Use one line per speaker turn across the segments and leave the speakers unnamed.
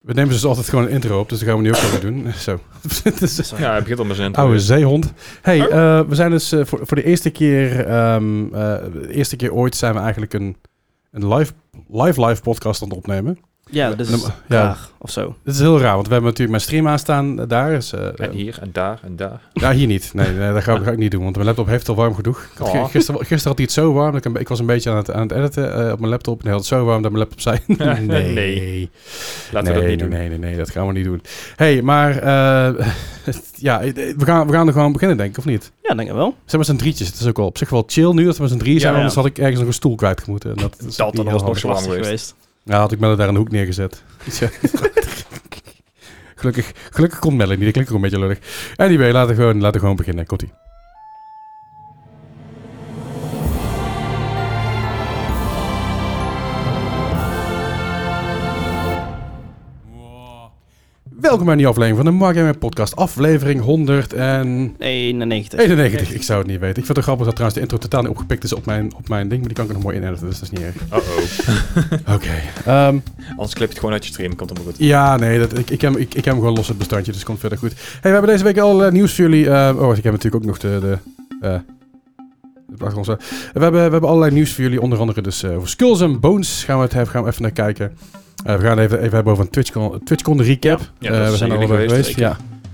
We nemen dus altijd gewoon een intro op, dus dat gaan we nu ook even doen. Zo. Dus-
Ja, hij begint al met zijn intro.
Oude zeehond. Hey, eh, we zijn dus eh, voor, voor de eerste keer, ehm, eh, de eerste keer ooit zijn we eigenlijk een, een live, live, live podcast aan het opnemen.
Ja, dus is
Ja.
raar of zo.
Dit is heel raar, want we hebben natuurlijk mijn stream aanstaan eh, daar. Is, eh,
En hier en daar en daar.
ja, hier niet. Nee, nee dat ga, ik- ga ik niet doen, want mijn laptop heeft het al warm genoeg. Ik had
Oh.
ge- gisteren, gisteren had hij het zo warm, dat ik, een be- ik was een beetje aan het, aan het editen eh, op mijn laptop. En hij had het zo warm dat mijn laptop zei, nee,
Nee. Laten
nee,
we dat niet
nee,
doen.
Nee, nee, nee, dat gaan we niet doen. hey, maar eh, ja, eh, we gaan, we gaan er gewoon beginnen, denk ik, of niet?
Ja, denk ik wel.
Zijn met z'n drietjes. Het is ook wel op zich wel chill nu dat we met z'n drieën zijn.
Ja,
Anders
ja.
had ik ergens nog een stoel kwijt moeten. En dat is
Dat
niet
dan
heel
was nog
handig.
zo lang
Lastig
geweest.
geweest.
Ja, had ik Melle daar in de hoek neergezet. Ja. gelukkig, gelukkig komt Melle niet. Dat klinkt ook een beetje lullig. Anyway, laten we gewoon, laten we gewoon beginnen. Komt ie. Welkom bij een nieuwe aflevering van de Mark Gamer Podcast. Aflevering 100 en...
91.
91, ik zou het niet weten. Ik vind het grappig dat trouwens de intro totaal niet opgepikt is op mijn, op mijn ding, maar die kan ik er nog mooi in editen, dus dat is niet erg.
Uh-oh.
Oké. Ehm,
Anders klip je het gewoon uit je stream, komt allemaal goed.
ja, nee, dat, ik, ik, heb, ik, ik heb hem gewoon los op het bestandje, dus komt verder goed. Hey, we hebben deze week al eh, nieuws voor jullie. Ehm, oh, wacht, ik heb natuurlijk ook nog de... de eh, de achtergrond zo. we, hebben, we hebben allerlei nieuws voor jullie, onder andere dus eh over Skulls and Bones gaan we, het, hebben- gaan we even naar kijken. Eh, we gaan even, even hebben over een TwitchCon, TwitchCon recap.
Ja,
Eh,
dat
we
zijn
zijn er
jullie
allebei geweest.
geweest, zeker.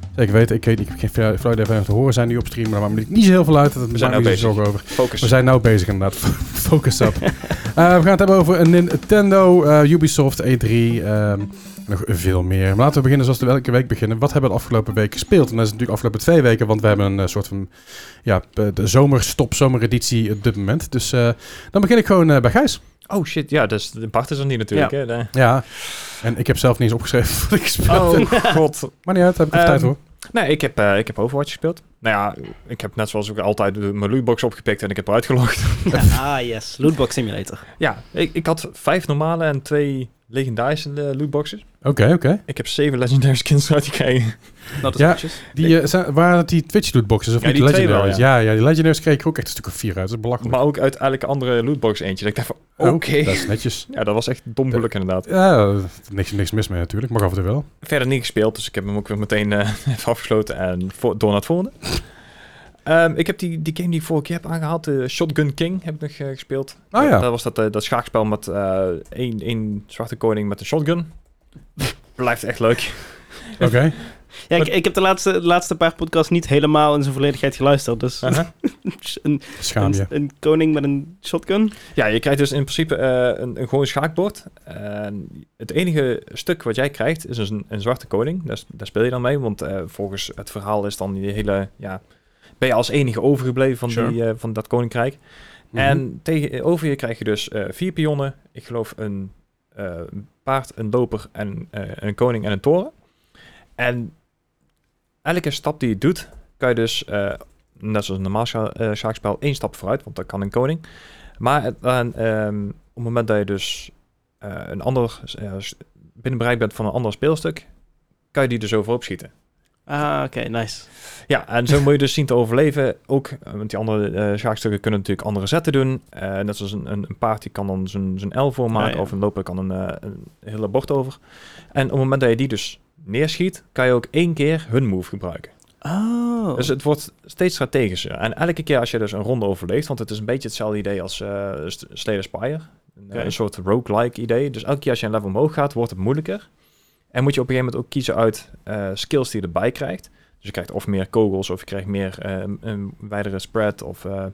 Ja. Zeker weten, ik weet ik heb geen flauw flauw idee of wij nog te horen zijn nu op stream, maar daar maakt me niet zo heel veel uit. Dat
We zijn
maakt me
nou
niet zo
bezig.
zorgen over.
Focus.
We zijn nou bezig inderdaad. Focus up. Eh, we gaan het hebben over een Nintendo, eh, Ubisoft, E3. ehm, nog veel meer. Maar laten we beginnen zoals we elke week beginnen. Wat hebben we de afgelopen week gespeeld? En dat is natuurlijk afgelopen twee weken, want we hebben een eh, soort van ja, eh, de zomerstop, zomereditie op dit moment. Dus eh, dan begin ik gewoon eh, bij Gijs.
Oh shit, ja, dus Bart is er niet natuurlijk.
Ja.
Hè? daar.
Ja. En ik heb zelf niet eens opgeschreven wat ik gespeeld heb.
Oh god.
Maar niet uit, daar heb ik nog
Ehm,
tijd voor.
Nee, ik heb, eh, ik heb Overwatch gespeeld. Nou ja, ik heb net zoals ik altijd de- mijn lootbox opgepikt en ik heb eruit gelogd.
Ja, ah, yes. Lootbox Simulator.
Ja, ik, ik had vijf normale en twee legendarische eh, lootboxes.
Oké, oké.
Ik heb zeven legendary skins uitgekregen.
Nou, dat
Ja.
is netjes.
Die, eh, zijn- waren dat die Twitch lootboxes of
Ja,
niet
die
de
twee wel,
legendaries? ja. ja, die legendaries kreeg ik ook echt een stuk of vier uit. Dat is belachelijk.
Maar ook uit eigenlijk een andere lootbox eentje. Dat ik dacht van, oké.
Oh, dat is netjes.
Ja, dat was echt dom geluk inderdaad.
Ja, eh, niks, niks mis mee natuurlijk, maar af en toe wel.
Verder niet gespeeld, dus ik heb hem ook weer meteen eh, even afgesloten en voor, door naar het volgende. Ehm, ik heb die, die game die ik vorige keer heb aangehaald, eh, Shotgun King, heb ik nog eh, gespeeld.
Ah, ja.
Dat, dat was dat, eh, dat schaakspel met eh, één, één zwarte koning met een shotgun. Blijft echt leuk.
Oké.
Ja, ik, ik heb de laatste, de laatste paar podcasts niet helemaal in zijn volledigheid geluisterd. Dus een,
Schaam je.
een, een koning met een shotgun.
Ja, je krijgt dus in principe eh, een, een gewoon schaakbord. En het enige stuk wat jij krijgt is dus een, een zwarte koning. Daar, s- daar speel je dan mee, want eh, volgens het verhaal is dan die hele... Ja, ben je als enige overgebleven van,
Sure.
die, eh, van dat koninkrijk.
Mhm.
En tegenover je krijg je dus eh, vier pionnen. Ik geloof een eh, een paard, een loper, en, eh, een koning en een toren. En elke stap die je doet, kan je dus, eh, net zoals een normaal scha- eh, schaakspel, één stap vooruit, want dat kan een koning. Maar het- dan, ehm, op het moment dat je dus eh, een ander, eh, s- binnen bereik bent van een ander speelstuk, kan je die dus over opschieten.
Ah, oké, nice.
Ja, en zo moet je dus zien te overleven. Ook, eh, want die andere eh, schaakstukken kunnen natuurlijk andere zetten doen. Eh, net zoals een, een, een paard die kan dan zijn, zijn L voormaken.
Ja, ja.
Of een loper kan een, eh, een hele bord over. En op het moment dat je die dus neerschiet, kan je ook één keer hun move gebruiken.
Oh.
Dus het wordt steeds strategischer. En elke keer als je dus een ronde overleeft, want het is een beetje hetzelfde idee als eh St- Slay the Spire. Een, eh,
Oké.
een soort roguelike idee. Dus elke keer als je een level omhoog gaat, wordt het moeilijker. En moet je op een gegeven moment ook kiezen uit eh, skills die je erbij krijgt. Dus je krijgt of meer kogels, of je krijgt meer eh, een- een wijdere spread, of eh,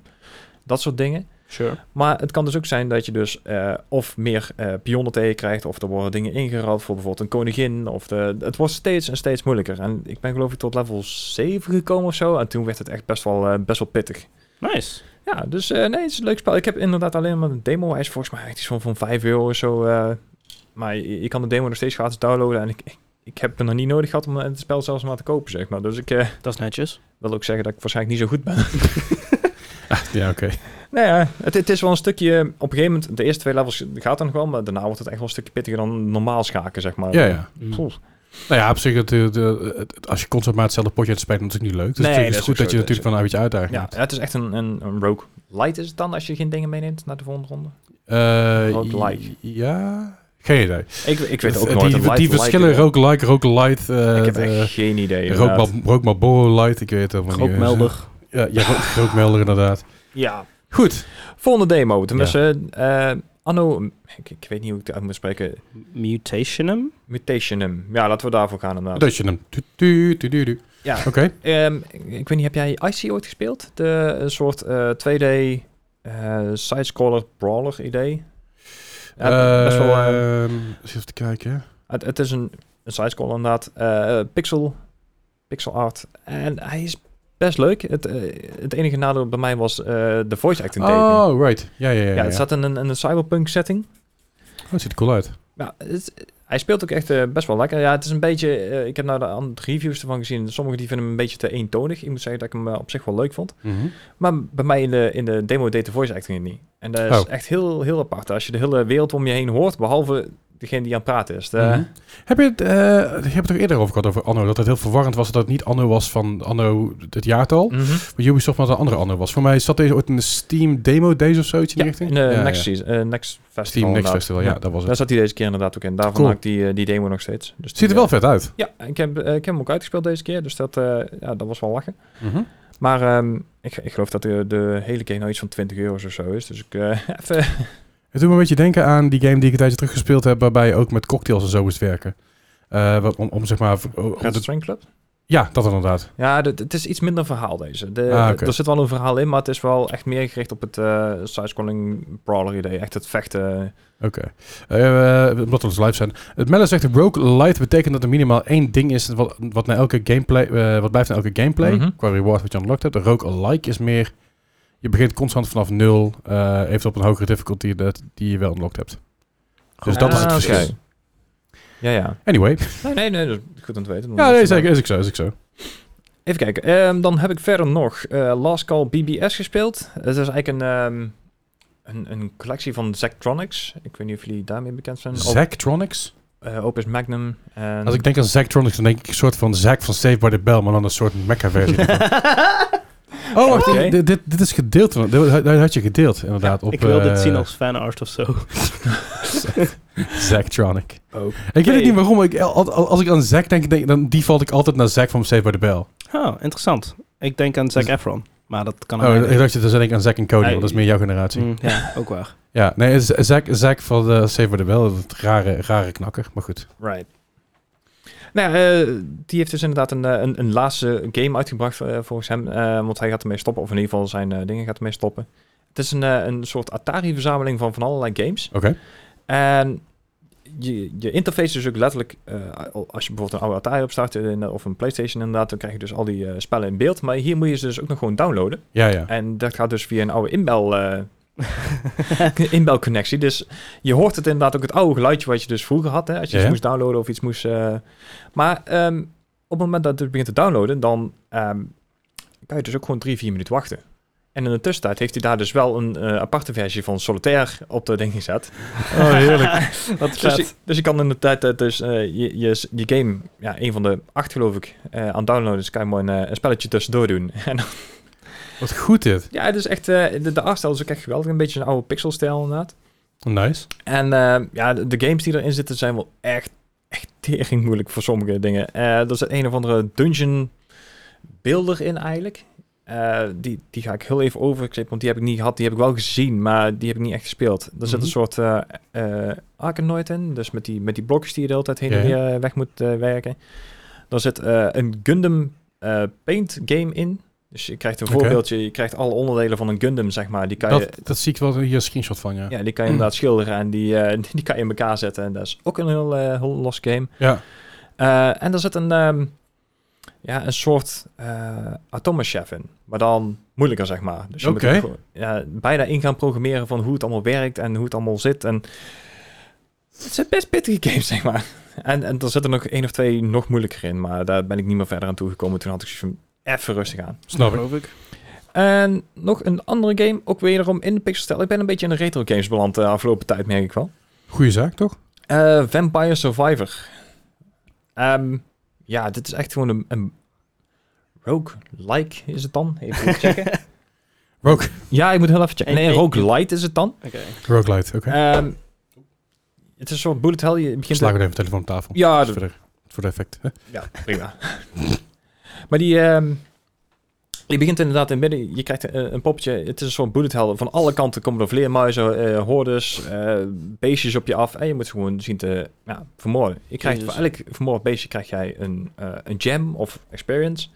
dat soort dingen.
sure.
Maar het kan dus ook zijn dat je dus eh, of meer eh, pionnen tegen krijgt, of er worden dingen ingeruild voor bijvoorbeeld een koningin. Of de, het wordt steeds en steeds moeilijker. En ik ben geloof ik tot level 7 gekomen of zo. En toen werd het echt best wel, eh, best wel pittig.
Nice.
Ja, dus eh, nee, het is een leuk spel. Ik heb inderdaad alleen maar een demo. Hij is volgens mij iets van, van 5 euro of zo. eh. maar je, je kan de demo nog steeds gratis downloaden. En ik, ik- ik heb hem nog niet nodig gehad om het spel zelfs maar te kopen, zeg maar. Dus ik eh,
Dat is netjes.
wil ook zeggen dat ik waarschijnlijk niet zo goed ben.
Ja, oké.
Nou ja, het, het is wel een stukje. Op een gegeven moment, de eerste twee levels gaat dan nog wel, maar daarna wordt het echt wel een stukje pittiger dan normaal schaken, zeg maar. Hm.
Ja, ja.
Poeh.
Nou ja, op zich, het, eh, de- het- als je constant maar hetzelfde potje uit speelt, dan is het niet leuk. Dus
Nee,
het is
dat is
goed
ook
dat je
zo,
natuurlijk van een beetje uitdaging
ja,
hebt.
het is echt een, een, een rogue light is het dan als je geen dingen meeneemt naar de volgende ronde.
Eh,
Roguelike.
Ja, Geen idee.
Ik, ik weet ook
Eh,
nooit.
die,
een light
die verschillen,
light-
roguelike, roguelite, eh,
Ik heb echt
de-
geen idee. inderdaad.
rookma- rookmaboro light, ik weet het helemaal niet.
Rookmelder.
Ja, ja rook- rookmelder inderdaad.
Ja.
Goed.
Volgende demo, tenminste. eh, anno, ik, ik weet niet hoe ik het uit moet spreken.
Mutationum?
Mutationum. Ja, laten we daarvoor gaan inderdaad.
Dat je hem. Tu- tu- tu- tu- tu.
Ja.
Oké.
Ehm, ik- ik weet niet, heb jij IC ooit gespeeld? De een soort eh, 2D eh sidescroller brawler idee. Ja, best wel, eh,
Ehm, eens even te kijken.
het, het is een, een sidescroller inderdaad. Eh, eh, pixel, pixel art. En hij is best leuk. Het, eh, het enige nadeel bij mij was eh, de voice acting tekenen.
Oh, right. Ja, ja, ja.
ja,
ja,
het
ja.
zat in een, in een cyberpunk setting.
Oh, het ziet er cool uit.
Ja, het- hij speelt ook echt eh, best wel lekker. Ja, het is een beetje... eh, ik heb nou de an- reviews ervan gezien. Sommigen die vinden hem een beetje te eentonig. Ik moet zeggen dat ik hem eh, op zich wel leuk vond. Maar bij mij in de, in de demo deed de voice acting het niet. En dat is
Oh.
echt heel, heel apart. Als je de hele wereld om je heen hoort, behalve degene die aan het praten is. De-
Mhm. Heb je het, eh, je hebt het er eerder over gehad, over Anno, dat het heel verwarrend was dat het niet Anno was van Anno het jaartal,
Mhm.
maar Ubisoft maar dat een andere Anno was. Voor mij zat deze ooit in de Steam Demo Days of zoiets in
Ja,
die richting?
in de
ja,
Next,
ja.
Season, eh, next Festival.
Steam Next
inderdaad.
Festival, ja,
Ja.
dat was
Daar
het.
zat hij deze keer inderdaad ook in. Daarvan
Cool.
maakt die, eh, die demo nog steeds. Dus
Ziet er
die,
wel
eh,
vet uit.
Ja, ik heb, eh, ik heb hem ook uitgespeeld deze keer. Dus dat, eh, ja, dat was wel lachen. Maar ehm, ik, ik geloof dat de, de hele keer nou iets van 20 euro's of zo is. Dus ik eh, even...
Het doet me een beetje denken aan die game die ik een tijdje terug gespeeld heb, waarbij je ook met cocktails en zo moest werken. Eh, wat- om, om zeg maar... v- o- om
Red
de-
String Club?
ja, dat inderdaad.
Ja, de- de- het is iets minder verhaal deze. De,
Ah, oké.
Er zit wel een verhaal in, maar het is wel echt meer gericht op het eh side-scrolling brawler idee. Echt het vechten.
Oké. Eh, eh, Omdat we dus live zijn. Het Melle zegt, rogue light betekent dat er minimaal één ding is wat, wat, na elke gameplay, eh, wat blijft na elke gameplay.
Mhm.
Qua reward wat je unlocked hebt. Een rogue like is meer, je begint constant vanaf nul, eh even op een hogere difficulty dat, die je wel unlocked hebt. Dus dat is het
Ah, oké.
verschil.
Ja, ja.
Anyway.
Nee, nee, nee. dat is Goed om te weten.
Ja, nee, zeker. Is ik zo, is ik zo.
Even kijken. Ehm, dan heb ik verder nog eh, Last Call BBS gespeeld. Het is eigenlijk een, ehm, een, een collectie van Zactronics. Ik weet niet of jullie daarmee bekend zijn. Op-
Zactronics?
eh, Opus Magnum. En
Als ik denk aan Zactronics, dan denk ik een soort van Zack van Save by the Bell, maar dan een soort mecha-versie. oh, wacht,
Oké.
dit, dit, dit is gedeeld. van- Dit had- dit had je gedeeld, inderdaad. op,
ik wil dit
eh,
zien als fanart of zo.
Zactronic.
Oké.
Ik weet het niet waarom. maar Ik, al- al- als ik aan Zack denk, denk- dan default ik altijd naar Zack van Save by the Bell.
Oh, interessant. Ik denk aan Zack Efron, maar dat kan
Oh,
ook Mm.
ik dacht je, dan denk ik aan Zack en Cody, want dat is meer jouw generatie.
Ja, ook waar.
Ja, nee, Z- Zack, Zack van eh, Save by the Bell, dat rare, rare knakker, maar goed.
Right. Nou, ja, eh, die heeft dus inderdaad een, eh, een, een laatste game uitgebracht eh, volgens hem. eh, want hij gaat ermee stoppen, of in ieder geval zijn eh, dingen gaat ermee stoppen. Het is een, eh, een soort Atari-verzameling van van allerlei games.
Oké.
En je, je interface is ook letterlijk, eh, als je bijvoorbeeld een oude Atari opstart eh, in- of een PlayStation inderdaad, dan krijg je dus al die eh, spellen in beeld. Maar hier moet je ze dus ook nog gewoon downloaden.
Ja, ja.
En dat gaat dus via een oude inbel, eh, inbelconnectie. Dus je hoort het inderdaad ook het oude geluidje wat je dus vroeger had. Hè, als je
Ja,
iets
ja.
moest downloaden of iets moest... eh, maar ehm, op het moment dat het begint te downloaden, dan ehm, kan je dus ook gewoon drie, vier minuten wachten. En in de tussentijd heeft hij daar dus wel een eh, aparte versie van Solitaire op de ding gezet.
Oh, heerlijk.
Wat
Dus,
vet.
je- dus je kan in de tijd eh, dus, eh, je, je, je game, ja, een van de acht geloof ik, eh, aan downloaden. Dus kan je mooi een, eh, een spelletje tussendoor doen. En
Wat goed dit.
ja, het is echt, eh, de, de artstijl is ook echt geweldig. Een beetje een oude pixelstijl inderdaad.
Nice.
En eh, ja, de, de games die erin zitten zijn wel echt, echt tering moeilijk voor sommige dingen. Eh, er zit een of andere dungeon beelder in eigenlijk. Eh, die, die ga ik heel even overklippen, want die heb ik niet gehad. Die heb ik wel gezien, maar die heb ik niet echt gespeeld. Er zit
Mhm.
een soort eh eh, Arkanoid in, dus met die, met die blokjes die je de hele tijd heen en
Ja.
weer eh, weg moet eh, werken. Er zit eh, een Gundam eh, Paint game in. Dus je krijgt een
Oké.
voorbeeldje, je krijgt alle onderdelen van een Gundam, zeg maar. Die kan je,
Dat, dat zie ik wel hier een screenshot van, ja.
ja, die kan je inderdaad schilderen en die, eh, die, die kan je in elkaar zetten. En dat is ook een heel, eh, heel los game.
Ja.
Eh, en er zit een, ehm, ja, een soort eh Atoma Chef in. Maar dan moeilijker, zeg maar. Dus je moet
Oké.
ook gewoon, ja, bijna in gaan programmeren van hoe het allemaal werkt en hoe het allemaal zit. En het zijn best pittige games, zeg maar. En, en er zitten nog één of twee nog moeilijker in. Maar daar ben ik niet meer verder aan toegekomen. Toen had ik zoiets van, even rustig aan.
Snap ik.
En nog een andere game, ook wederom in de pixelstijl. Ik ben een beetje in de retro games beland de afgelopen tijd, merk ik wel.
Goeie zaak, toch?
Eh, Vampire Survivor. Ehm, ja, dit is echt gewoon een, een roguelike is het dan? Even goed checken.
Rogue,
ja, ik moet heel even checken.
En-
Nee,
en-
roguelite is het dan.
Oké.
roguelite, oké.
Ehm, Het is een soort bullet hell. Je begint
Sla ik even de telefoon op tafel.
Ja,
Dat is
dat-
verder. Voor de effect. hè?
Ja, prima. maar die, ehm, je begint inderdaad in het midden, je krijgt eh, een, een poppetje, het is een soort bullet hell. Van alle kanten komen er vleermuizen, eh, hordes, eh, beestjes op je af. En je moet ze gewoon zien te ja, vermoorden. Je krijgt, voor
Jezus.
elk vermoord beestje krijg jij een, eh, een gem of experience.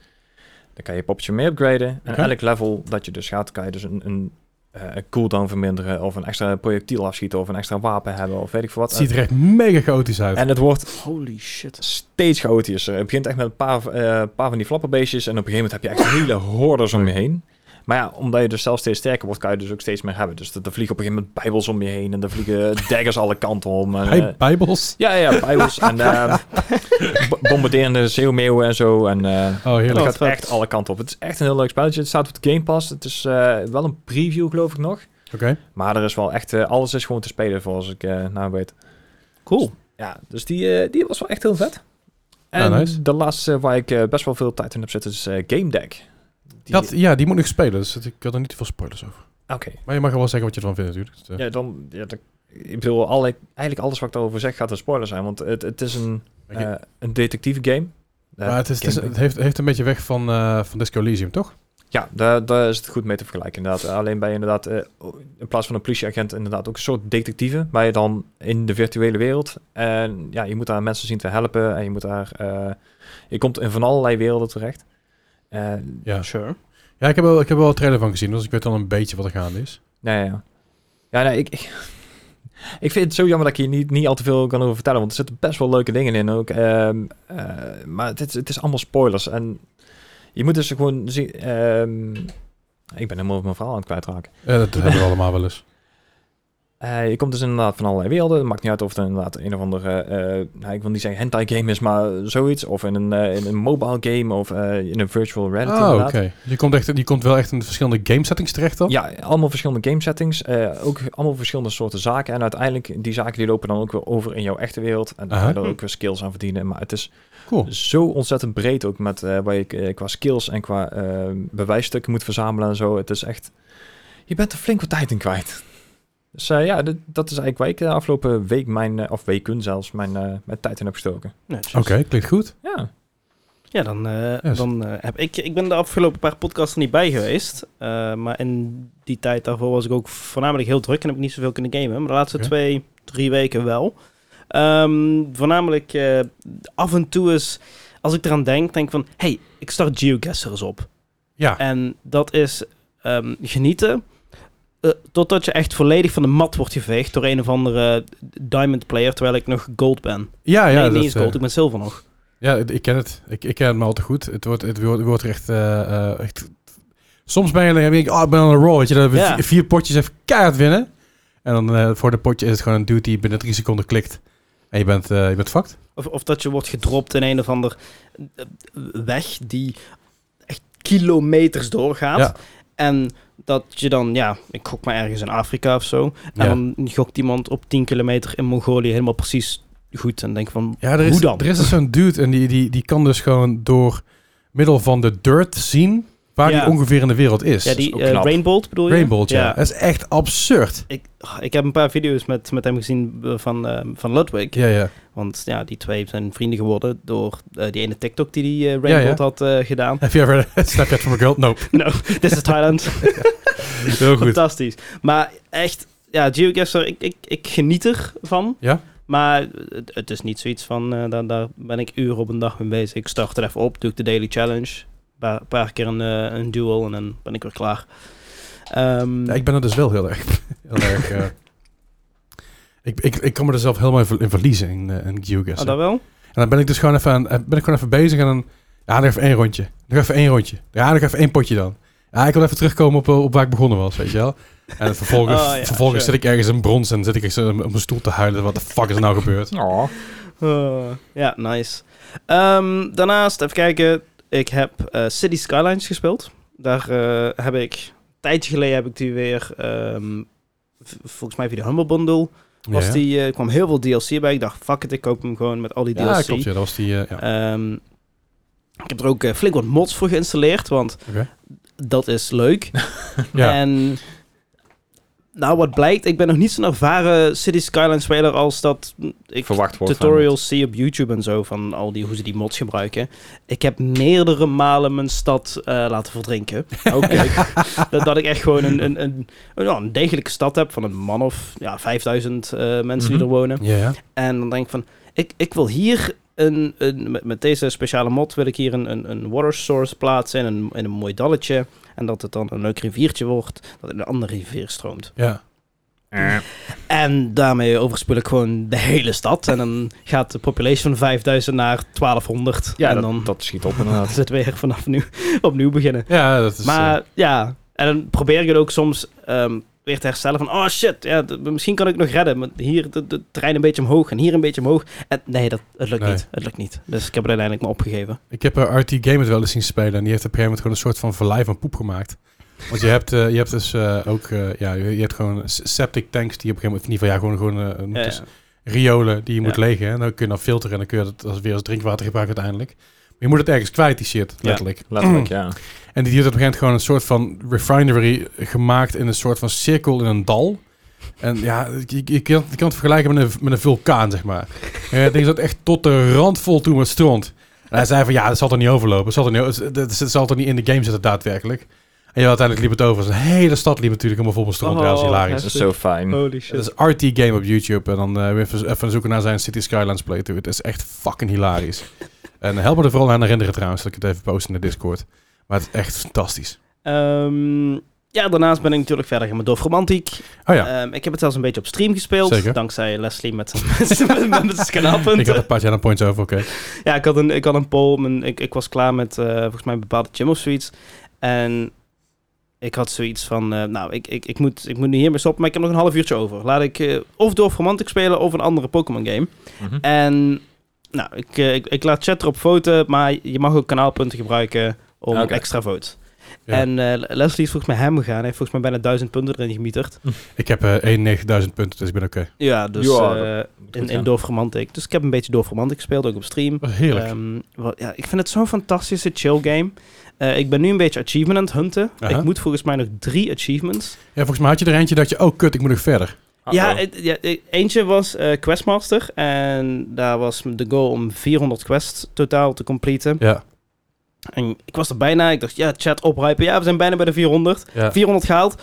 Dan kan je je poppetje mee upgraden. En
Oké.
elk level dat je dus gaat, kan je dus een, een eh, cooldown verminderen. Of een extra projectiel afschieten, of een extra wapen hebben, of weet ik veel wat.
Het ziet er echt mega chaotisch uit.
en het wordt
Holy shit.
steeds chaotischer. Het begint echt met een paar, eh, paar van die flapperbeestjes. En op een gegeven moment heb je echt hele hordes om je heen. Maar ja, omdat je dus zelf steeds sterker wordt, kan je dus ook steeds meer hebben. Dus er er vliegen op een gegeven moment bijbels om je heen. En er vliegen daggers alle kanten om. En, eh,
Bij Bijbels.
ja, ja, bijbels. en eh, bo- bombarderende zeeuwmeeuwen en zo. En eh,
Oh,
het
heerlijk.
gaat
vet.
echt alle kanten op. Het is echt een heel leuk spelletje. Het staat op de Game Pass. Het is eh, wel een preview, geloof ik nog.
Oké.
Maar er is wel echt... eh, alles is gewoon te spelen, volgens ik eh nou weet.
Cool.
Ja, dus die, eh, die was wel echt heel vet. En
Ja, nice.
de laatste waar ik eh, best wel veel tijd in heb zitten is eh, Game Deck. Die-
Dat, ja, die moet nog spelen. Dus het- ik had er niet te veel spoilers over.
Oké.
Maar je mag wel zeggen wat je ervan vindt natuurlijk. Dus, eh,
Ja, dan... Ja, dan- ik bedoel, alle, eigenlijk alles wat ik daarover zeg gaat een spoiler zijn. Want het, het is een,
Oké.
eh een detectieve game. Eh,
maar het, is, het, is-
Game
het
Deck.
heeft, heeft een beetje weg van, eh, van Disco Elysium, toch?
Ja, daar, daar is het goed mee te vergelijken inderdaad. Alleen bij inderdaad, eh, in plaats van een politieagent inderdaad ook een soort detectieve. Maar je dan in de virtuele wereld. En ja, je moet daar mensen zien te helpen. En je moet daar... eh, je komt in van allerlei werelden terecht. Eh, En
Ja.
Sure.
Ja, ik heb wel, ik heb wel een trailer van gezien. Dus ik weet al een beetje wat er gaande is.
Nee, ja. Ja, nee, ik, ik, ik vind het zo jammer dat ik hier niet, niet al te veel kan over vertellen. Want er zitten best wel leuke dingen in ook. Ehm, eh, maar het, is- het is allemaal spoilers. En je moet dus gewoon zien... ehm, ik ben helemaal mijn verhaal aan het kwijtraken.
Eh, dat hebben we allemaal wel eens.
Eh, je komt dus inderdaad van allerlei werelden. Het maakt niet uit of het inderdaad een of andere... eh, nou, ik wil niet zeggen hentai game is, maar zoiets. Of in een, eh, in een mobile game of eh, in een virtual reality
Oh, oké.
inderdaad.
Je, komt echt, je komt wel echt in verschillende game settings terecht dan?
Ja, allemaal verschillende game settings. eh, ook allemaal verschillende soorten zaken. En uiteindelijk, die zaken die lopen dan ook weer over in jouw echte wereld. En daar ga je
Aha.
dan ook weer skills aan verdienen. Maar het is
Dus-
Cool.
zo ontzettend breed ook met eh, waar je eh, qua skills en qua eh, bewijsstukken moet verzamelen en zo. Het is echt... Je bent er flink wat tijd in kwijt. Dus eh, ja, dit- dat is eigenlijk waar ik de afgelopen week mijn... eh, of weken zelfs, mijn, eh, mijn tijd in heb gestoken.
Netjes.
Oké, klinkt goed.
Ja.
Ja, dan, eh,
Yes.
dan eh, heb ik... Ik ben de afgelopen paar podcasts er niet bij geweest. eh, maar in die tijd daarvoor was ik ook voornamelijk heel druk en heb ik niet zoveel kunnen gamen. Maar de laatste
Oké.
twee, drie weken wel. Ehm, voornamelijk eh, af en toe is... Als ik eraan denk, denk ik van... hey, ik start GeoGuessr eens op.
Ja.
En dat is ehm, genieten. eh, totdat je echt volledig van de mat wordt geveegd door een of andere diamond player, terwijl ik nog gold ben.
Ja, ja.
nee, niet
dat,
eens
eh,
gold, ik ben zilver nog.
Ja, ik ik ken het. Ik, ik ken het maar al te goed. Het wordt, het wordt, wordt er echt, eh, eh, echt... Soms ben je dan denk ik, oh, ik ben on een roll. Weet je, dat we
Ja.
vier, vier potjes even keihard winnen. En dan eh, voor de potje is het gewoon een duty die binnen drie seconden klikt. En je bent, eh, je bent fucked.
Of, of dat je wordt gedropt in een of ander eh, weg die echt kilometers doorgaat.
Ja.
En dat je dan, ja, ik gok maar ergens in Afrika of zo. En
Ja.
dan gokt iemand op 10 kilometer in Mongolië helemaal precies goed. En denk van,
Ja, er is,
Hoe dan?
Er is dus zo'n dude en die, die, die kan dus gewoon door middel van de dirt zien waar
Ja.
hij ongeveer in de wereld is.
ja,
is
die
ook
eh
knap.
Rainbolt bedoel je?
Rainbolt, ja. Dat is echt absurd.
Ik, oh, ik heb een paar video's met, met hem gezien eh, van, eh, van Ludwig.
Ja, ja.
Want ja, die twee zijn vrienden geworden door eh, die ene TikTok die die eh, Rainbolt
ja.
had eh, gedaan.
Have you ever Snapchat from a girl? Nope.
no, this is Thailand.
Heel goed.
Fantastisch. Maar echt, ja, GeoGuessr, ik, ik, ik geniet ervan.
Ja?
Maar het, het is niet zoiets van, eh, daar, daar ben ik uren op een dag mee bezig. Ik start er even op, doe ik de daily challenge. Een paar, paar keer een, eh, een duel en dan ben ik weer klaar. Ehm,
Ja, ik ben er dus wel heel erg. Heel erg eh, ik, ik, ik kan me er zelf helemaal in ver- in verliezen in, eh, in
oh,
geoguessing.
dat wel?
en dan ben ik dus gewoon even, aan, eh, ben ik gewoon even bezig en dan. Ja, nog even één rondje. Nog even één rondje. Ja, nog even één potje dan. Ja, ik wil even terugkomen op, eh, op waar ik begonnen was, weet je wel. En vervolgens,
Oh, ja,
vervolgens
sure.
zit ik ergens in brons en zit ik ergens eh, op mijn stoel te huilen. Wat de fuck is er nou gebeurd?
Oh.
Eh, ja, nice. Ehm, daarnaast, even kijken. Ik heb eh, City Skylines gespeeld. Daar eh, heb ik, een tijdje geleden heb ik die weer, ehm, v- volgens mij via de Humble Bundle, was
ja,
die, eh, kwam heel veel DLC bij. Ik dacht, fuck it, ik koop hem gewoon met al die
ja,
DLC.
klopt. Ja, dat was die. eh, ja.
Ehm, ik heb er ook eh, flink wat mods voor geïnstalleerd, want
Oké.
eh, dat is leuk.
ja.
En nou, wat blijkt, ik ben nog niet zo'n ervaren City Skyline speler als dat ik
verwacht wordt. van
tutorials zie op YouTube en zo van al die, hoe ze die mods gebruiken. Ik heb meerdere malen mijn stad eh, laten verdrinken.
het. Oké.
dat, dat ik echt gewoon een, een, een, een- ja, een degelijke stad heb van een man of ja, 5000 eh, mensen die
Mhm.
er wonen.
Ja.
En dan denk ik van, ik, ik wil hier een, een met, met deze speciale mod wil ik hier een, een, een water source plaatsen in een, in een mooi dalletje. En dat het dan een leuk riviertje wordt dat in een andere rivier stroomt.
ja.
Eh,
En daarmee overspeel ik gewoon de hele stad. En dan gaat de population van 5000 naar 1200.
ja,
en
dat,
dan
dat schiet op inderdaad.
is het weer vanaf nu opnieuw beginnen.
Ja, dat is...
maar
eh,
ja, en dan probeer ik het ook soms ehm, weer te herstellen van... Oh shit, ja, d- misschien kan ik nog redden. Maar hier de, de trein een beetje omhoog en hier een beetje omhoog. En nee, dat, het lukt
Nee.
niet. Het lukt niet. Dus ik heb het uiteindelijk maar opgegeven.
ik heb eh, RT Gamer wel eens zien spelen. En die heeft op een gegeven moment gewoon een soort van verlei van poep gemaakt. Want je hebt, eh, je hebt dus eh, ook... eh, ja, je je hebt gewoon s- septic tanks die op een gegeven moment... In ieder geval, ja, gewoon, gewoon eh, een-
Ja,
dus riolen die je moet
Ja.
legen. En dan kun je dan filteren en dan kun je dat als, weer als drinkwater gebruiken uiteindelijk. Maar je moet het ergens kwijt, die shit, letterlijk.
Letterlijk, ja.
En die heeft op een gegeven moment gewoon een soort van refinery gemaakt in een soort van cirkel in een dal. En ja, je, je, kan, je kan het vergelijken met een, met een vulkaan, zeg maar. En het ding zat echt tot de rand vol toen met stront. En hij zei van, ja, dat zal er niet overlopen. Dat zal er niet, het, het- het zal er niet in de game zitten, daadwerkelijk. En ja, uiteindelijk liep het over. Dus een hele stad liep natuurlijk helemaal vol met stront.
Oh,
trouwens, hilarisch.
Dat is zo fijn.
Holy
Het is RT Game op YouTube. En dan eh, weer even, even zoeken naar zijn City Skylines playthrough. Het is echt fucking hilarisch. en help me er vooral aan herinneren trouwens, dat ik het even post in de Discord. Maar het is echt fantastisch.
Ehm, ja, daarnaast ben ik natuurlijk verder gaan met Dof Romantiek.
Oh ja,
Ehm, ik heb het zelfs een beetje op stream gespeeld.
Zeker.
Dankzij Leslie met, met, met, met zijn kanappen.
ik had een paar channel points over, oké.
Ja, ik had een, ik had een poll. Mijn, ik, ik was klaar met eh, volgens mij een bepaalde gym of zoiets. En ik had zoiets van, eh, nou, ik, ik, ik, moet, ik moet nu hiermee stoppen, maar ik heb nog een half uurtje over. Laat ik eh, of Dorf Romantic spelen of een andere Pokémon game.
Mhm.
En nou, ik, eh, ik, ik laat chat erop voten, maar je mag ook kanaalpunten gebruiken om
Oké.
extra vote.
Ja.
En eh, Leslie is volgens mij hem gegaan. Hij heeft volgens mij bijna duizend punten erin gemieterd.
Ik heb eh 91.000 punten, dus ik ben oké.
Ja, dus
Ja,
eh,
Moet
in,
goed
in
gaan.
Dorf Romantic. Dus ik heb een beetje Dorf Romantic gespeeld, ook op stream.
Dat is heerlijk.
Ehm, wel, ja, ik vind het zo'n fantastische chill game. Eh, ik ben nu een beetje achievement aan het hunten.
Aha.
Ik moet volgens mij nog drie achievements.
ja, volgens mij had je er eentje dat je, oh kut, ik moet nog verder.
Uh-oh.
Ja, het- ja, e- eentje was eh, Questmaster. En daar was de goal om 400 quests totaal te completen.
Ja,
En ik was er bijna. Ik dacht, ja, chat ophypen. Ja, we zijn bijna bij de 400.
ja.
400 gehaald.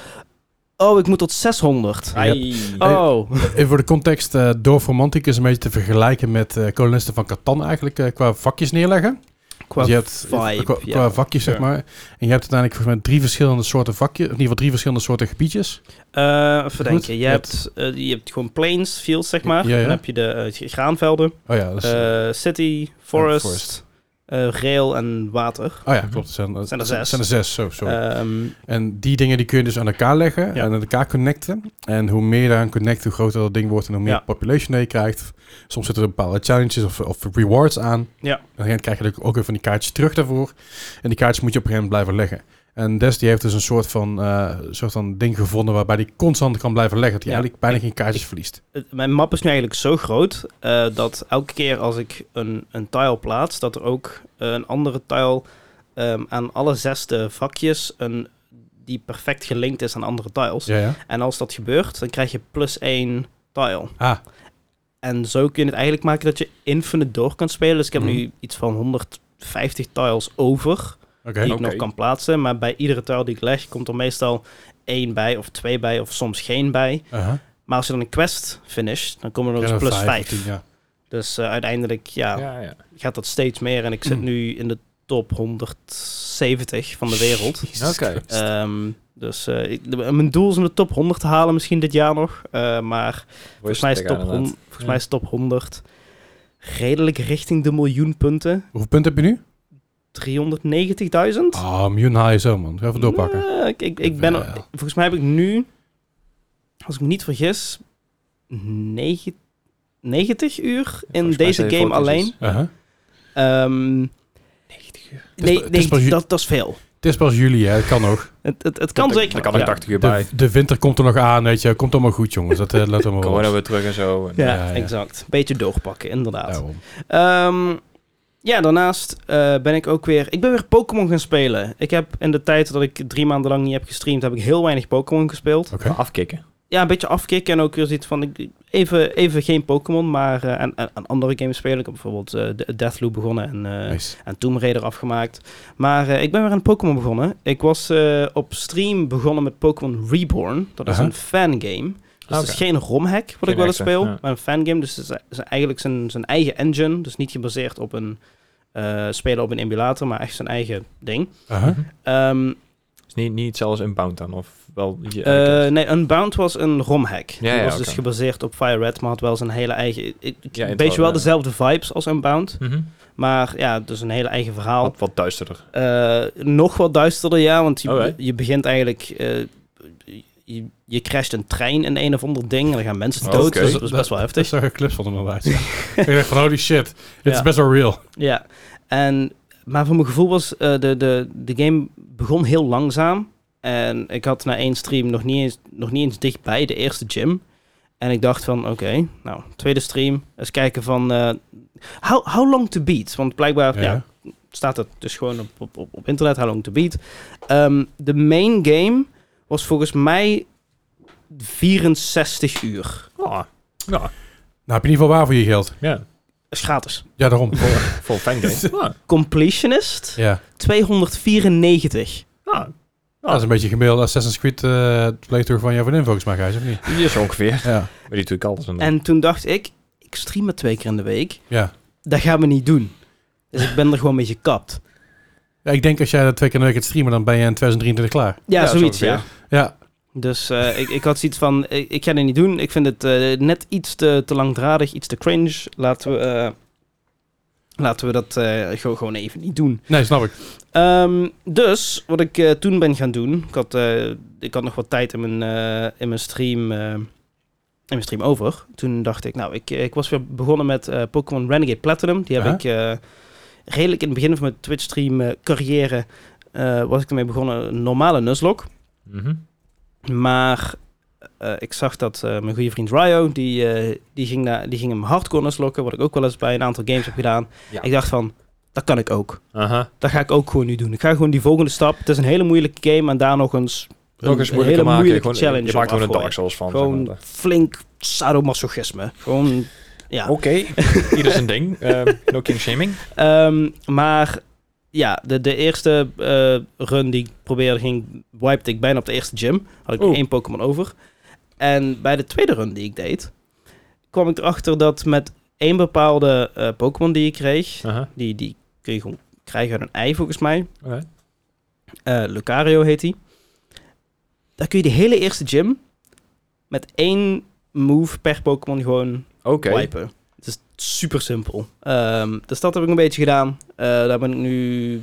Oh, ik moet tot 600.
Ai.
Oh,
Even voor de context, eh Dorf Romantic is een beetje te vergelijken met eh, kolonisten van Catan eigenlijk, eh, qua vakjes neerleggen.
qua
Dus je hebt,
vibe.
qua,
ja.
qua vakjes, zeg
Ja.
maar. En je hebt uiteindelijk volgens mij drie verschillende soorten vakjes, in ieder geval drie verschillende soorten gebiedjes.
Eh, even
Goed,
denken. Je
je
hebt, eh, je hebt gewoon plains, fields, zeg maar.
Ja, ja.
Dan heb je de eh, graanvelden.
Oh ja, dat is,
Eh, city, forest,
Eh, forest.
eh, rail en water.
oh ja klopt. Het zijn,
zijn er
het
zes.
zijn er zes, zo, sorry.
Ehm,
en die dingen die kun je dus aan elkaar leggen
Ja.
en aan elkaar connecten. En hoe meer je daaraan connect, hoe groter dat ding wordt en hoe meer
Ja.
population dat je krijgt. Soms zitten er bepaalde challenges of, of rewards aan.
Ja.
En dan krijg je natuurlijk ook weer van die kaartjes terug daarvoor. En die kaartjes moet je op een gegeven moment blijven leggen. En Des die heeft dus een soort van, eh, soort van ding gevonden waarbij die constant kan blijven leggen. Dat hij
Ja.
eigenlijk bijna geen kaartjes verliest.
het- mijn map is nu eigenlijk zo groot eh, dat elke keer als ik een, een tile plaats, dat er ook eh, een andere tile ehm, aan alle zes de vakjes een, die perfect gelinkt is aan andere tiles.
Ja, ja.
En als dat gebeurt, dan krijg je plus één tile.
Ah,
En zo kun je het eigenlijk maken dat je infinite door kan spelen. Dus ik heb
Mhm.
nu iets van 150 tiles over.
oké.
die
Oké.
ik nog kan plaatsen. Maar bij iedere tile die ik leg, komt er meestal één bij of twee bij of soms geen bij.
Aha.
Maar als je dan een quest finisht, dan komen er nog
Ja,
eens plus
vijf,
vijf.
tien, ja.
Dus eh, uiteindelijk ja,
Ja, ja.
gaat dat steeds meer. En ik zit nu in de top 170 van de wereld.
Jezus
Oké.
Christus.
Ehm, dus eh, ik- de- mijn doel is om de top 100 te halen misschien dit jaar nog. Eh, maar volgens mij, is top
Tegenaan,
100,
inderdaad.
volgens mij is top 100 redelijk richting de miljoen punten.
Hoeveel punten heb je nu?
390.000?
Ah, oh, miljoen haal je zo, man. Ga even doorpakken.
Nee, ik, ik, ik ben,
Jawel.
volgens mij heb ik nu, als ik me niet vergis, nege- 90 uur in
Volgens mij
deze
zijn
game
foto's
alleen.
dus.
Aha.
Ehm,
is
nee,
pas- het is
nee
pas ju-
dat, dat is veel.
Het is pas juli, hè. Het kan nog.
Het, het, het kan
Dan-
zeker.
Dan kan ik
nog, ja.
80 uur bij.
De, de winter komt er nog aan, weet je. Komt allemaal goed, jongens. Dat eh, laat allemaal
Corona
wel.
weer terug en zo. En,
Ja,
Ja, ja.
exact. Beetje doorpakken, inderdaad.
Daarom.
Ehm, ja, daarnaast eh, ben ik ook weer... Ik ben weer Pokémon gaan spelen. Ik heb in de tijd dat ik drie maanden lang niet heb gestreamd... heb ik heel weinig Pokémon gespeeld.
Oké.
Afkicken.
ja, een beetje afkick en ook weer zoiets van ik- even, even geen Pokémon, maar eh, aan, aan- aan andere games spelen. Ik heb bijvoorbeeld eh, de Deathloop begonnen en, eh,
Nice.
en Tomb Raider afgemaakt. Maar eh, ik ben weer aan Pokémon begonnen. Ik was eh, op stream begonnen met Pokémon Reborn. Dat is
Aha.
een fangame. Dus het is
Oké.
geen romhack, wat
Geen
ik wel eens
echte,
speel,
ja.
maar een fangame. Dus het is, is eigenlijk zijn, zijn eigen engine. Dus niet gebaseerd op een eh, spelen op een emulator, maar echt zijn eigen ding.
Aha.
Ehm,
Is niet, niet zelfs Unbound dan, of wel... je-
eh, nee, Unbound was een romhack. Die
ja,
was
oké.
dus gebaseerd op Fire-Red, maar had wel zijn hele eigen... ik- ik-
Ja,
een
intro,
beetje wel
ja.
dezelfde vibes als Unbound.
Mhm.
Maar ja, dus een hele eigen verhaal.
Wat, wat duisterder.
Eh, nog wat duisterder, ja, want je,
Oké.
je begint eigenlijk... eh, je, je crasht een trein in een of ander ding en dan gaan
Oh,
mensen
Oké.
dood. Dus dat is best wel heftig.
Ik zag een clips van hem inderdaad. ja. ik dacht van, holy shit. Dit is
Ja.
best wel real.
Ja, en, maar voor mijn gevoel was eh, de, de, de game begon heel langzaam. En ik had na één stream nog niet eens, nog niet eens dichtbij de eerste gym. En ik dacht van, oké, nou, tweede stream. Eens kijken van, eh how, how long to beat? Want blijkbaar ja.
Nou,
staat het dus gewoon op, op, op, op internet, how long to beat. Ehm, de main game was volgens mij 64 uur.
Ah, ja,
Nou, heb je in ieder geval waar voor je geld.
ja.
Dat is gratis.
Ja, daarom.
Voor fangame. ah,
Completionist,
ja.
294.
ah,
Dat is een beetje gemiddeld Assassin's Creed eh playthrough van jouw vriendin volgens mij, Gijs, of niet?
die is ongeveer.
Ja.
Maar die doe ik alles. En,
En toen dacht ik, ik stream maar twee keer in de week.
ja.
Dat gaan we niet doen. Dus ik ben er gewoon mee gekapt.
Ja, ik denk als jij dat twee keer in de week gaat streamen, dan ben je in 2023 klaar.
Ja,
Ja, zo
zoiets, ja.
ongeveer.
Ja.
Dus eh, ik, ik had zoiets van, ik, ik ga dit niet doen. Ik vind het eh, net iets te, te langdradig, iets te cringe. Laten we, eh, laten we dat eh, gewoon, gewoon even niet doen.
Nee, snap ik.
Ehm, dus, wat ik eh, toen ben gaan doen... Ik had, eh, ik had nog wat tijd in mijn, eh, in mijn stream... eh, in mijn stream over. Toen dacht ik, nou, ik, ik was weer begonnen met eh, Pokémon Renegade Platinum. Die heb
Aha.
ik eh, redelijk in het begin van mijn Twitch-stream eh, carrière... eh, was ik ermee begonnen, een normale Nuzlocke.
Mhm.
Maar eh, ik zag dat eh, mijn goede vriend Ryo, die, eh, die, ging na, die ging hem hardcore Nuzlocken... wat ik ook wel eens bij een aantal games heb gedaan.
Ja.
Ik dacht van, dat kan ik ook.
Aha.
Dat ga ik ook gewoon nu doen. Ik ga gewoon die volgende stap. Het is een hele moeilijke game en daar nog eens
Nog eens
een
moeilijker
hele
maken.
moeilijke
gewoon, eh,
challenge
je maakt
op
gewoon een
afgooien.
Dark Souls van. zeg
gewoon
maar.
flink sadomasochisme. Gewoon, ja.
Oké, ieder zijn ding. Ehm, no king shaming.
Ehm, maar ja, de, de eerste eh, run die ik probeerde ging, wipte ik bijna op de eerste gym. Had ik nog
Oeh.
één Pokémon over. En bij de tweede run die ik deed, kwam ik erachter dat met één bepaalde eh, Pokémon die ik kreeg,
Aha.
die, die kun je gewoon krijgen uit een ei volgens mij.
Oké.
Eh, Lucario heet hij. Daar kun je de hele eerste gym met één move per Pokémon gewoon
Oké.
wipen. Het is super simpel. Ehm, dus dat heb ik een beetje gedaan. Eh, daar ben ik nu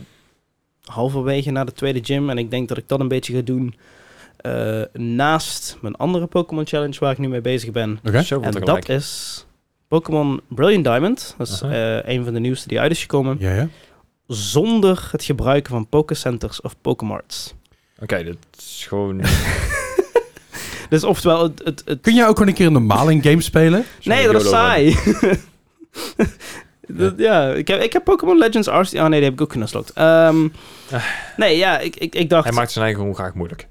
halverwege naar de tweede gym. En ik denk dat ik dat een beetje ga doen eh, naast mijn andere Pokémon Challenge waar ik nu mee bezig ben.
Oké.
Zo
En
wordt er
dat
gelijk.
is Pokémon Brilliant Diamond. Dat is
Aha.
eh, een van de nieuwste die uit is gekomen.
Ja, ja.
Zonder het gebruiken van Pokécenters of Pokémarts.
Oké, dat is gewoon...
Dus oftewel, het, het, het-
Kun jij ook gewoon een keer normaal in game spelen?
Nee, dat is
YOLO run.
saai. Dat- ja, ik heb, ik heb Pokémon Legends Arceus... Ah nee, die heb ik ook genuslockt. Ehm nee, ja, ik, ik, ik dacht...
Hij maakt zijn eigen gewoon graag moeilijk.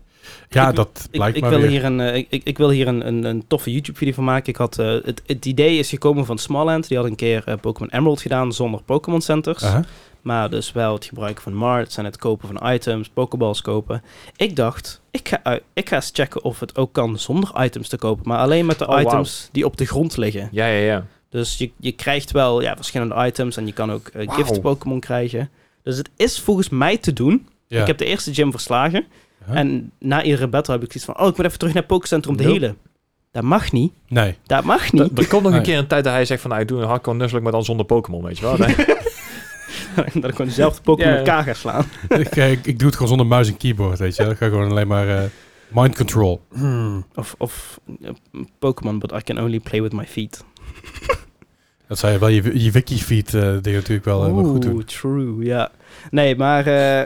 Ja,
Ik-
dat
ik,
blijkt
ik,
maar
wil
weer.
hier een, eh, ik, ik, ik wil hier een, een, een toffe YouTube-video van maken. Ik had, eh, het, het idee is gekomen van Smallland. Die had een keer eh, Pokémon Emerald gedaan zonder Pokémon Centers.
Aha.
Maar dus wel het gebruiken van marts en het kopen van items, Pokéballs kopen. Ik dacht, ik ga, uit- ik ga eens checken of het ook kan zonder items te kopen. Maar alleen met de
Oh, wauw.
items die op de grond liggen.
Ja, ja, ja.
Dus je, je krijgt wel ja, verschillende items en je kan ook eh,
Wauw.
gift Pokémon krijgen. Dus het is volgens mij te doen.
Ja.
Ik heb de eerste gym verslagen.
Huh?
En na iedere battle heb ik zoiets van... Oh, ik moet even terug naar Pokécentrum om te
Nope.
healen. Dat mag niet.
Nee.
Dat mag
Da-
niet.
er komt nog
Nee.
een keer een tijd dat hij zegt van... Nou, ik doe een hardcore nusselijk, maar dan zonder Pokémon, weet je wel. Nee.
dat ik gewoon dezelfde Pokémon
Ja, ja.
elkaar ga slaan.
ik, eh, ik, ik doe het gewoon zonder muis en keyboard, weet je. wel. Ik ga gewoon alleen maar eh, mind control.
Of, of eh, Pokémon, but I can only play with my feet.
Dat zou je wel, je, je wiki-feed eh deed natuurlijk wel, eh, wel goed doen.
Oeh, true, ja. Nee, maar... eh,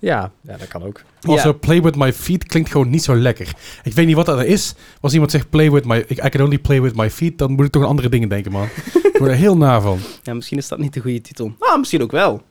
ja. ja, dat kan ook.
Also,
ja.
play with my feet klinkt gewoon niet zo lekker. Ik weet niet wat dat is. Als iemand zegt play with my... I can only play with my feet, dan moet ik toch aan andere dingen denken, man. ik word er heel na van.
ja, misschien is dat niet de goede titel. Ah, misschien ook wel.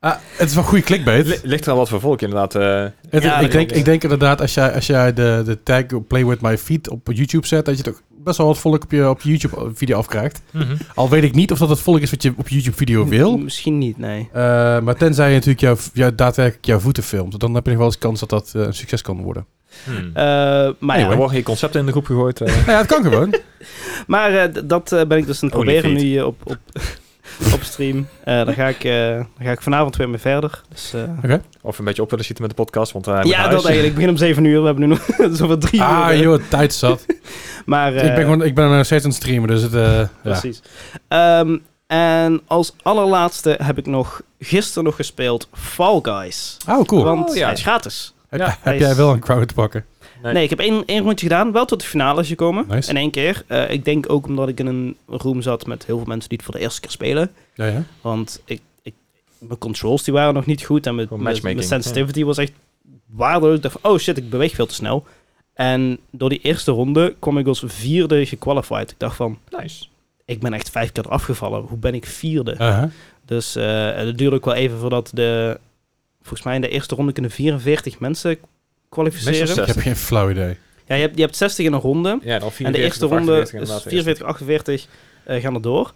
Ah, het is wel goede clickbait.
Li- ligt er aan wat voor volk inderdaad. eh,
Het-
Ja,
ik,
dat
denk,
klopt.
ik denk inderdaad, als jij, als jij de, de tag Play With My Feet op YouTube zet, dat je toch best wel wat volk op je, op je YouTube-video afkrijgt.
Mhm.
Al weet ik niet of dat het volk is wat je op YouTube-video wil.
Misschien niet, nee.
Eh, maar tenzij je natuurlijk jouw, jouw, daadwerkelijk jouw voeten filmt, dan heb je nog wel eens kans dat dat eh, een succes kan worden.
hmm.
Eh, maar
Er
ja,
worden hier concepten in de groep gegooid. eh.
Nou ja, het kan gewoon.
maar eh, d- dat eh, ben ik dus aan het
Oh,
Only
proberen
feet.
nu eh, op, op, op stream. Eh dan, ga ik, eh, dan ga ik vanavond weer mee verder. Dus, eh,
Of een beetje op willen zitten met de podcast. Want, eh, met
ja,
huis.
dat eigenlijk. Ik begin om 7 uur. We hebben nu nog zoveel drie uur.
ah,
eh.
joh, tijd zat.
Maar,
ik, ben
eh,
gewoon, ik ben nog steeds aan het streamen, dus het... eh, ja.
Precies. Ehm, en als allerlaatste heb ik nog gisteren nog gespeeld Fall Guys.
Oh, cool.
Want
Oh, ja.
hij is gratis.
heb,
ja,
heb
hij is-
jij wel een crowd te pakken?
Nee.
Nee, ik heb één, één rondje gedaan. Wel tot de finale is gekomen.
Nice.
In één keer. Eh, ik denk ook omdat ik in een room zat met heel veel mensen die het voor de eerste keer spelen.
Ja, ja.
Want ik, ik, mijn controls die waren nog niet goed. En mijn,
Gewoon
mijn,
matchmaking.
mijn sensitivity was echt waardeloos. Ik dacht van, oh shit, ik beweeg veel te snel. En door die eerste ronde kwam ik als vierde gequalified. Ik dacht van,
Nice.
ik ben echt vijf keer afgevallen. Hoe ben ik vierde?
Uh-huh.
Dus eh, het duurde ook wel even voordat de... Volgens mij in de eerste ronde kunnen 44 mensen
Meestal
kwalificeren.
Ik heb geen flauw idee.
Ja, je, hebt, je hebt 60 in een ronde.
Ja, dan 44,
en de eerste
of
ronde
48
is
inderdaad,
44, 48 eh, gaan er door.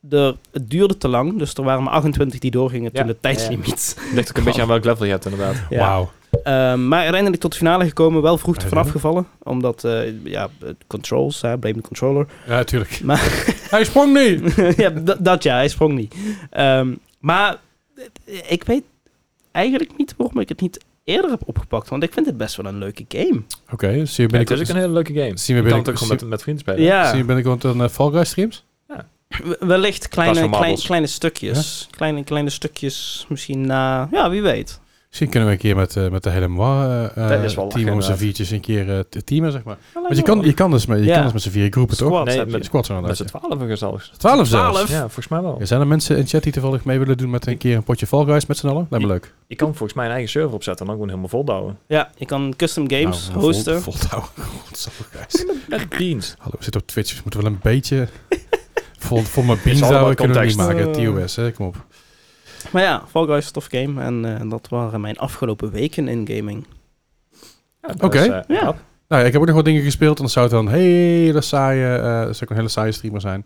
De, het duurde te lang, dus er waren maar 28 die doorgingen
Ja.
toen de tijdslimiet.
eerst. Ligt ook een beetje aan welk level je hebt inderdaad.
Ja.
Wauw.
Eh, maar uiteindelijk tot de finale gekomen, wel vroeg
Oké.
ervan afgevallen. Omdat, eh, ja, het controls, hè, blame the controller.
Ja, tuurlijk.
Maar-
Hij sprong niet!
ja, d- dat ja, hij sprong niet. Ehm, maar eh, ik weet eigenlijk niet waarom ik het niet eerder heb opgepakt. Want ik vind het best wel een leuke game.
Oké, zie je
Ja, het
binnenkort...
is ook een hele leuke game.
Zien we
je kan het
binnen-
ook gewoon
zien-
met, met vrienden spelen.
Ja,
Zie je binnenkort een eh, Fall Guys streams?
w- wellicht kleine,
van
kleine,
marbles.
kleine stukjes. Kleine, kleine stukjes misschien na... Ja, wie weet.
Misschien kunnen we een keer met, eh, met de hele Moi eh,
Dat is
team
wel lachen,
om z'n
inderdaad.
viertjes een keer eh, te teamen, zeg maar. Want je kan, je kan dus met, je
Ja.
kan dus met z'n vier groepen, toch?
Squads
Nee,
heb je.
met-
Squads zijn
Met z'n
dat.
twaalf zelfs.
Twaalf zelfs.
Twaalf?
Ja, volgens mij wel.
Ja, Zijn er mensen in chat die toevallig mee willen doen met een keer een potje Fall Guys met z'n allen? Lijkt me leuk.
Je kan volgens mij een eigen server opzetten en dan gewoon helemaal voldouwen.
Ja, je kan custom games
Nou, vol-
hosten.
Voltouwen. Godsamme, guys.
Echt dienst.
Hallo, we zitten op Twitch, dus moeten we wel een beetje... Vol, vol mijn beans
allemaal
houden kunnen we niet
context.
maken.
Eh.
TOS, hè? Kom op.
Maar ja, Fall Guys is een tof game. En eh, dat waren mijn afgelopen weken in gaming.
Oké.
Ja.
Ja. eh,
Nou, ja, ik heb ook nog wat dingen gespeeld en dan zou het dan een hele saaie... eh zou ik een hele saaie streamer zijn.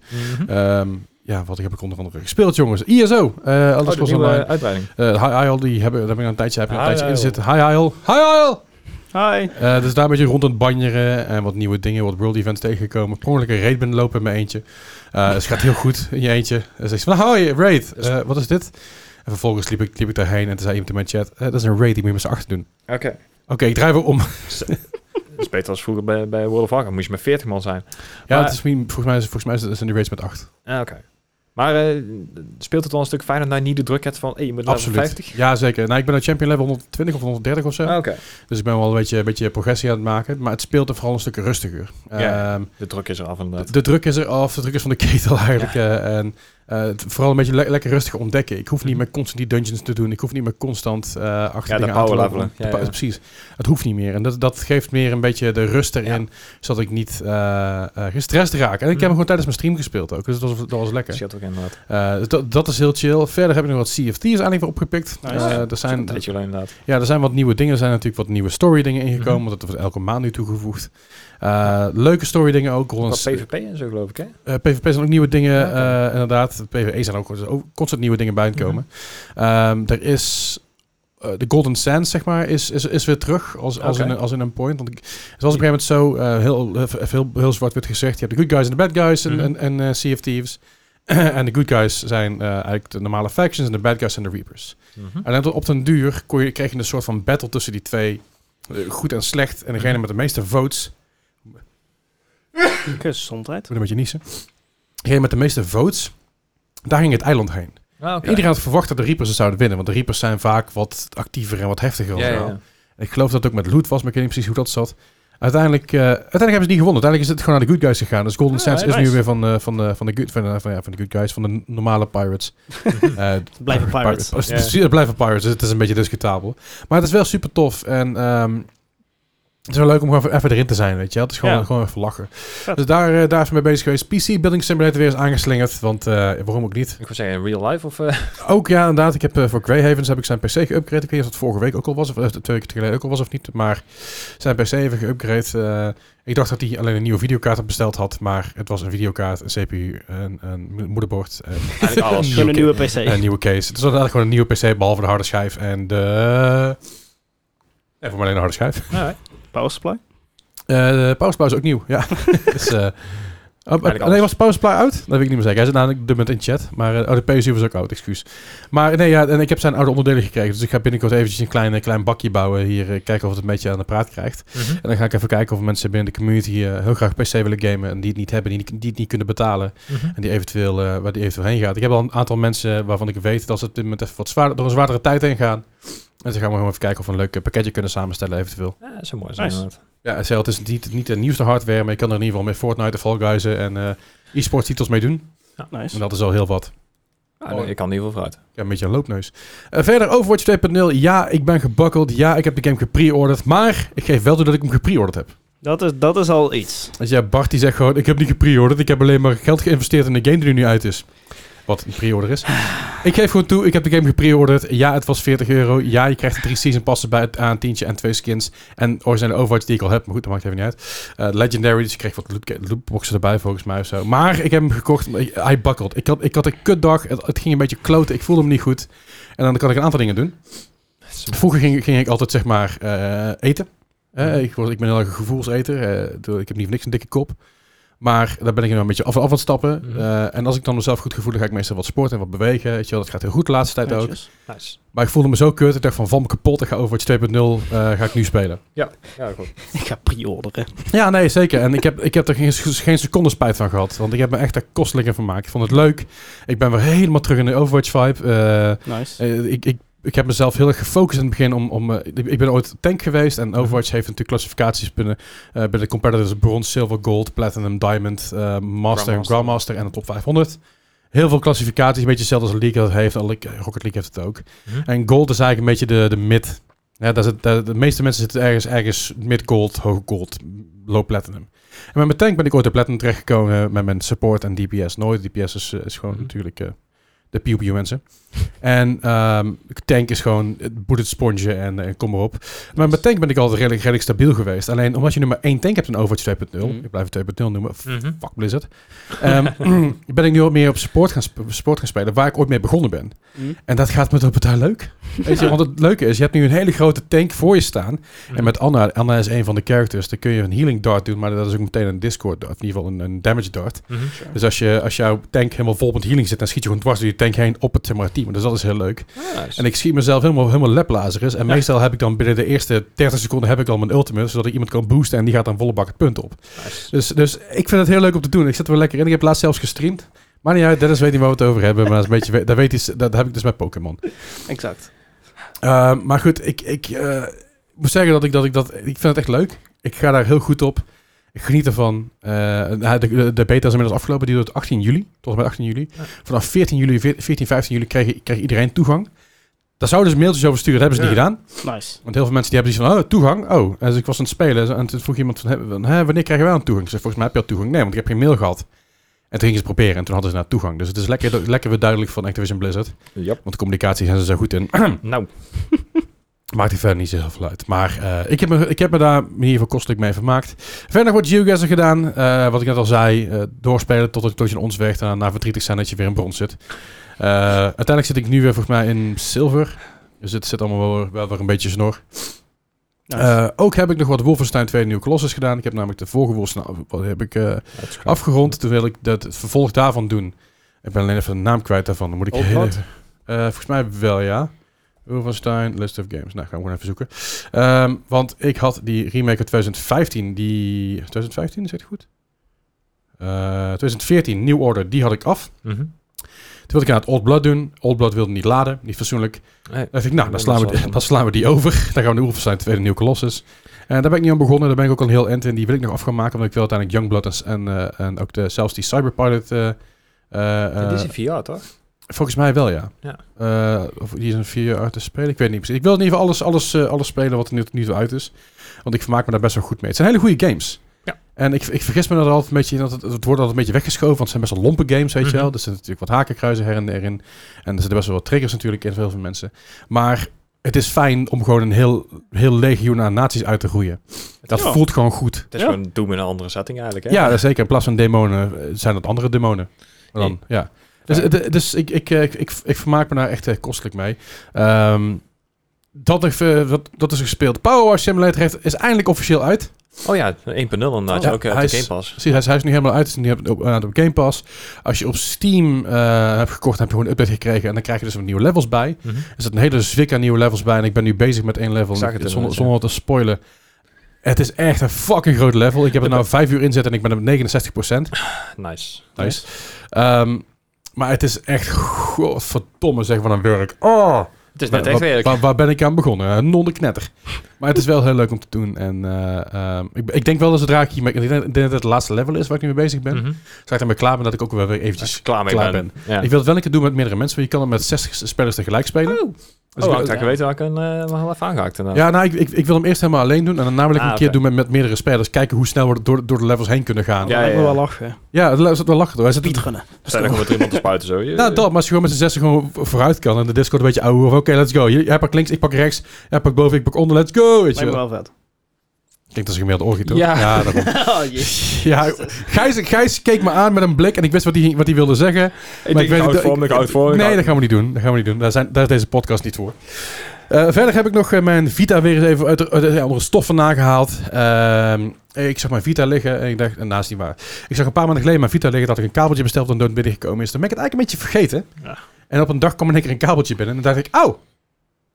Ehm, ja, wat heb ik onder andere gespeeld, jongens? ISO. eh alles
Oh, de
was
nieuwe
online.
uitbreiding.
Eh, High Isle, die hebben, daar heb ik al een tijdje, heb ik al een
High
tijdje in
Isle.
zitten. High Isle. High Isle!
Hi.
Eh, dus daar een beetje rond aan het banjeren en wat nieuwe dingen, wat world events tegengekomen. Prongelijk een raid ben lopen in mijn eentje. Eh dus het gaat heel goed in je eentje. En zegt ze van, hoi, raid, Eh, wat is dit? En vervolgens liep ik, liep ik daarheen en toen zei iemand in mijn chat, eh, dat is een raid, die moet je met z'n achter doen.
Oké.
Oké, ik draai weer om.
Dat is beter als vroeger bij, bij World of Warcraft. Moest je met 40 man zijn.
ja,
Maar-
het is, misschien- volgens, mij, is- volgens mij is- zijn die raids met acht.
Ah, oké. Maar eh, speelt het wel een stuk fijner dat je niet de druk hebt van... Hey, je moet naar
Absoluut.
50?
Ja, zeker. Nou, ik ben op champion level 120 of 130 of zo.
Ah, oké.
Dus ik ben wel een beetje, een beetje progressie aan het maken. Maar het speelt er vooral een stuk rustiger.
Ja.
Ehm,
De druk is eraf inderdaad.
de, de druk is er af, de druk is van de ketel eigenlijk. eh, en eh, het- vooral een beetje le- lekker rustig ontdekken. Ik hoef niet meer constant die dungeons te doen. Ik hoef niet meer constant eh achter
Mhm. Ja, de
dingen aan te
power
lopen.
levelen.
De
Ja,
pa-
ja.
Precies. Het hoeft niet meer. En dat, dat geeft meer een beetje de rust erin. Zodat ik niet eh, eh, gestrest raak. En ik heb hem
Hm.
gewoon tijdens mijn stream gespeeld ook. Dus dat was, dat was lekker.
Dat scheelt ook inderdaad.
Eh, dus dat, dat is heel chill. Verder heb ik nog wat CFT's eigenlijk weer opgepikt.
Nice.
Eh, er
Dat
zijn,
weet je wel inderdaad.
ja, er zijn wat nieuwe dingen. Er zijn natuurlijk wat nieuwe story dingen ingekomen.
Mhm.
Want dat wordt elke maand nu toegevoegd. Eh, leuke story dingen ook. Rond
Wat PvP en zo geloof ik, hè?
eh, PvP zijn ook nieuwe dingen.
Oké.
eh, inderdaad, PvE zijn ook, ook constant nieuwe dingen bij aan het komen.
Mhm.
Ehm, er is... eh, de Golden Sands, zeg maar, is, is, is weer terug als, als,
Oké.
in, een- als in een point. Want ik, het was op een gegeven moment zo, eh, heel, heel, heel, heel zwart-wit gezegd, je hebt de good guys en de bad guys en,
Mhm.
en, en eh, Sea of Thieves. en de good guys zijn eh, eigenlijk de normale factions en de bad guys zijn de reapers.
Mhm.
En dan op den duur kon je, kreeg je een soort van battle tussen die twee. eh, Goed en slecht. En
Mhm.
degene met de meeste votes. Ik
Gezondheid.
moet een beetje niezen. Degene met de meeste votes. Daar ging het eiland heen.
Ah, oké.
Iedereen had verwacht dat de Reapers het zouden winnen. Want de Reapers zijn vaak wat actiever en wat heftiger.
Ja,
en
ja,
zo.
ja.
Ik geloof dat het ook met loot was. Maar ik weet niet precies hoe dat zat. Uiteindelijk, eh, uiteindelijk hebben ze niet gewonnen. Uiteindelijk is het gewoon naar de good guys gegaan. Dus Golden
Ah,
Sands is
nice.
nu weer van, eh, van, de, van, de good, van, eh, van, ja, van de good guys. Van de normale pirates. Eh,
Blijven
Pir-
pirates.
Pir-
Ja.
Precies, het blijven Pirates, dus het is een beetje discutabel. Maar het is wel super tof. En ehm, Het is wel leuk om gewoon even erin te zijn, weet je wel. Het is gewoon,
Ja.
gewoon even lachen. Dus daar, eh, daar is mee bezig geweest. PC Building Simulator weer eens aangeslingerd, want eh, waarom ook niet?
Ik wil zeggen, in real life of... eh,
Ook ja, inderdaad. Ik heb eh, voor Greyhavens heb ik zijn PC geüpgrade. Ik weet niet of dat vorige week ook al was, of eh, twee weken geleden ook al was of niet. Maar zijn PC even geüpgrade. Eh, ik dacht dat hij alleen een nieuwe videokaart had besteld had, maar het was een videokaart, een CPU, een, een mo- moederbord, eh,
eigenlijk alles.
Gewoon een nieuwe PC.
een nieuwe case. Het is eigenlijk gewoon een nieuwe PC, behalve de harde schijf en de... Even maar alleen de harde schijf.
Alright.
Power supply.
Eh, de powersupply is ook nieuw, ja. dus, eh, oh,
alles.
nee, was de powersupply uit? Dat weet ik niet meer zeker. Hij zit namelijk op dit moment in chat. Maar eh, oh, de PSU was ook oud, excuus. Maar nee, ja, en ik heb zijn oude onderdelen gekregen. Dus ik ga binnenkort eventjes een klein, eh, klein bakje bouwen hier. eh, kijken of het een beetje aan de praat krijgt.
Mhm.
En dan ga ik even kijken of mensen binnen de community eh, heel graag PC willen gamen. En die het niet hebben, die, die het niet kunnen betalen.
Mhm.
En die eventueel, eh, waar die eventueel heen gaat. Ik heb al een aantal mensen waarvan ik weet dat ze op dit moment even wat zwaarder, door een zwaardere tijd heen gaan. En ze gaan we gewoon even kijken of we een leuk eh, pakketje kunnen samenstellen eventueel.
Ja, dat zou mooi zijn.
Nice.
inderdaad.
Ja, het is- het is niet, niet de nieuwste hardware, maar je kan er in ieder geval met Fortnite, de Fall Guys en eh e-sports titels mee doen. En
Nice.
dat is al heel wat.
Ah, nee, ik kan in ieder geval vooruit.
Ja, een beetje een loopneus. Eh, verder, Overwatch 2.0. Ja, ik ben gebakkeld. Ja, ik heb de game gepreorderd. Maar ik geef wel toe dat ik hem gepreorderd heb.
Dat is, dat is al iets.
Dus ja, Bart die zegt gewoon, ik heb niet gepreorderd. Ik heb alleen maar geld geïnvesteerd in de game die er nu uit is. Wat een pre-order is. Ik geef gewoon toe, ik heb de game gepreorderd. Ja, het was 40 euro. Ja, je krijgt er drie season passen bij het aan tientje en twee skins. En originele Overwatch die ik al heb, maar goed, dat maakt even niet uit. Eh, Legendary, dus je kreeg wat loot- lootboxen erbij volgens mij of zo. Maar ik heb hem gekocht, maar ik- hij buckelt. Ik had, ik had een kutdag, het, het ging een beetje kloten, ik voelde hem niet goed. En dan kan ik een aantal dingen doen. Vroeger ging, ging ik altijd zeg maar eh, eten. Eh, ik, was- ik ben heel erg een gevoelseter. eh, door- ik heb niet voor niks een dikke kop. Maar daar ben ik nu een beetje af, af aan het stappen.
Mhm.
Eh, en als ik dan mezelf goed gevoel, dan ga ik meestal wat sporten en wat bewegen. Weet je wel, dat gaat heel goed de laatste tijd ook.
Netjes.
Nice.
Maar ik voelde me zo kut. Ik dacht van, van me kapot. Ik ga Overwatch 2.0 eh, ga ik nu spelen.
Ja, goed.
Ik ga pre-orderen.
Ja, nee, zeker. En ik heb, ik heb er geen, geen seconde spijt van gehad. Want ik heb me echt daar kostelijk in vermaakt. Ik vond het leuk. Ik ben weer helemaal terug in de Overwatch-vibe. Eh,
Nice.
eh, ik, ik, ik heb mezelf heel erg gefocust in het begin om... om eh, ik- ik ben ooit tank geweest en
Mhm.
Overwatch heeft natuurlijk klassificaties binnen, eh binnen de competitors. Bronze, silver, gold, platinum, diamond, eh, master en
Grandmaster.
grandmaster en de top 500. Heel veel klassificaties, een beetje hetzelfde als League dat heeft. al ik- Rocket League heeft het ook.
Mhm.
En gold is eigenlijk een beetje de, de mid. Ja, daar zit, daar- de meeste mensen zitten ergens, ergens mid gold, hoog gold, low platinum. En met mijn tank ben ik ooit op platinum terechtgekomen eh, met mijn support en DPS nooit. DPS is, eh, is gewoon
Mhm.
natuurlijk eh, de pew pew mensen. En ehm, tank is gewoon het boet het sponge en eh, kom maar op. Maar met tank ben ik altijd redelijk, redelijk stabiel geweest. Alleen omdat je nu maar één tank hebt in Overwatch 2.0,
Mhm.
ik blijf het 2.0 noemen,
Mhm.
fuck Blizzard, Ehm ben ik nu ook meer op support gaan, sp- support gaan spelen, waar ik ooit mee begonnen ben.
Hm?
En dat gaat me toch betaal leuk. Weet je, want het leuke is, je hebt nu een hele grote tank voor je staan. En met Anna, Anna is een van de characters, dan kun je een healing dart doen, maar dat is ook meteen een discord dart, in ieder geval een, een damage dart.
Mhm.
Dus als, je, als jouw tank helemaal vol met healing zit, dan schiet je gewoon dwars door je tank heen op het zeg maar, team. Dus dat is heel leuk. En ik schiet mezelf helemaal, helemaal leplazerus. En
Ja.
meestal heb ik dan binnen de eerste 30 seconden heb ik al mijn ultimate, zodat ik iemand kan boosten en die gaat dan volle bak het punt op. Dus, dus ik vind het heel leuk om te doen. Ik zit er wel lekker in. Ik heb laatst zelfs gestreamd. Maar niet uit, Dennis weet niet waar we het over hebben. Maar dat, is een beetje, dat, weet hij, dat heb ik dus met Pokémon.
Exact.
Eh, maar goed, ik, ik eh, moet zeggen dat ik, dat ik dat... Ik vind het echt leuk. Ik ga daar heel goed op. Ik geniet ervan. Eh, nou, de, de- de beta is inmiddels afgelopen. Die duurt tot 18 juli. Tot en met 18 juli.
Ja.
Vanaf 14 juli, 14, 15 juli kreeg, kreeg iedereen toegang. Daar zouden ze mailtjes over sturen. Dat hebben ze
Ja.
niet gedaan.
Nice.
Want heel veel mensen die hebben zoiets van, oh, toegang. Oh, en dus ik was aan het spelen en toen vroeg iemand van, hè, van, hè, wanneer krijgen wij een toegang? Ik zei, volgens mij heb je al toegang. Nee, want ik heb geen mail gehad. En toen gingen ze het proberen en toen hadden ze naar toegang. Dus het is lekker, lekker weer duidelijk van Activision Blizzard.
Yep.
Want de communicatie zijn ze zo goed in.
Nou,
Maakt die verder niet zo heel veel uit. Maar eh, ik, heb me, ik heb me daar in ieder geval kostelijk mee vermaakt. Verder wordt geoguessr gedaan. Eh, wat ik net al zei. eh, doorspelen tot, het- tot je een ons weegt. En daarna verdrietig zijn dat je weer in brons zit. Eh, uiteindelijk zit ik nu weer volgens mij in zilver. Dus het zit allemaal wel, wel weer een beetje snor.
Nice.
Eh, ook heb ik nog wat Wolfenstein 2 Nieuwe Colossus gedaan. Ik heb namelijk de vorige Wolfenstein wat heb ik, eh, afgerond. Toen wil ik dat, het vervolg daarvan doen. Ik ben alleen even de naam kwijt daarvan. Dan moet ik
Old
heel
Blood?
even- Eh, Volgens mij wel, ja. Wolfenstein, List of Games. Nou, gaan we gewoon even zoeken. Ehm, want ik had die remake uit 2015. Die... 2015, is het goed? Eh, 2014, New Order. Die had ik af.
Mhm.
Toen wilde ik aan het Old Blood doen. Old Blood wilde niet laden. Niet fatsoenlijk. Dan dacht ik, nou, dan slaan, we, dan slaan we die over. Dan gaan we de oever zijn, tweede nieuwe Colossus. En daar ben ik niet aan begonnen. Daar ben ik ook al heel end in. Die wil ik nog af gaan maken. Want ik wil uiteindelijk Youngblood en, s- en, eh, en ook de, zelfs die Cyberpilot... eh eh, eh,
Dit is een VR, toch?
Volgens mij wel, ja.
Ja.
Eh, of die is een vier jaar uit te spelen. Ik weet niet precies. Ik wil in ieder geval alles, alles, eh, alles spelen wat er nu tot nu toe uit is. Want ik vermaak me daar best wel goed mee. Het zijn hele goede games.
Ja.
En ik, ik vergis me dat altijd een beetje. in Dat het, het wordt altijd een beetje weggeschoven. Want het zijn best wel lompe games, weet
Mhm.
je wel. Er zitten natuurlijk wat hakenkruizen her en der in. En er zitten best wel wat triggers natuurlijk in voor heel veel mensen. Maar het is fijn om gewoon een heel, heel legioen aan naties uit te roeien. Dat
Ja.
voelt gewoon goed.
Het is
Ja.
gewoon Doom in een andere setting eigenlijk, hè?
Ja, zeker. In plaats van demonen eh, zijn dat andere demonen. Maar dan, ja. Dus,
Ja.
d- dus ik, ik, eh, ik, ik, ik vermaak me daar echt eh, kostelijk mee. Ehm, dat, heeft, eh, wat, dat is gespeeld. Power Wash Simulator heeft, is eindelijk officieel uit.
Oh ja, 1.0 inderdaad.
Ja,
ook eh,
hij
de
is-
Game Pass.
Precies, hij is, hij is nu helemaal uit. Hij is nu op, op, eh, op Game Pass. Als je op Steam eh, hebt gekocht, heb je gewoon een update gekregen. En dan krijg je dus wat nieuwe levels bij.
Mhm.
Er zit een hele zwik aan nieuwe levels bij. En ik ben nu bezig met één level.
Ik zag het
zonder,
inderdaad,
zonder wat te spoilen. Het is echt een fucking groot level. Ik heb er
Ja,
nou vijf uur in zitten en ik ben op 69
Nice.
Nice. Ehm, maar het is echt, godverdomme zeg, van een werk. Oh,
Het is
Wa-
net echt
wa-
werk.
Waar, waar ben ik aan begonnen? Eh, non de knetter. Maar het is wel heel leuk om te doen. En eh, ehm, ik, ik denk wel dat zodra ik hiermee... Ik denk ik denk dat het laatste level is waar ik nu mee bezig ben.
Mhm.
Zodra ik daarmee klaar ben, dat ik ook wel weer
Als
eventjes...
je klaar mee
klaar Oh,
ben. Ja.
Ik wil het wel een keer doen met meerdere mensen. Want je kan het met 60 spelers tegelijk spelen.
Oh.
Dus
oh,
ik-
had ik
ja.
had geweten dat ik een eh, wel even aangehaakt inderdaad.
ja, nou, ik, ik, ik wil hem eerst helemaal alleen doen. En daarna wil ik
Ah,
een keer
oké.
doen met, met meerdere spelers. Kijken hoe snel we door, door de levels heen kunnen gaan.
Ja,
Ja,
ja,
ja, ja.
wel lachen.
ja dat zat wel lachen. door. Hij zit-
Pietrunnen.
Er zijn er gewoon met iemand te spuiten zo. Je-
Nou, dat, maar als je gewoon met z'n zessen gewoon vo- vooruit kan en de Discord een beetje ouwe of oké, let's go. Jij- Jij pakt links, ik pak rechts, jij pakt boven, ik pak onder, let's go. Weet je
Lijkt me
wel.
wel vet.
Klinkt als een gemiddelde orgie, toch?
Ja.
daarom.
Oh, jee.
ja Gijs, Gijs keek me aan met een blik en ik wist wat hij wat hij wilde zeggen.
Ik
Maar
denk, ik
weet
hou het
niet-
voor me, ik hou het voor me. ik
Nee,
hou
dat gaan
het-
we niet doen. Dat gaan we niet doen. Daar, zijn, daar is deze podcast niet voor. Eh, verder heb ik nog eh, mijn Vita weer eens even uit, de- uit de andere stoffen nagehaald. Ehm, ik zag mijn Vita liggen en ik dacht, naast niet waar. Ik zag een paar maanden geleden mijn Vita liggen dat ik een kabeltje besteld en nooit binnengekomen is. Dan ben ik het eigenlijk een beetje vergeten.
Ja.
En op een dag kwam in één keer een kabeltje binnen en dan dacht ik, auw,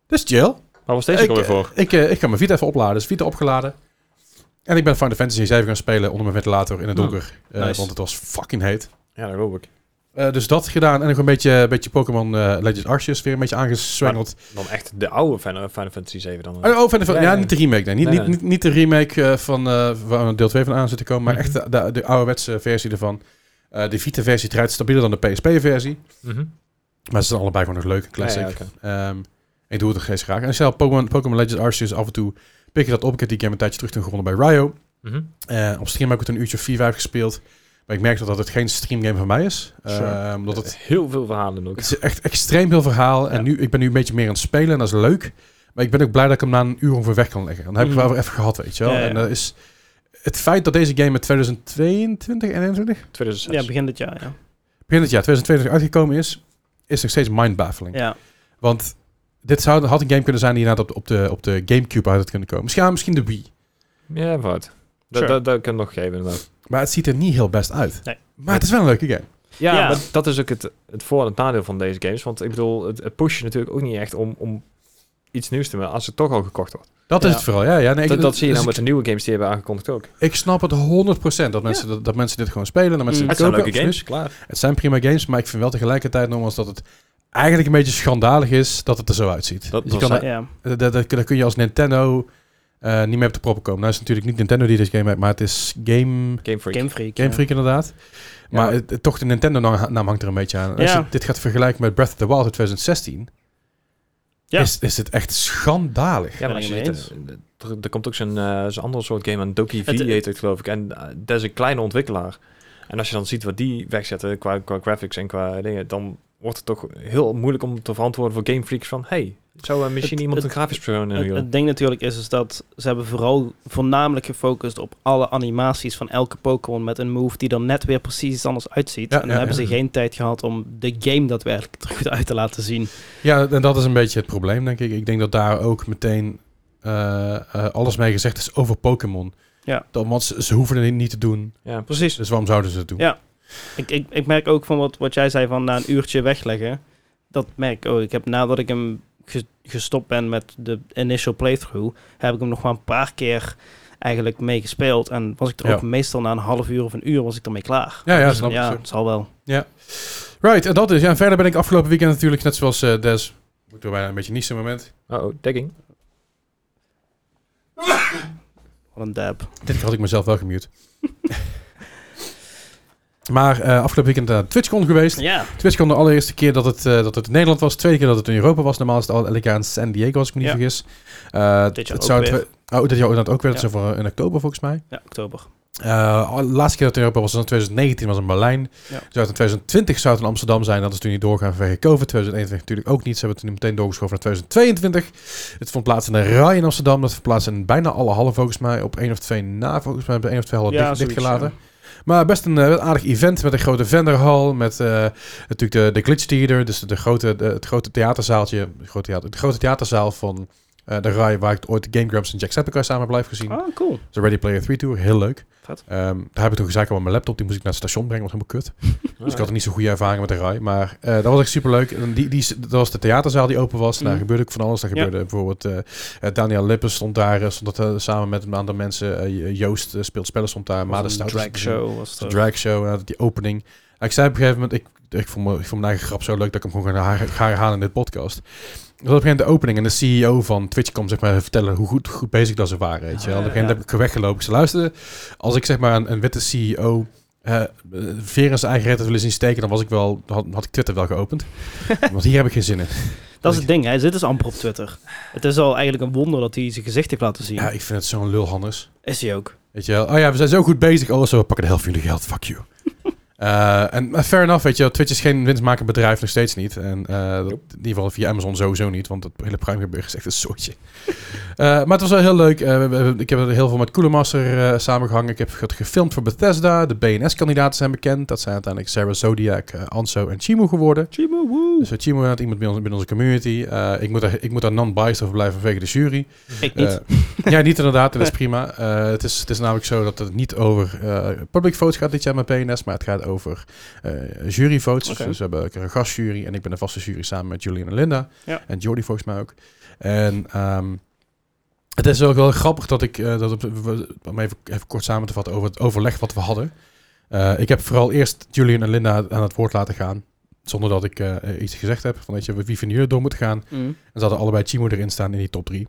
dat is chill.
Waar was deze
Ik,
ook alweer voor?
Ik, eh, ik ga mijn Vita even opladen. Dus Vita opgeladen. En ik ben Final Fantasy 7 gaan spelen onder mijn ventilator in het
Oh,
donker. Eh,
nice.
Want het was fucking heet.
Ja, dat geloof ik.
Eh, dus dat gedaan. En nog een beetje, een beetje Pokémon eh, Legends Arceus weer een beetje aangeswengeld.
Dan echt de oude Final, Final Fantasy 7 dan.
Oh, oh, van de-
Ja,
ja,
ja.
niet de remake. Nee. Niet,
Nee,
niet,
nee.
niet, niet de remake eh, van eh, waar een deel 2 van aan zit te komen. Maar
Mhm.
echt de, de, de ouderwetse versie ervan. Eh, de Vita-versie draait stabieler dan de PSP-versie.
Mhm.
Maar ze zijn allebei gewoon nog leuk en classic.
Ja, ja, oké.
Ehm, ik doe het nog steeds graag. En zelf Pokémon, Pokémon Legends Arceus af en toe pik je dat op. Ik heb die game een tijdje terug toen gewonnen bij Ryo.
Mhm.
Eh, op stream heb ik het een uurtje of 4, 5 gespeeld. Maar ik merk dat het geen streamgame van mij is.
Sure.
Eh, omdat het
Heel veel verhalen ook.
Het is echt extreem veel verhaal. En
Ja.
nu, ik ben nu een beetje meer aan het spelen en dat is leuk. Maar ik ben ook blij dat ik hem na een uur ongeveer weg kan leggen. Dan heb ik
Mhm.
wel weer even gehad, weet je wel.
Ja, ja.
En dat is het feit dat deze game in 2022 en 21
Ja,
2006.
begin dit jaar, ja.
begin dit jaar 2022 uitgekomen is, is nog steeds mindbaffling.
Ja,
Want dit zou, had een game kunnen zijn die inderdaad op, op, de, op de Gamecube uit had kunnen komen. Misschien, misschien de Wii.
Ja, wat.
Sure.
Dat dat- dat kan ik nog geven inderdaad.
Maar het ziet er niet heel best uit.
Nee.
Maar het is wel een leuke game.
Ja,
Ja.
maar dat is ook het, het voor- en het nadeel van deze games. Want ik bedoel, het, het pusht je natuurlijk ook niet echt om, om iets nieuws te maken als het toch al gekocht wordt.
Dat
Ja.
is het vooral. Ja, ja, nee, ik-
dat, dat zie je
dus
nou met de nieuwe games die hebben aangekondigd ook.
ik, ik snap het 100% dat mensen, dat, dat mensen dit gewoon spelen. Dat mensen
Mm.
dit
Het zijn
kopen,
leuke
absoluut.
games, klaar.
Het zijn prima games, maar ik vind wel tegelijkertijd nogmaals dat het eigenlijk een beetje schandalig is dat het er zo uitziet. Dus
Dat-
je
dat
kan
zei-
ja.
daar- daar- daar- daar kun je als Nintendo eh, niet mee op de proppen komen. Nou is het natuurlijk niet Nintendo die deze game heeft, maar het is Game,
Game Freak.
Game Freak.
game Freak inderdaad. Maar
maar-
het- het- toch de Nintendo-naam hangt er een beetje aan. Als
Ja.
je dit gaat vergelijken met Breath of the Wild uit 2016,
Ja.
is, is het echt schandalig.
Ja, maar als
Ben
je
ik het
dit, eh, er, er komt ook zo'n eh, zo'n andere soort game aan, Doki V
Het-
heet het geloof ik. En eh, dat is een kleine ontwikkelaar. En als je dan ziet wat die wegzetten qua, qua graphics en qua dingen, dan wordt het toch heel moeilijk om te verantwoorden voor Game Freaks van, hey, zou eh, misschien
Het-
iemand
het-
een grafisch persoon
Het,
hebben?
het ding natuurlijk is, is dat ze hebben vooral voornamelijk gefocust op alle animaties van elke Pokémon met een move die er net weer precies iets anders uitziet.
Ja,
en dan
ja,
hebben
ja.
ze geen tijd gehad om de game daadwerkelijk er goed uit te laten zien.
Ja, en dat is een beetje het probleem, denk ik. Ik denk dat daar ook meteen eh, eh, alles mee gezegd is over Pokémon.
Ja.
Dat, want ze, ze hoeven het niet te doen.
Ja,
Precies.
Dus waarom zouden ze het doen?
Ja. Ik, ik, ik merk ook van wat, wat jij zei van na een uurtje wegleggen. Dat merk ik ook. Ik heb nadat ik hem ge- gestopt ben met de initial playthrough, heb ik hem nog maar een paar keer eigenlijk mee gespeeld. En was ik er
Ja.
ook meestal na een half uur of een uur was ik ermee klaar.
Ja, ja, snap
ja,
ik.
het zal wel.
Right, en dat is. Ja, en verder ben ik afgelopen weekend natuurlijk, net zoals eh, Des, moet er bijna een beetje niet zo'n moment.
oh, dekking.
Wat een dab.
Dit keer had ik mezelf wel gemute. Maar eh, afgelopen weekend naar TwitchCon geweest.
Ja.
TwitchCon de allereerste keer dat het, eh, dat het in Nederland was. Tweede keer dat het in Europa was. Normaal is het al elk jaar in San Diego, als ik me niet
Ja.
vergis. Eh,
Dit jaar
het
ook
zou
weer.
twe- Oh, dit jaar dat ook weer. Dat
Ja.
is voor eh, in oktober volgens mij.
ja, oktober.
Eh, de laatste keer dat het in Europa was, was in 2019, was in Berlijn.
Ja.
Zou het in 2020 zou het in Amsterdam zijn. Dat is toen niet doorgaan vanwege COVID. 2021 natuurlijk ook niet. Ze hebben het nu meteen doorgeschoven naar 2022. Het vond plaats in de RAI in Amsterdam. Dat vond plaats in bijna alle hallen volgens mij. Op één of twee na volgens mij. Hebben één of twee hallen
ja,
dicht,
zoiets,
dichtgelaten.
ja.
Maar best een eh, wel aardig event met een grote vendorhal. Met eh, natuurlijk de, de Glitch Theater. Dus de grote, de- het grote theaterzaaltje. De grote, theater, de grote theaterzaal van eh, de RAI. Waar ik ooit de Game Grumps en Jacksepticeye samen heb live gezien.
Ah, cool.
De Ready Player 3 Tour, heel leuk.
Vet.
Ehm, daar heb ik toen gezaakt op mijn laptop. Die moest ik naar het station brengen, was helemaal kut.
Ah,
Dus ik had niet zo'n goede ervaring met de rij. Maar eh, dat was echt superleuk. En die, die, dat was de theaterzaal die open was. Daar
Mhm.
gebeurde ook van alles. Daar
Ja.
gebeurde bijvoorbeeld... eh, eh, Daniel Lippens stond daar. eh, Stond dat, eh, samen met een aantal mensen. Eh, Joost eh, speelt spellen stond daar. Maarten
Was een
Stout was
drag
te zien.
show was het
De
ook.
drag show. eh, die opening. ik zei op een gegeven moment... Ik, ik, vond, me, ik vond mijn eigen grap zo leuk dat ik hem gewoon ga, herha- ga herhalen in dit podcast. Dat op een gegeven moment de opening en de CEO van Twitch kwam zeg maar vertellen hoe goed, goed bezig dat ze waren. Weet je wel. op
Ah,
een gegeven moment
ja.
heb ik weggelopen. Ze luisterden. Als ik zeg maar een, een witte CEO eh veer in zijn eigen reet had willen zien steken, dan was ik wel, had, had ik Twitter wel geopend. Want hier heb ik geen zin in.
Dat is het ding, hij zit dus amper op Twitter. Het is al eigenlijk een wonder dat hij zijn gezicht heeft laten zien.
Ja, ik vind het zo'n lul, Hannes.
Is hij ook.
Weet je wel, oh ja, we zijn zo goed bezig. Oh, zo, we pakken de helft van jullie geld. Fuck you. Eh, en maar fair enough, weet je wel. Twitch is geen winstmakend bedrijf, nog steeds niet. En eh, dat, in ieder geval via Amazon sowieso niet, want het hele Prime gebeuren is echt een soortje. Eh, maar het was wel heel leuk. Eh, we- we- we- ik heb er heel veel met Coolemaster eh samengehangen. Ik heb het gefilmd voor Bethesda. De BNS-kandidaten zijn bekend. Dat zijn uiteindelijk Sarah Zodiac, eh, Anso en Chimu geworden.
Chimo, woe.
Dus eh, Chimu had iemand bij ons- binnen onze community. Eh, ik, moet daar, ik moet daar non-biased over blijven vanwege de jury.
Ik niet.
Eh, ja, niet inderdaad. Dat is prima. Eh, het, is, het is namelijk zo dat het niet over eh, public votes gaat dit jaar met PNS, maar het gaat over eh jury votes.
Oké.
Dus we hebben ook een gastjury en ik ben een vaste jury samen met Julian en Linda.
Ja.
En Jordi volgens mij ook. En ehm, het is ook wel grappig dat ik, eh, dat op- we- om even, even kort samen te vatten over het overleg wat we hadden. Eh, ik heb vooral eerst Julian en Linda aan het woord laten gaan. Zonder dat ik eh, iets gezegd heb. Van, weet je, wie vinden jullie door moet gaan?
Mm.
En ze hadden allebei Chimo erin staan in die top 3.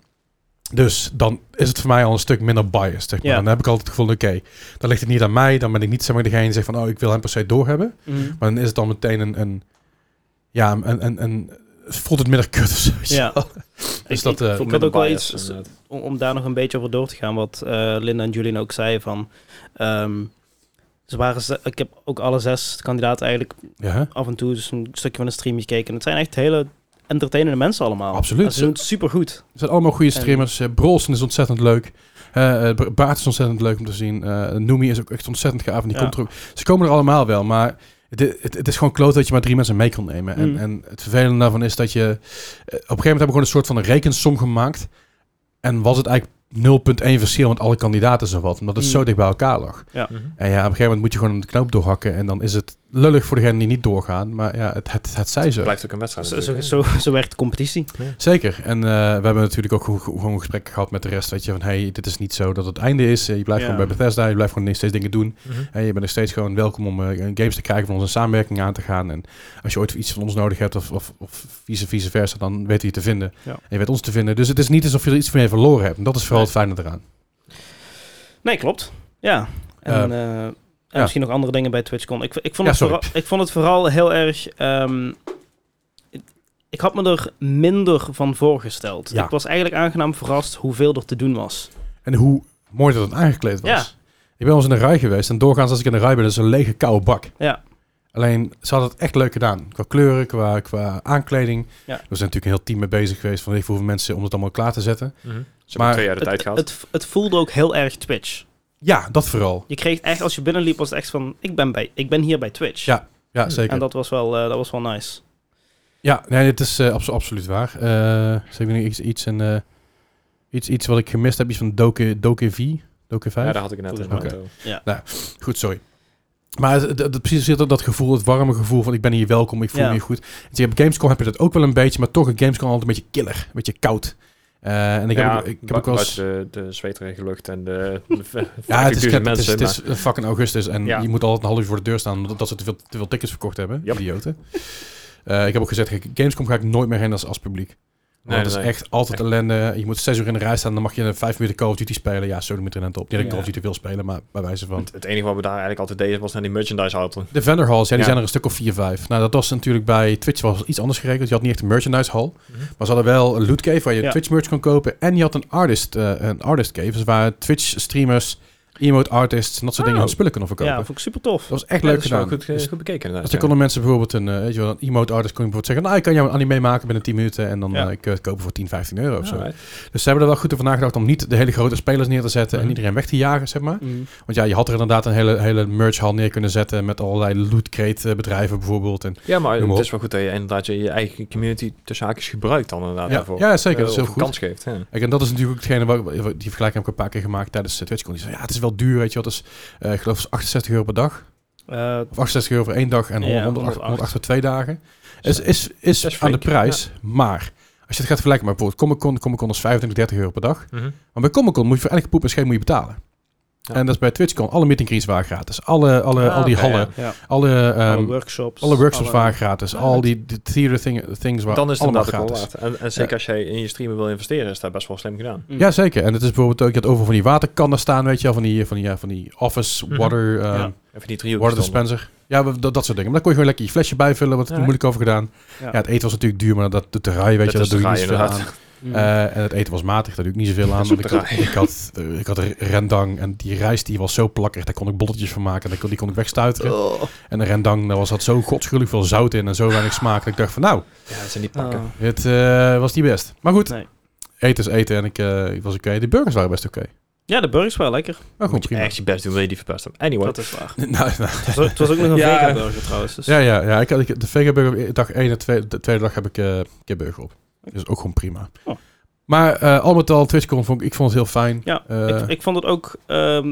Dus dan is het voor mij al een stuk minder biased. Zeg maar.
Ja.
Dan heb ik altijd het gevoel, oké, dan ligt het niet aan mij. Dan ben ik niet zeg maar, degene die zegt van, oh, ik wil hem per se doorhebben.
Mm.
Maar dan is het dan meteen een... een ja, een, een, een, voelt het minder kut of zo. weet je
Ja.
wel.
Ik-
Dus dat... eh,
ik had ook wel iets- eh, om, om daar nog een beetje over door te gaan, wat eh, Linda en Julian ook zeiden van. ehm, ze waren ze- ik heb ook alle zes kandidaten eigenlijk
ja, hè?
af en toe dus een stukje van een stream gekeken. En het zijn echt hele entertainende mensen allemaal.
Absoluut.
En ze doen het supergoed.
Het zijn allemaal goede streamers. Eh, Brolsen is ontzettend leuk. Eh, eh, Ba- Baart is ontzettend leuk om te zien. Eh Noemi is ook echt ontzettend gaaf. En die
Ja.
komt er ook. Ze komen er allemaal wel, maar... Het, het, het is gewoon kloot dat je maar drie mensen mee kan nemen. En,
Mm.
en het vervelende daarvan is dat je... eh, Op een gegeven moment hebben we gewoon een soort van een rekensom gemaakt. En was het eigenlijk 0,1 verschil met alle kandidaten zo wat. Omdat het
Mm.
zo dicht bij elkaar lag.
Mhm.
En ja, op een gegeven moment moet je gewoon een knoop doorhakken. En dan is het lullig voor degenen die niet doorgaan. Maar ja, het, het, het zij zo.
blijft ook een wedstrijd.
Zo, zo,
natuurlijk,
zo, zo werkt de competitie.
Zeker. En eh, we hebben natuurlijk ook gewoon- gewoon gesprekken gehad met de rest. Weet je, van hey, dit is niet zo dat het einde is. Eh, Je blijft
Ja.
gewoon bij Bethesda. Je blijft gewoon steeds dingen doen.
hè. Mhm.
En je bent nog steeds gewoon welkom om eh, games te krijgen van ons en samenwerking aan te gaan. En als je ooit iets van ons nodig hebt of, of, of vice, vice versa, dan weet je je te vinden.
Ja.
En je weet ons te vinden. Dus het is niet alsof je er iets van je verloren hebt. En dat is vooral het fijne eraan.
Nee, klopt. Ja. En, eh, en
ja.
misschien nog andere dingen bij TwitchCon. Ik, ik, vond,
Ja,
het
sorry.
vooral, ik vond het vooral heel erg... ehm, ik, ik had me er minder van voorgesteld.
Ja.
Ik was eigenlijk aangenaam verrast hoeveel er te doen was.
En hoe mooi dat het aangekleed was.
Ja.
Ik ben wel eens in een rij geweest. En doorgaans als ik in een rij ben, is het een lege koude bak.
Ja.
Alleen, ze hadden het echt leuk gedaan. Qua kleuren, qua, qua aankleding.
Ja.
We zijn natuurlijk een heel team mee bezig geweest. Van weet ik hoeveel mensen om het allemaal klaar te zetten.
Mhm. Ze
Maar
hebben twee jaar de tijd
het,
gehad.
het, het voelde ook heel erg Twitch.
Ja, dat vooral.
Je kreeg echt, als je binnenliep, was het echt van... Ik ben, bij, ik ben hier bij Twitch.
Ja, Ja,
Hm.
zeker.
Hmm, En dat was wel, eh, dat was wel nice.
Ja, nee, het is eh, abso- absoluut waar. Eh zeker nog iets, iets, in, eh, iets, iets wat ik gemist heb. Iets van Doke, Doke V. Doke 5.
Ja, daar had ik net in.
Oké.
auto.
Goed, sorry. Maar het- het- het- precies zit er dat gevoel, het warme gevoel van ik ben hier welkom, ik voel
Ja.
me hier goed. Dus je hebt Gamescom heb je dat ook wel een beetje, maar toch een Gamescom altijd een beetje killer, een beetje koud. Eh, en ik
Ja,
heb, ook- ik heb ook wel eens...
buiten de, de zweterige lucht en de...
Ja, het is,
mensen,
het is, het
maar-
is fucking augustus en
Ja.
je moet altijd een half uur voor de deur staan omdat dat ze te veel, te veel tickets verkocht hebben.
Yep.
Idioten. Eh, ik heb ook gezegd, kijk, Gamescom ga ik nooit meer heen als, als publiek. Want dat is echt altijd ellende. Je moet zes uur in de rij staan, dan mag je vijf minuten Call of Duty spelen. Ja, zo moet er net op. Niet dat ik
Ja.
Call of Duty wil spelen, maar bij wijze van...
Want het enige wat we daar eigenlijk altijd deden was naar die merchandise auto.
De vendor halls, ja, die
Ja.
zijn er een stuk of vier, vijf. Nou, dat was natuurlijk bij Twitch was iets anders geregeld. Je had niet echt een merchandise hall.
Mhm.
Maar ze hadden wel een loot cave waar je
Ja.
Twitch merch kon kopen. En je had een artist, eh, een artist cave. Dus waar Twitch streamers, emote artists en dat soort
Oh.
dingen spullen konden verkopen.
Ja, vond ik super tof.
dat was echt
Ja,
leuk
dat is wel
gedaan.
Goed, eh,
Dus-
goed bekeken inderdaad.
dus dan konden mensen bijvoorbeeld een, eh, weet je wel, een emote artist kon je bijvoorbeeld zeggen, nou ik kan jou een anime maken binnen 10 minuten en dan
Ja.
eh, kun je het kopen voor 10, 15 euro of zo.
Alright.
Dus ze hebben er wel goed over nagedacht om niet de hele grote spelers neer te zetten en
Mhm.
iedereen weg te jagen, zeg maar. Want ja, je had er inderdaad een hele, hele merchhal neer kunnen zetten met allerlei loot crate eh, bedrijven bijvoorbeeld. En,
Ja, maar
Noem maar
het
op.
is wel goed dat je inderdaad je, je eigen community tussen haakjes gebruikt dan inderdaad
ja,
daarvoor.
ja, zeker,
Eh,
dat is heel
of een
goed.
kans geeft. Ja.
Kijk, en dat is natuurlijk hetgene waar, die vergelijking heb ik een paar keer gemaakt tijdens de TwitchCon. Die zei, ja, het is wel duur, weet je wat. Dus, eh ik geloof het is 68 euro per dag.
Eh,
Of 68 euro voor één dag en
Ja,
100,
108.
108 voor twee dagen. Is, is, is,
Dat is
aan de
flink,
prijs, maar... Als je het gaat vergelijken met bijvoorbeeld Comic-Con, Comic-Con is 25, 30 euro per dag.
Mhm.
Maar bij Comic-Con moet je voor elke poep en scheen moet je betalen.
Ja.
En dat is bij TwitchCon. Alle meetingcreens waren gratis. Alle, alle,
Ah,
al die
oké,
hallen,
ja.
ja.
alle, ehm,
alle
alle,
workshops.
workshops
alle-
waren gratis.
Ja,
al
het-
die de theater thing, things waren
Dan is het
allemaal
inderdaad ook
gratis.
wel waard. En, en zeker als jij in je streamen wil investeren, is dat best wel slim gedaan.
Mm.
Ja, zeker. En het is bijvoorbeeld ook, je had over van die waterkannen staan, weet je wel, van die, van die, ja, van die office
Mhm.
water, eh,
Ja.
Even die driehoekjes.
water dispenser. Ja, we- dat, dat soort dingen. Maar daar kon je gewoon lekker je flesje bijvullen, wat
Ja,
er moeilijk over gedaan. Ja.
Ja.
het eten was natuurlijk duur, maar dat de terrain, weet je,
Dat
dat
is
doe je niet
draaien,
zoveel aan.
inderdaad.
Mm.
Eh, en het eten was matig, daar doe ik niet zoveel aan.
is
Want
ook
ik, had- ik, had, eh, ik had rendang en die rijst die was zo plakkerig, daar kon ik bolletjes van maken. en Die kon ik wegstuiteren.
Oh.
En de rendang, daar was dat zo godschuwelijk veel zout in en zo weinig smaak. Dat ik dacht van nou,
Ja, dat zijn die pakken.
Ah.
het eh, was niet best. Maar goed,
Nee.
eten is eten en ik, eh, ik was oké. De burgers waren best oké.
Ja, de burgers waren lekker.
Maar goed,
Moet je
prima.
echt je best doen, wil je die verpesten. Anyway.
Dat is waar.
Nou, nou,
Het was- Het was ook nog een
Ja.
vegan burger trouwens. Dus.
Ja, ja, ja. Ik had ik, de vegaburger op dag 1 en twee, de tweede dag heb ik eh kipburger op. Dus ook gewoon prima.
Oh.
Maar eh, al met al, TwitchCon vond ik, ik vond het heel fijn.
Ja,
Eh,
ik, ik vond het ook ehm,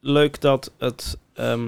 leuk dat het ehm,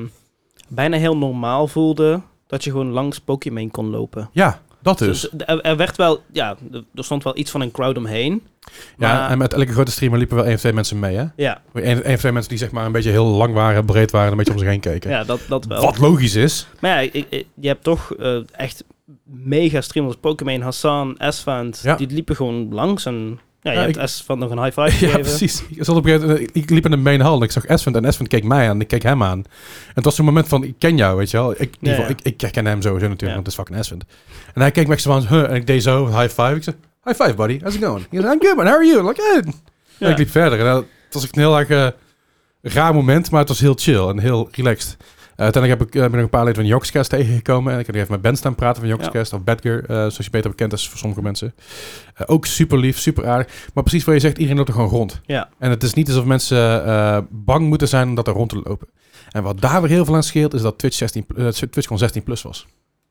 bijna heel normaal voelde dat je gewoon langs Pokémon kon lopen.
ja dat dus.
Dus er, er werd wel, ja, er- er stond wel iets van een crowd omheen.
ja,
maar-
en met elke grote streamer liepen wel één of twee mensen mee, hè?
Ja,
Eén één of twee mensen die zeg maar een beetje heel lang waren, breed waren en een beetje om zich heen keken.
ja dat, dat wel.
Wat logisch is.
Maar ja, ik- ik- je hebt toch eh, echt mega streamers. Pokémon, Hassan, Esfand,
Ja,
die liepen gewoon langs. En ja, je
Ja,
hebt
ik-
Esfand nog een high five
Ja,
gegeven.
precies. Ik, zat op een gegeven moment- ik liep in de main hall en ik zag Esvent en Esvent keek mij aan en ik keek hem aan. En het was zo'n moment van, ik ken jou, weet je wel. Ik, in ieder
Ja,
geval,
ja.
Ik, ik herken hem sowieso natuurlijk,
Ja.
want het is fucking Esvent. En hij keek me echt zo aan, huh, en ik deed zo, high five. Ik zei, high five buddy, how's it going? He goes, I'm good man, how are you? Like, eh.
Ja.
En ik liep verder en dat was echt een heel erg eh, raar moment, maar het was heel chill en heel relaxed. Eh, uiteindelijk heb ik, eh, ben ik nog een paar leden van Jokescast tegengekomen. En ik heb nog even met Ben staan praten van Jokescast. Of Badger, eh, zoals je beter bekend is voor sommige mensen. Eh, ook super lief, super aardig. Maar precies wat je zegt, iedereen loopt er gewoon rond.
Ja.
En het is niet alsof mensen eh, bang moeten zijn om dat er rond te lopen. En wat daar weer heel veel aan scheelt, is dat Twitch 16, pl- eh, TwitchCon 16 plus was.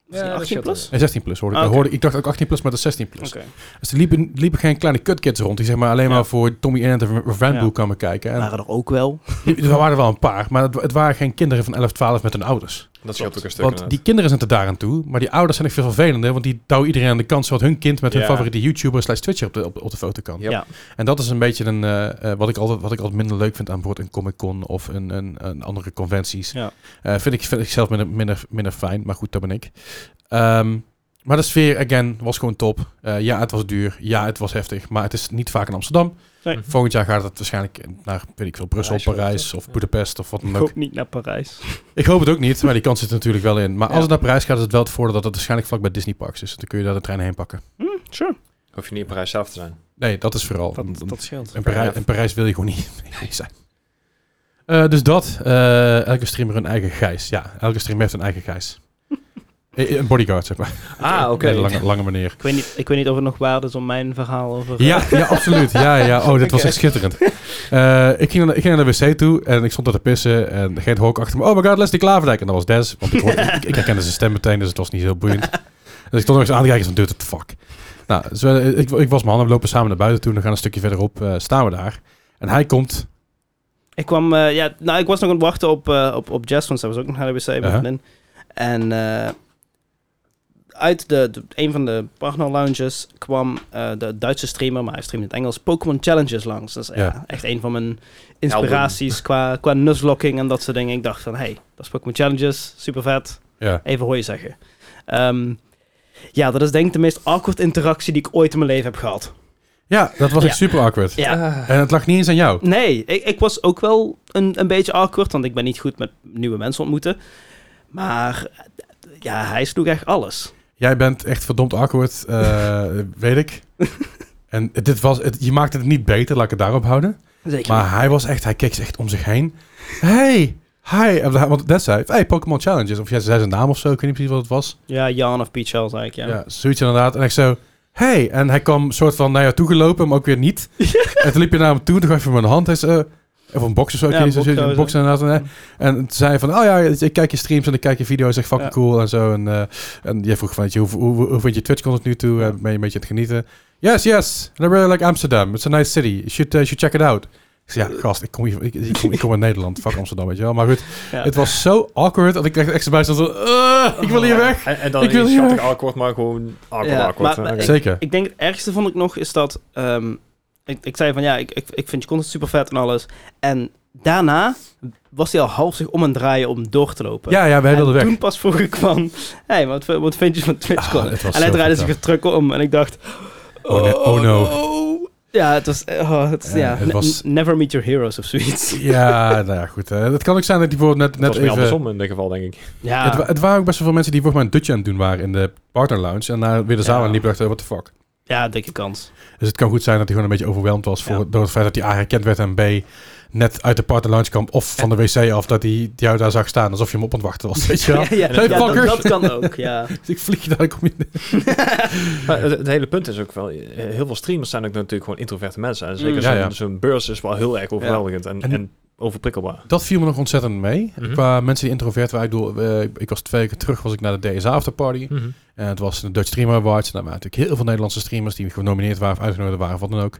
Is die
Ja, dat
18
scheelt
plus?
Nee, 16 plus hoorde ik.
Ah, oké.
hoorde, ik ik dacht ook 18 plus, maar dat is 16 plus.
Oké.
Dus er liepen, liepen geen kleine cutkids rond. Die zeg maar alleen
Ja.
maar voor Tommy en de Ravenboel
Ja.
kwamen kijken. En
Waren er ook wel.
er waren er wel een paar, maar het, het waren geen kinderen van 11, 12 met hun ouders.
Dat scheelt ook een stuk
Want die kinderen zijn er daaraan toe, maar die ouders zijn echt veel vervelender, want die douwen iedereen aan de kant zodat hun kind met hun
Ja.
favoriete YouTuber slash Twitcher op de, op, op de foto kan.
Ja.
Ja.
En dat is een beetje een, eh, eh, wat, ik altijd, wat ik altijd minder leuk vind aan boord een Comic Con of een, een, een andere conventies.
Ja.
Eh, vind, ik, vind ik zelf minder, minder, minder fijn, maar goed, dat ben ik. Ehm, maar de sfeer, again, was gewoon top. Eh, ja, het was duur. Ja, het was heftig. Maar het is niet vaak in Amsterdam.
Nee.
Mhm.
Volgend jaar gaat het waarschijnlijk naar, weet ik veel, Brussel,
Parijs,
Parijs of
ja.
Budapest of wat dan
Ik
ook.
hoop niet naar Parijs.
Ik hoop het ook niet, maar die kans zit er natuurlijk wel in. Maar als
Ja.
het naar Parijs gaat, is het wel het voordeel dat het waarschijnlijk vlak bij Disney Parks is. Dan kun je daar de trein heen pakken.
Sure,
Hoef je niet in Parijs zelf te zijn.
Nee, dat is vooral.
dat,
Want-
dat scheelt.
in, Parijs,
Ja.
in Parijs wil je gewoon niet mee zijn. Eh, dus dat. eh, elke streamer een eigen gijs. Ja, elke streamer heeft een eigen gijs. Eh, een bodyguard, zeg maar.
Ah, oké.
Een lange, lange manier.
Ik weet, niet, ik weet niet of het nog waard is om mijn verhaal over... eh,
Ja, ja, absoluut. Ja, ja. Oh, dit was
Oké.
echt schitterend. Eh, ik, ging naar de, ik ging naar de wc toe en ik stond daar te pissen. En Geet hoor ik achter me. Oh my god, Leslie Klaverdijk. En dat was Des. Want ik, hoorde, ik, ik herkende zijn stem meteen, dus het was niet heel boeiend. Dus ik stond nog eens aan te kijken van, dude, what the fuck? Nou, dus, eh, ik, ik was mijn handen, we lopen samen naar buiten toe. Dan gaan we een stukje verderop, eh, staan we daar. En hij komt,
Ik kwam, eh, ja, nou, ik was nog aan het wachten op, eh, op, op Jess, want zij was ook nog naar de wc met
Ja.
vriendin. En eh, uit de, de- een van de partner lounges kwam eh, de Duitse streamer, maar hij streamt in het Engels, Pokémon Challenges langs. Dat is ja,
Ja.
echt een van mijn inspiraties qua, qua nuzlocking en dat soort dingen. Ik dacht van, hey, dat is Pokémon Challenges, super vet,
ja,
even hooi zeggen. Ehm, Ja, dat is denk ik de meest awkward interactie die ik ooit in mijn leven heb gehad.
Ja, dat was echt
Ja.
super awkward.
Ja.
Ah.
En het lag niet eens aan jou.
Nee, ik, ik was ook wel een, een beetje awkward, want ik ben niet goed met nieuwe mensen ontmoeten. Maar ja, hij sloeg echt alles.
Jij bent echt verdomd awkward, eh, weet ik. En dit was, het, je maakte het niet beter, laat ik het daarop houden.
Zeker.
Maar hij was echt, hij keek echt om zich heen. Hey, hi. En hij- Want dat zei, hey, Pokémon Challenges. Of jij zei zijn naam of zo, ik weet niet precies wat het was.
Ja, Jan of Pete Charles eigenlijk, ja.
Ja, zoiets inderdaad. En ik zo, hey. En hij kwam soort van naar jou toe gelopen, maar ook weer niet. en toen liep je naar hem toe, toen gaf je hem een hand. Hij zei, eh, of een box of zo. ik
Ja,
weet
een
niet,
box
zoiets, een
sowieso.
box inderdaad. En, hij- en toen zei hij van, oh ja, ik kijk je streams en ik kijk je video's, echt fucking
Ja.
cool en zo. En, eh, en jij vroeg van, weet je, hoe, hoe, hoe vind je Twitch tot nu toe? Eh, Ben je een beetje aan het genieten? Yes, yes. And I really like Amsterdam. It's a nice city. You should, eh, you should check it out. Ik zei, Ja, gast, ik kom, hier, ik, ik kom, ik kom uit Nederland. Fuck Amsterdam, weet je wel. Maar goed,
Ja.
het was zo awkward dat ik echt extra bij stond. van, "Ugh, ik wil hier weg.
En, en dan
Ik
ik
wil
wil
hier
schattig
weg.
awkward, maar gewoon awkward,
Ja,
awkward.
maar-
Oké.
maar-
Zeker.
Ik denk het ergste vond ik nog is dat... ehm, ik, ik zei van ja, ik, ik, ik vind je content super vet en alles. En daarna was hij al half zich om aan het draaien om door te lopen.
Ja, ja, wij
eh, En
wilden weg.
toen pas vroeg ik van... Hé, hey, wat, wat vind je van TwitchCon?
Ah, het was
en hij
zo
draaide zich
fucked
weer terug om en ik dacht...
Oh, nee, oh no.
Ja, het was... eh, Oh, het,
Ja,
ja,
het
ne-
was-
Never meet your heroes of zoiets.
Ja, nou ja, goed. eh, het kan ook zijn dat die bijvoorbeeld net,
Het
net
was weer
even...
andersom in dit geval, denk ik.
Ja,
Het, wa- het waren ook best wel veel mensen die volgens mij een dutje aan het doen waren in de partner lounge. En daar weer de zaal
Ja.
aan liepen en dachten, what the fuck.
ja dikke kans.
Dus het kan goed zijn dat hij gewoon een beetje overweldigd was voor,
Ja.
door het feit dat hij A, herkend werd en B, net uit de partner lounge kwam of van de wc af, dat hij jou daar zag staan alsof je hem op aan het wachten was. Weet je wel?
ja,
Hey,
ja, dat,
fuckers.
dat kan ook, ja.
Dus ik vlieg je daar, kom je...
Maar het, het hele punt is ook wel, eh, heel veel streamers zijn ook natuurlijk gewoon introverte mensen. En zeker
Mm.
Ja,
zo'n
ja.
zo'n beurs is wel heel erg overweldigend en,
En-
en, overprikkelbaar.
Dat viel me nog ontzettend mee.
Mhm.
Qua mensen die introvert waren, ik, bedoel, eh, ik- ik was twee weken terug, was ik naar de DSA afterparty.
Mhm.
En Eh, het was de Dutch Streamer Awards. Daar waren natuurlijk heel veel Nederlandse streamers die genomineerd waren of uitgenodigd waren, of wat dan ook.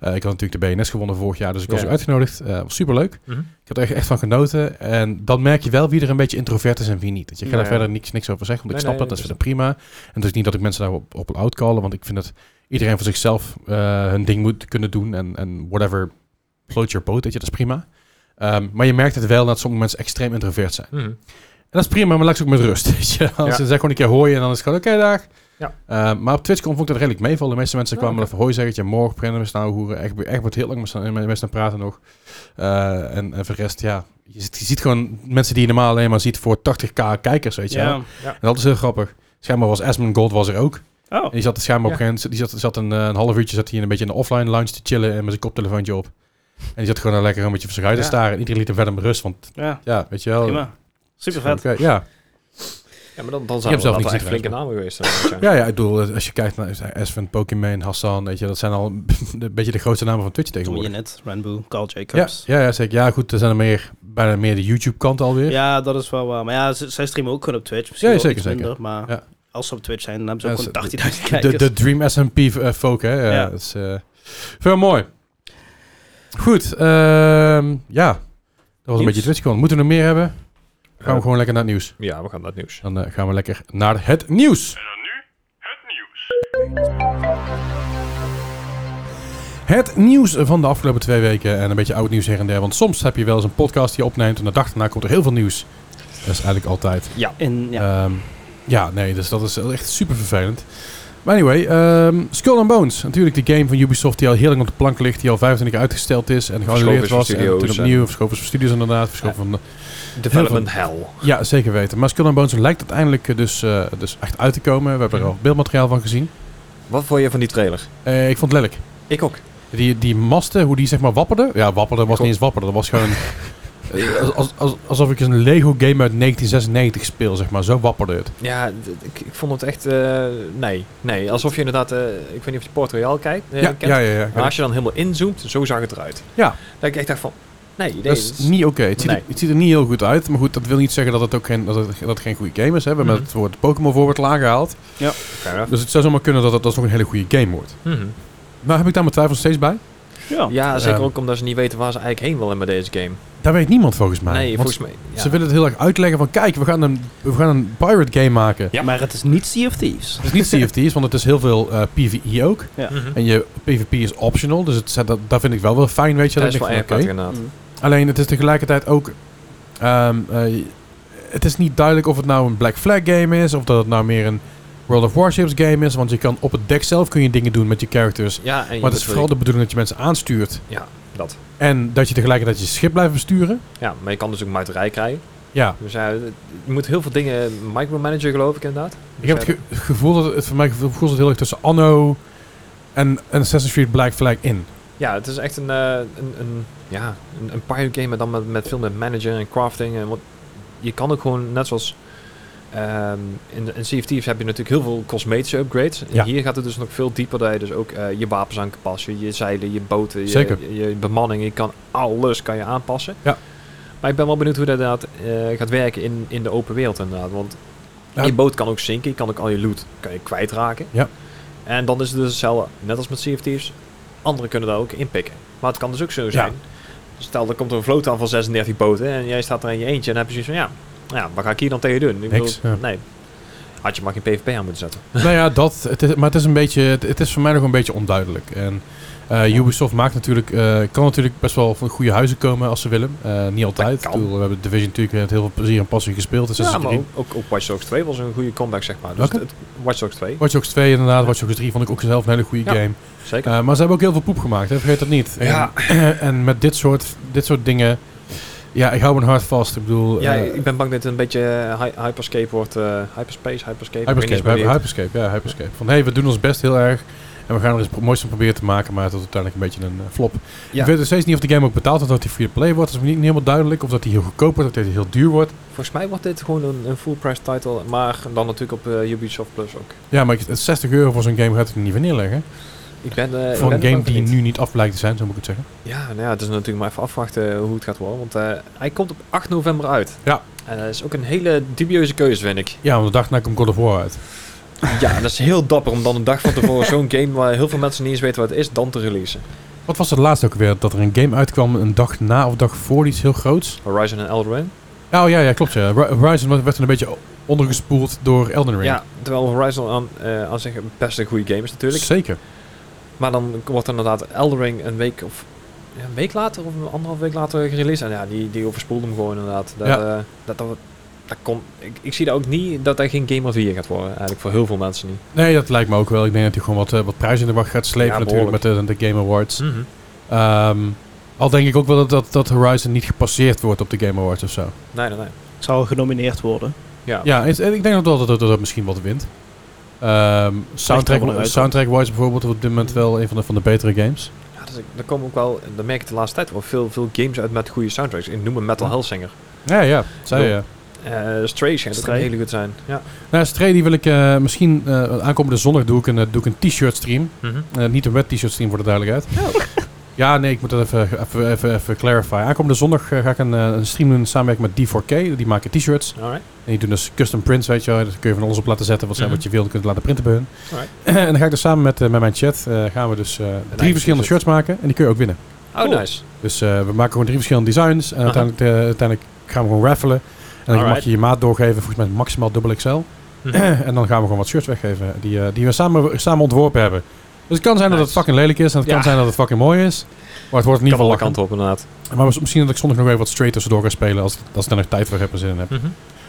Eh, ik had natuurlijk de BNS gewonnen vorig jaar, dus ik was
Mhm. Ja.
ook uitgenodigd. Eh, was superleuk.
Mhm.
Ik heb er echt, echt van genoten. En dan merk je wel wie er een beetje introvert is en wie niet. Dat je gaat
Nou
er
ja.
verder niks, niks over zeggen, want ik
Nee,
snap
nee,
dat, dat is
dat
verder prima. En het is niet dat ik mensen daarop op outcallen, want ik vind dat iedereen voor zichzelf eh, hun ding moet kunnen doen. En, en whatever, float your boat, weet je, dat is prima. Ehm, maar je merkt het wel dat sommige mensen extreem introvert zijn.
Mhm.
En dat is prima, maar laat ze ook met rust. Weet je? Als
Ja.
ze zeggen gewoon een keer hoi en dan is het gewoon oké dag.
Ja.
Eh, maar op Twitch vond ik dat redelijk meevallen. De meeste mensen
Ja,
kwamen
oké.
even hoi zeggen. tja, Morgen beginnen we staan hoeren. Echt, echt wordt heel lang met z'n- met mensen aan het praten nog. Eh, en, en voor de rest, ja. Je ziet, je ziet gewoon mensen die je normaal alleen maar ziet voor 80k kijkers, weet je wel.
Ja.
En dat is heel grappig. Schijnbaar was Asmund Gold was er ook.
Oh,
En die zat schijnbaar op
Ja.
een gegeven moment- die zat, zat een, eh, een half uurtje zat hij een beetje in de offline lounge te chillen en met zijn koptelefoontje op. En die zat gewoon daar lekker een beetje voor zich uit te
Ja.
staren. En iedereen liet hem verder met rust, want
ja,
ja, weet je wel.
prima. Super
Oh. Oké,
vet.
ja.
Ja, maar dan, dan
Ik
zijn
heb
er
zelf
wel
niet
echt
gezien
flinke namen geweest. dan, moet ik zeggen.
Ja, ja, ik bedoel, eh, als je kijkt naar Esven, Pokémon, Hassan, weet je, dat zijn al een beetje de grootste namen van Twitch
Doe je
tegenwoordig.
net, Ranbu, Carl
Ja,
Jacobs.
ja, ja, zeker. Ja, goed, er zijn er meer, bijna meer de YouTube-kant alweer.
Ja, dat is wel waar. Maar ja, ze- zij streamen ook gewoon op Twitch. Misschien
Ja,
ja,
zeker,
zeker, iets
zeker.
minder, maar
Ja.
als ze op Twitch zijn, dan hebben
Ja,
ze ook
ze-
gewoon 80.000
de,
kijkers.
de Dream SMP eh, folk, hè. Ja,
Ja.
Dat is eh, veel mooi. Goed, ehm, ja. Dat was een
Nieuws? Eh.
beetje Twitch-kant. Moeten we nog meer hebben? Gaan we gewoon lekker naar het nieuws.
ja, we gaan naar het nieuws.
Dan eh, gaan we lekker naar het nieuws. En dan nu het nieuws. Het nieuws van de afgelopen twee weken en een beetje oud nieuws her en der. Want soms heb je wel eens een podcast die je opneemt en de dag daarna komt er heel veel nieuws. Dat is eigenlijk altijd.
In, ja.
Ja, ja nee, dus dat is echt super vervelend. Maar anyway, ehm, Skull and Bones. Natuurlijk die game van Ubisoft die al heel lang op de plank ligt. Die al 25 keer uitgesteld is en geannuleerd
Verschoven is van
was. En
studio's
toen
en-
opnieuw verschoven van studios inderdaad. Verschoven van
Development hell.
ja, zeker weten. Maar Skull and Bones lijkt uiteindelijk eh, dus, eh, dus echt uit te komen. We hebben
Mhm.
er al beeldmateriaal van gezien.
Wat vond je van die trailer?
Eh, ik vond het lelijk.
Ik ook.
Die, die masten, hoe die zeg maar wapperden. Ja, wapperden was
Klopt.
niet eens wapperden. Dat was gewoon... eh, als- als, als, alsof ik een Lego game uit 1996 speel, zeg maar. Zo wapperde het.
Ja, d- ik, ik vond het echt... eh, nee, nee. Alsof je inderdaad... eh, ik weet niet of je Port Royal kijkt, eh,
ja,
kent.
ja, ja, ja.
Maar als je dan helemaal inzoomt, zo zag het eruit.
Ja.
Dat ik echt dacht van... Nee,
Dat
dit
is niet oké. Het, ziet er-
dus. Nee.
het ziet er niet heel goed uit. Maar goed, dat wil niet zeggen dat het ook geen, dat het, dat het geen goede game is. Hè. We hebben
Mhm.
het woord Pokémon voorbeeld al aangehaald.
Fair enough.
Dus het zou zomaar kunnen dat het alsnog een hele goede game wordt.
Mhm.
Nou heb ik daar mijn twijfels steeds bij.
ja.
Ja, zeker
Ehm.
ook omdat ze niet weten waar ze eigenlijk heen willen met deze game.
Daar weet niemand volgens mij.
nee,
Want
volgens mij... ja.
Ze willen het heel erg uitleggen van kijk, we gaan een, we gaan een pirate game maken.
Ja.
Maar het is niet Sea of Thieves.
Het is niet CFT's, want het is heel veel eh, PvE ook.
Mhm.
En je PvP is optional, dus het, zet- dat, dat vind ik wel wel fijn, weet je.
Dat is
ik
wel
denk
erg
van,
prettig
oké.
inderdaad.
Mm.
Alleen het is tegelijkertijd ook... ehm, eh, het is niet duidelijk of het nou een Black Flag game is, of dat het nou meer een World of Warships game is. Want je kan op het dek zelf kun je dingen doen met je characters.
Ja, en je
Maar het is
moet
vooral de bedoeling dat je mensen aanstuurt.
Ja, dat.
En dat je tegelijkertijd je schip blijft besturen.
Ja, maar je kan dus ook muiterij krijgen.
Ja,
Dus ja, je moet heel veel dingen micromanagen, geloof ik inderdaad.
ik heb het ge- gevoel dat het voor mij gevoel dat het heel erg tussen Anno en, en Assassin's Creed Black Flag in.
Ja, het is echt een, eh, een, een, ja, een, een pirate game, maar dan met, met veel met manager en crafting. En wat, je kan ook gewoon, net zoals ehm, in, in Sea of Thieves heb je natuurlijk heel veel cosmetische upgrades. En
Ja.
Hier gaat het dus nog veel dieper, dat je dus ook eh, je wapens aan kan passen, je zeilen, je boten, je,
Zeker.
je, je bemanning. Je kan alles kan je aanpassen.
Ja.
Maar ik ben wel benieuwd hoe dat inderdaad eh, gaat werken in, in de open wereld inderdaad. Want
Ja.
je boot kan ook zinken, je kan ook al je loot kan je kwijtraken.
Ja.
En dan is het dus hetzelfde, net als met Sea of Thieves. Anderen kunnen daar ook inpikken. Maar het kan dus ook zo zijn. Stel, er komt een vloot aan van 36 boten en jij staat er in je eentje en dan heb je zoiets van, ja, nou ja wat ga ik hier dan tegen doen? Ik
Niks, ja.
nee. Had je maar geen PvP aan moeten zetten.
nou ja, dat. Het is, maar het is, een beetje, het, het is voor mij nog een beetje onduidelijk. En eh, Ubisoft maakt natuurlijk, eh, kan natuurlijk best wel van goede huizen komen als ze willen. Eh, niet altijd.
Dat kan.
Ik bedoel, we hebben Division natuurlijk met heel veel plezier en passie gespeeld. Dus
Ja,
ja,
maar ook, ook, ook Watch Dogs 2 was een goede comeback, zeg maar. Dus
Welke?
het, het- Watch Dogs 2,
Watch Dogs 2 inderdaad, Watch Dogs 3 vond ik ook zelf een hele goede
Ja.
game.
zeker.
Eh, maar ze hebben ook heel veel poep gemaakt, hè? vergeet dat niet. En,
Ja.
en met dit soort, dit soort dingen, ja, ik hou mijn hart vast. Ik bedoel,
ja,
eh,
ik ben bang dat het een beetje eh, hy- Hyperscape wordt. eh, hyperspace, Hyperscape. ik weet niet
Hyperscape,
eens meer
hy-
hoe die
Hyperscape, ja, Hyperscape. Van hey, we doen ons best heel erg. En we gaan er eens het mooiste van proberen te maken, maar het wordt uiteindelijk een beetje een eh, flop.
Ja.
Ik weet nog steeds niet of de game ook betaald wordt, of dat die free play wordt. Dat is me niet, niet helemaal duidelijk. Of dat die heel goedkoop wordt, of dat die heel duur wordt.
heet. Volgens mij wordt dit gewoon een, een full price title, maar dan natuurlijk op eh, Ubisoft Plus ook.
Ja, maar ik- 60 euro voor zo'n game gaat het niet van neerleggen.
Ik ben, eh, ik
voor
ben
een
er
game
bang
die
niet.
nu niet af blijkt te zijn, zo moet ik het zeggen.
Ja, nou ja, het is natuurlijk maar even afwachten hoe het gaat worden. Want eh, hij komt op 8 november uit.
Ja.
En dat is ook een hele dubieuze keuze, vind ik.
Ja, want de dag na komt God of War uit.
Ja, dat is heel dapper om dan een dag van tevoren zo'n game waar heel veel mensen niet eens weten wat het is, dan te releasen.
Wat was het laatste ook weer? Dat er een game uitkwam een dag na of dag voor iets heel groots?
Horizon en Elden Ring.
Oh ja, ja klopt. Ja. Ri- Horizon werd werd een beetje ondergespoeld door Elden Ring.
Ja, terwijl Horizon aan, eh, aan zich best een goede game is natuurlijk.
Zeker.
Maar dan wordt inderdaad Elden Ring een week of ja, een week later of een anderhalf week later gereleased. En ja, die, die overspoelde hem gewoon inderdaad. Dat,
Ja.
eh, dat, dat, dat kon, ik, ik zie daar ook niet dat hij geen Game of the Year gaat worden. Eigenlijk voor heel veel mensen niet.
Nee, dat lijkt me ook wel. Ik denk dat hij gewoon wat, eh, wat prijs in de wacht gaat slepen
Ja,
natuurlijk met
behoorlijk. Hm.
de, de Game Awards.
Mhm.
Ehm, al denk ik ook wel dat, dat, dat Horizon niet gepasseerd wordt op de Game Awards of zo.
Nee, nee, nee.
Zou genomineerd worden.
Ja.
Ja, en, en ik denk ook wel dat dat, dat, dat misschien wat wint. Ehm,
wel
soundtrack,
uit.
soundtrack-wise bijvoorbeeld op dit moment wel een van de, van de betere games.
Ja, dus ik- er komen ook wel, dan merk ik de laatste tijd wel veel, veel games uit met goede soundtracks. Ik noem een Metal Hellsinger.
Ja, ja. Zij,
Ja.
ja.
Eh Stray schijnt ook
Stray.
heel goed zijn. Ja.
Nou, Stray die wil ik eh, misschien eh, aankomende zondag doe ik een, eh, doe ik een t-shirt stream. Eh, niet een wet t-shirt stream voor de duidelijkheid. Ja, nee, ik moet dat even, even, even, even clarify. Aankomende zondag eh, ga ik een, eh, een stream doen in samenwerking met D4K. Die maken t-shirts.
Alright.
En die doen dus custom prints, weet je wel. Daar kun je van alles op laten zetten. Wat zijn
Mhm.
wat je wil, kunt laten printen bij hun.
Alright.
en dan ga ik dus samen met, eh, met mijn chat eh, gaan we dus eh, drie
eigen
verschillende
t-shirt.
shirts maken. En die kun je ook winnen.
Oh,
Cool.
nice.
Dus eh, we maken gewoon drie verschillende designs. En
Aha.
uiteindelijk, eh, uiteindelijk gaan we gewoon raffelen. En dan mag
Alright. Mhm.
je je maat doorgeven. Volgens mij maximaal dubbel XL. en dan gaan we gewoon wat shirts weggeven. Die, eh, die we samen, samen ontworpen hebben. Dus het kan zijn dat het
Nice.
fucking lelijk is. En het kan
Ja.
zijn dat het fucking mooi is. Maar het wordt in
Kan
ieder geval
alle
lachen.
kanten op inderdaad.
Maar mis- misschien dat ik zondag nog even wat straight tussendoor ga spelen. Als, als ik daar nog tijd voor heb en zin in heb.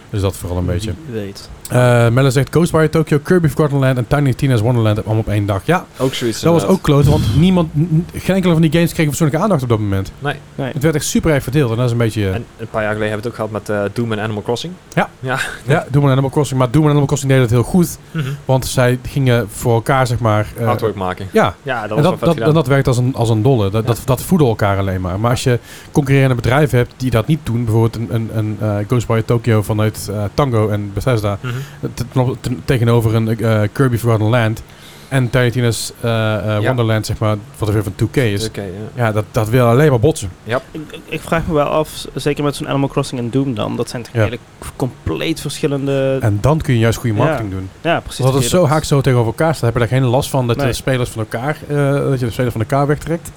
Dus dat vooral
Mhm.
een beetje.
Wie weet.
Eh Melle zegt Ghostwire Tokyo, Kirby Forgotten Land en Tiny Tina's Wonderland allemaal op één dag. Ja,
Ook zoiets
dat was
inderdaad.
ook kloot, want niemand, n- geen enkele van die games kreeg persoonlijke aandacht op dat moment.
Nee.
Het werd echt super erg verdeeld en dat is een beetje... eh,
En een paar jaar geleden hebben we het ook gehad met eh, Doom en Animal Crossing.
ja, Doom en Animal Crossing, maar Doom en Animal Crossing deden het heel goed, want zij gingen voor elkaar, zeg maar... eh,
Artwork maken.
Ja,
Ja, dat
en dat,
was wel vet
dat, en
gedaan.
dat werkt als een, als een dolle. Dat,
Ja.
dat, dat voeden elkaar alleen maar. Maar als je concurrerende bedrijven hebt die dat niet doen, bijvoorbeeld een, een, een eh, Ghostwire Tokyo vanuit eh, Tango en Bethesda,
Mhm.
ten- ten- ten- tegenover een eh, Kirby Forgotten Land en Tiny Tina's eh, eh,
Ja.
Wonderland, zeg maar, wat er weer van 2K is.
Dus Oké, ja.
Ja, dat, dat wil alleen maar botsen.
Ik, ik- ik vraag me wel af, zeker met zo'n Animal Crossing en Doom dan. Dat zijn toch
Ja.
eigenlijk compleet verschillende...
En dan kun je juist goede marketing doen.
ja, precies.
Want als het zo haak zo tegenover elkaar staat, heb je daar geen last van dat je
Nee.
de spelers van elkaar, eh, dat je de spelers van elkaar wegtrekt.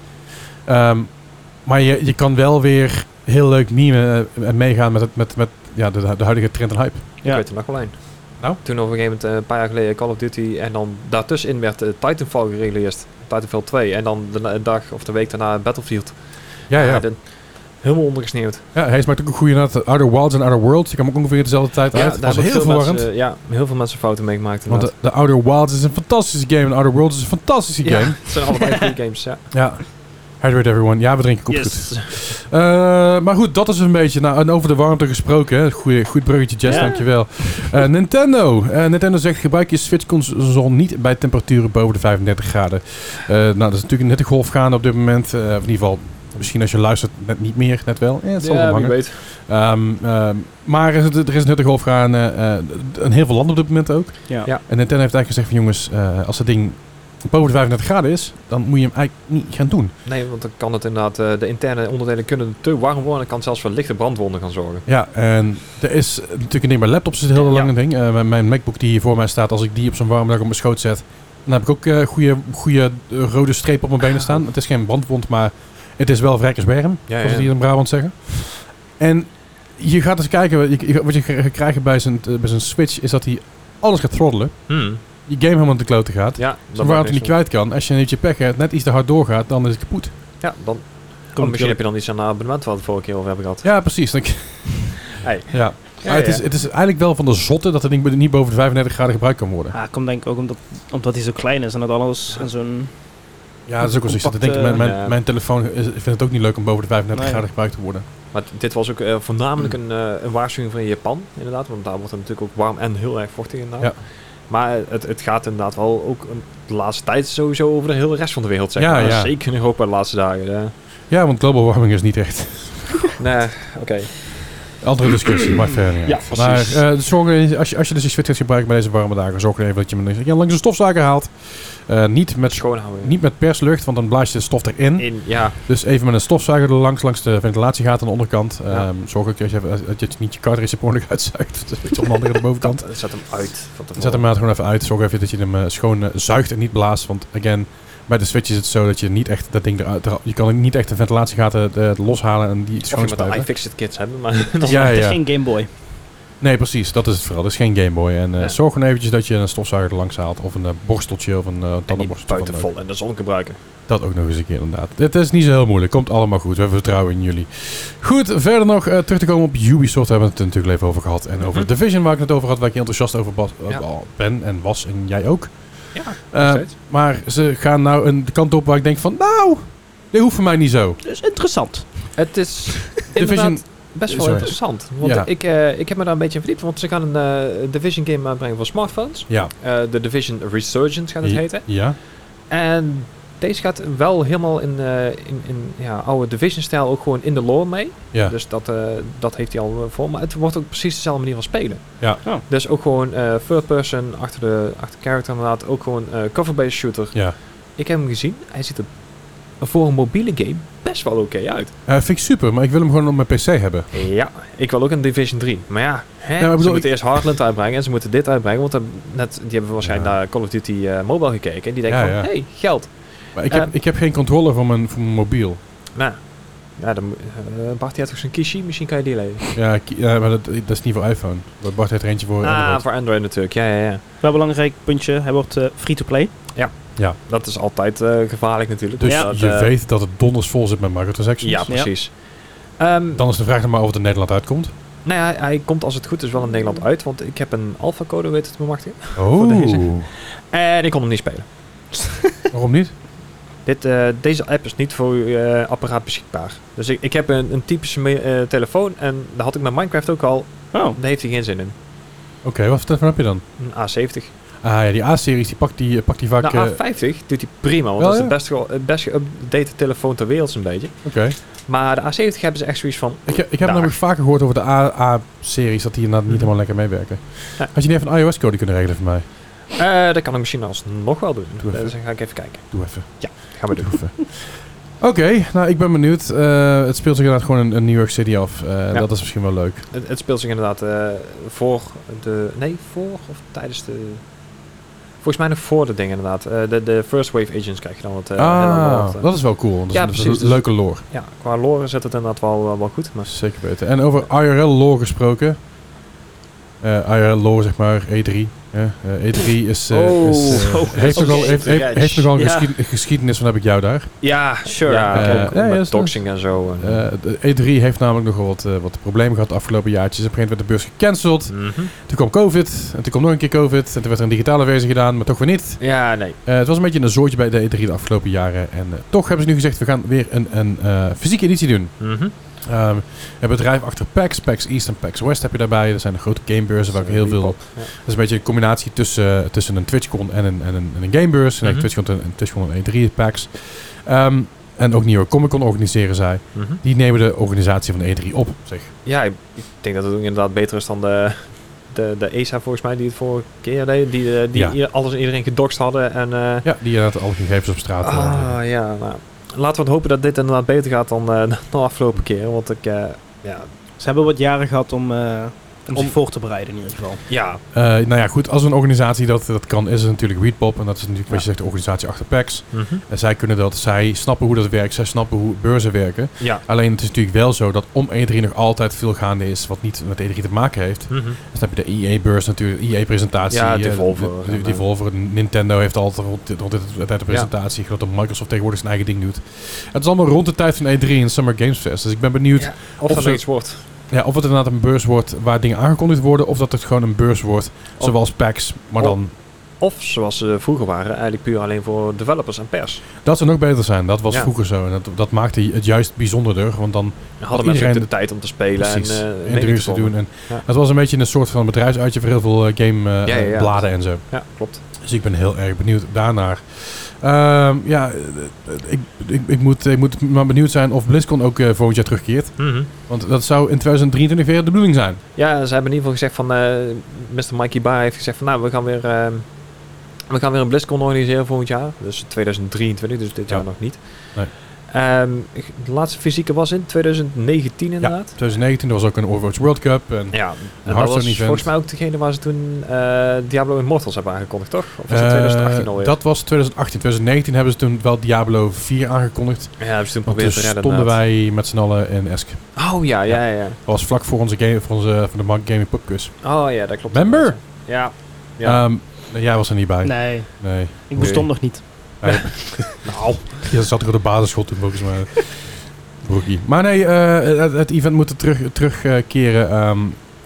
Ehm, maar je, je kan wel weer heel leuk memen eh, en meegaan met, het, met, met ja, de, de huidige trend en hype.
Ik
Ja.
weet er nog wel een.
Nou?
Toen op een gegeven moment, eh, een paar jaar geleden, Call of Duty. En dan daartussenin werd eh, Titanfall gereleased. Titanfall 2. En dan de na- dag of de week daarna Battlefield.
Ja, ja.
dan- Helemaal ondergesneeuwd.
Ja, hij maakt ook een goede naad. Outer Wilds en Outer Worlds. Die kwam ook ongeveer dezelfde tijd uit.
daar
was
hebben
heel
veel
verwarrend.
mensen- eh, ja, heel veel mensen fouten mee gemaakt
want de,
inderdaad.
de Outer Wilds is een fantastische game. En Outer Worlds is een fantastische
ja,
eh, game.
het zijn allebei goede games, ja.
Ja. Hydrate everyone. Ja, we drinken kopgoed. Eh, maar goed, dat is een beetje. Nou, en over de warmte gesproken. Hè. Goeie, goed bruggetje, Jess,
Ja.
dankjewel. Eh, Nintendo. Eh, Nintendo zegt: gebruik je Switch-console niet bij temperaturen boven de 35 graden. Eh, nou, dat is natuurlijk net een golf gaande op dit moment. Eh, of in ieder geval, misschien als je luistert, net niet meer, net wel. Eh, het zal wel
Ja, wie
hangen.
weet.
Ehm, ehm, maar er is, er is een hitte golf gaan eh eh, in heel veel landen op dit moment ook.
Ja.
Ja.
En Nintendo heeft eigenlijk gezegd van jongens, eh, als dat ding boven de 35 graden is, dan moet je hem eigenlijk niet gaan doen.
Nee, want dan kan het inderdaad, eh, de interne onderdelen kunnen te warm worden. en kan zelfs voor lichte brandwonden gaan zorgen.
Ja, en er is natuurlijk een ding bij laptops is het heel
Ja.
lang een ding. Eh, mijn, mijn MacBook die hier voor mij staat, als ik die op zo'n warme dag op mijn schoot zet, dan heb ik ook eh goede, goede eh, rode strepen op mijn benen staan. Het is geen brandwond, maar het is wel vrijkersberm,
Ja,
zoals
ja.
ze hier in Brabant zeggen. En je gaat eens kijken, wat je, wat je gaat krijgen bij zijn, eh, bij zijn Switch, is dat hij alles gaat throttelen. Je game helemaal te kloten gaat. Zo
Ja, Hmm.
waar
dan maakt
het
niks
niet
van.
kwijt kan. Als je een beetje pech hebt, net iets te hard doorgaat, dan is het kapot.
Ja, dan. Oh, misschien heb je dan iets aan een abonnement wat we vorige keer over hebben gehad. Ah,
Ja, precies. Dan-
Hey.
Ja. Maar het, is, het is eigenlijk wel van de zotte dat het ding niet boven de 35 graden gebruikt kan worden.
Ah, komt denk ik ook omdat, omdat hij zo klein is en dat alles en zo'n...
Ja, dat is ook wel zoiets. Ik denk, mijn, mijn, mijn telefoon is, vindt het ook niet leuk om boven de 35
Nee.
graden gebruikt te worden.
Maar t- dit was ook eh, voornamelijk een, eh, een waarschuwing van Japan, inderdaad. Want daar wordt het natuurlijk ook warm en heel erg vochtig inderdaad. Maar het, het gaat inderdaad wel ook een- de laatste tijd sowieso over de hele rest van de wereld, zeg
Ja,
maar.
ja.
Zeker in Europa de laatste dagen. hè.
Ja, want global warming is niet echt.
Nee, oké.
Andere discussie, maar verder. niet
Ja,
uit.
precies.
Maar eh, zorg er- als, je, als je dus die switch gaat gebruiken bij deze warme dagen, zorg er even dat je hem ja, langs de stofzaker haalt. Eh, niet, met,
Schoonhouden.
niet met perslucht, want dan blaas je de stof erin.
in, ja.
Dus even met een stofzuiger er langs, langs de ventilatiegaten aan de onderkant.
Ja.
Ehm, zorg ook dat je, even- dat je het niet je cartridge er uitzuigt. Dat is een beetje onhandig aan de bovenkant.
Dat zet hem uit. van tevoren.
Zet hem maar gewoon even uit. Zorg even dat je hem eh, schoon eh, zuigt en niet blaast. Want again, bij de Switch is het zo dat je niet echt dat ding eruit... eruit- Je kan niet echt de ventilatiegaten eh, loshalen en die
Of
schoon
je moet een
spuiten.
iFixit kits hebben, maar...
Het is,
Ja,
het is
ja.
geen Game Boy.
Nee, precies. Dat is het vooral. Dat is geen Game Boy. En eh,
Ja.
zorg gewoon eventjes dat je een stofzuiger er langs haalt. Of een eh, borsteltje of een eh
en die
tandenborstel.
buiten
of wat dan ook.
vol en de zon gebruiken.
Dat ook nog eens een keer inderdaad. Het is niet zo heel moeilijk. Komt allemaal goed. We vertrouwen in jullie. Goed, verder nog eh, terug te komen op Ubisoft. Daar hebben we het natuurlijk even over gehad. En over
Mhm.
de Division waar ik het over had. Waar ik heel enthousiast over bas- eh,
Ja.
ben en was. En jij ook.
Ja,
Eh, maar ze gaan nou een kant op waar ik denk van... Nou, dit hoeft voor mij niet zo.
Dus interessant.
Het is
Division,
inderdaad best wel
Sorry.
interessant. Want
Ja.
ik, eh, ik heb me daar een beetje in verdiept. Want ze gaan een eh, Division game aanbrengen voor smartphones.
ja.
Eh, De Division Resurgence gaat het
Ja.
heten.
Ja.
En deze gaat wel helemaal in, eh, in, in ja, oude Division-stijl ook gewoon in de lore mee.
Ja.
Dus dat, eh, dat heeft hij al eh, voor. Maar het wordt ook precies dezelfde manier van spelen.
Ja.
Oh.
Dus ook gewoon eh third person, achter de achter character inderdaad. Ook gewoon eh, cover-based shooter.
ja.
Ik heb hem gezien. Hij ziet er voor een mobiele game best wel oké uit.
Eh, vind ik super, maar ik wil hem gewoon op mijn PC hebben.
Ja, ik wil ook een Division 3. Maar ja, hè?
maar bedoel,
ze moeten eerst Heartland uitbrengen en ze moeten dit uitbrengen. Want dan- net, die hebben waarschijnlijk
Ja.
naar Call of Duty eh, Mobile gekeken. En die denken
Ja,
van,
ja.
hey, geld.
Maar ik heb,
Eh.
ik heb geen controller voor mijn, voor mijn mobiel.
Nou, ja, dan, moet- eh, Bart die had toch zijn Kishi? Misschien kan je die leveren.
Ja, ki- ja, maar dat, dat is niet voor iPhone. Bart heeft er eentje voor
Ah,
Android.
voor Android natuurlijk. Ja, ja, ja.
Wel belangrijk puntje, hij wordt eh, free-to-play.
Dat is altijd eh, gevaarlijk natuurlijk.
Dus
Ja.
dat,
je
eh,
weet dat het donders vol zit met microtransactions.
Ja, precies. Ehm,
Dan is de vraag nog maar of het in Nederland uitkomt.
nou ja, hij komt als het goed is wel in Nederland uit. Want ik heb een alpha-code weten te bemachtigen. deze. En ik kon hem niet spelen.
Oh. Waarom niet?
Dit, eh, deze app is niet voor uw eh, apparaat beschikbaar. Dus ik, ik heb een, een typische me- eh, telefoon en daar had ik met Minecraft ook al.
Oh.
Daar heeft hij geen zin in.
Oké, wat voor telefoon heb je dan?
Een A70.
Ah ja, die A-series die pakt die, eh, pakt die vaak...
Nou,
eh,
A50 doet hij prima, want
Wel,
dat is
ja.
de best, ge- eh, best geüpdate telefoon ter wereld een beetje.
Oké.
Maar de A70 hebben ze echt zoiets van...
Ik, ik heb
Daar. Mhm.
namelijk vaker gehoord over de A-series dat die inderdaad niet helemaal lekker meewerken.
Ja.
Had je niet even een iOS-code kunnen regelen voor mij?
eh dat kan ik misschien alsnog wel doen.
Doe even.
dus dan ga ik even kijken.
Doe even.
Gaan we doen.
Doe even. Oké, nou ik ben benieuwd. Eh, het speelt zich inderdaad gewoon in, in New York City af. Eh, Dat is misschien wel leuk.
Het, het speelt zich inderdaad eh, voor de... Nee, voor of tijdens de... Volgens mij nog voor de ding inderdaad. Eh, de, de First Wave Agents krijg je dan wat... eh, heel
ah,
wat, eh,
dat is wel cool. Dat is
Ja,
een- dat is
precies,
een
dus-
leuke lore.
Ja, qua eh, lore zit het inderdaad wel, wel, wel goed. Maar
Zeker weten. En over IRL lore gesproken. eh IRL-lore, zeg maar, E3. hè. Eh, E3 is, eh,
Oh.
is, eh,
Zo.
heeft, nogal,
Oké.
heeft, heeft, heeft nogal een
Ja.
geschied- geschiedenis, van heb ik jou daar.
Ja, sure.
Ja,
Eh,
ook
ja, ja,
met
is-
doxing en zo. En,
Eh, de E3 heeft namelijk nogal wat, eh, wat problemen gehad de afgelopen jaartjes. Op een gegeven moment werd de beurs gecanceld.
Mhm.
Toen kwam COVID. En toen kwam nog een keer COVID. En toen werd er een digitale versie gedaan, maar toch weer niet.
Ja, nee.
Eh, het was een beetje een zoortje bij de E3 de afgelopen jaren. En eh, toch hebben ze nu gezegd, we gaan weer een, een eh, fysieke editie doen.
Mhm.
Ehm, een bedrijf achter PAX, PAX East en PAX West heb je daarbij. Er zijn de grote gamebeurzen waar ook heel veel...
Ja.
Dat is een beetje een combinatie tussen, eh, tussen een TwitchCon en een, en een, en een gamebeurs. Nee,
Mhm.
TwitchCon en, en TwitchCon en E3 PAX. Ehm, en ook New York Comic Con organiseren zij.
Mhm.
Die nemen de organisatie van de E3 op, zeg.
Ja, ik, ik denk dat het ook inderdaad beter is dan de, de, de ESA volgens mij die het vorige keer deed. Die, eh, die
Ja.
ieder- alles en iedereen gedoxt hadden. En, eh,
Ja, die inderdaad alle gegevens op straat. eh,
ah, ja, nou, laten we het hopen dat dit inderdaad beter gaat dan, eh, dan de afgelopen keer. Want ik, eh, ja,
Ze hebben wat jaren gehad om, eh, om,
Om-
zich voor te bereiden in ieder geval.
ja,
Eh, nou ja, goed, als een organisatie dat, dat kan, is het natuurlijk Weedpop. En dat is natuurlijk, wat
Ja.
je zegt, de organisatie achter PAX.
Mhm.
En zij kunnen dat, zij snappen hoe dat werkt, zij snappen hoe beurzen werken.
ja.
Alleen het is natuurlijk wel zo dat om E3 nog altijd veel gaande is wat niet met E3 te maken heeft.
Mhm.
Dus dan heb je de EA-beurs natuurlijk, EA-presentatie.
Ja,
eh,
Devolver.
de- de- Devolver, Nintendo heeft altijd rond dit- rond dit- altijd de
Ja.
presentatie. Ik geloof dat Microsoft tegenwoordig zijn eigen ding doet. Het is allemaal rond de tijd van E3 en Summer Games Fest. Dus ik ben benieuwd
Ja,
Of
Of dat
ze-
er iets wordt.
ja, of het inderdaad een beurs wordt waar dingen aangekondigd worden. Of dat het gewoon een beurs wordt,
Of-
zoals PAX, maar
Of-
dan...
Of zoals ze vroeger waren, eigenlijk puur alleen voor developers en pers.
Dat zou nog beter zijn. Dat was
Ja.
vroeger zo. En dat, dat maakte het juist bijzonderder. Want dan
Hadden mensen ook
iedereen-
de tijd om te spelen
Precies.
en eh,
En
mening
interviews te
vormen.
doen. En
Ja.
Het was een beetje een soort van bedrijfsuitje voor heel veel eh, gamebladen
Ja, ja, ja.
en zo.
Ja, klopt.
Dus ik ben heel erg benieuwd daarnaar. Ehm, ja, eh, ik, ik, ik, moet, ik moet maar benieuwd zijn of BlizzCon ook eh volgend jaar terugkeert.
Mhm.
Want dat zou in 2023 weer de bedoeling zijn.
Ja, ze hebben in ieder geval gezegd van... eh Mr. Mikey Bar heeft gezegd van... Nou, we gaan weer, eh, we gaan weer een BlizzCon organiseren volgend jaar. Dus 2023, dus dit
Ja.
jaar nog niet.
Nee.
Ehm, de laatste fysieke was in 2019 inderdaad.
2019 er was ook een Overwatch World Cup. En,
Ja, en dat
Hearthstone
was
event.
volgens mij ook degene waar ze toen eh, Diablo Immortals hebben aangekondigd, toch? Of was dat
eh,
2018 alweer?
dat was 2018. 2019 hebben ze toen wel Diablo 4 aangekondigd.
ja, hebben ze toen
Want
proberen
toen
te redden.
stonden
inderdaad.
wij met z'n allen in Esk.
Oh ja, ja, ja. ja.
Dat was vlak voor onze game, voor onze, voor de Mark Gaming Pubquiz.
Oh ja, dat klopt.
Member?
Ja. ja.
Ja. Ehm, jij was er niet bij.
Nee,
nee.
ik bestond nog niet.
nou,
Je zat er op de basisschool toen volgens mij. Broekie. Maar nee, eh, het, het event moet er terug, terugkeren. ehm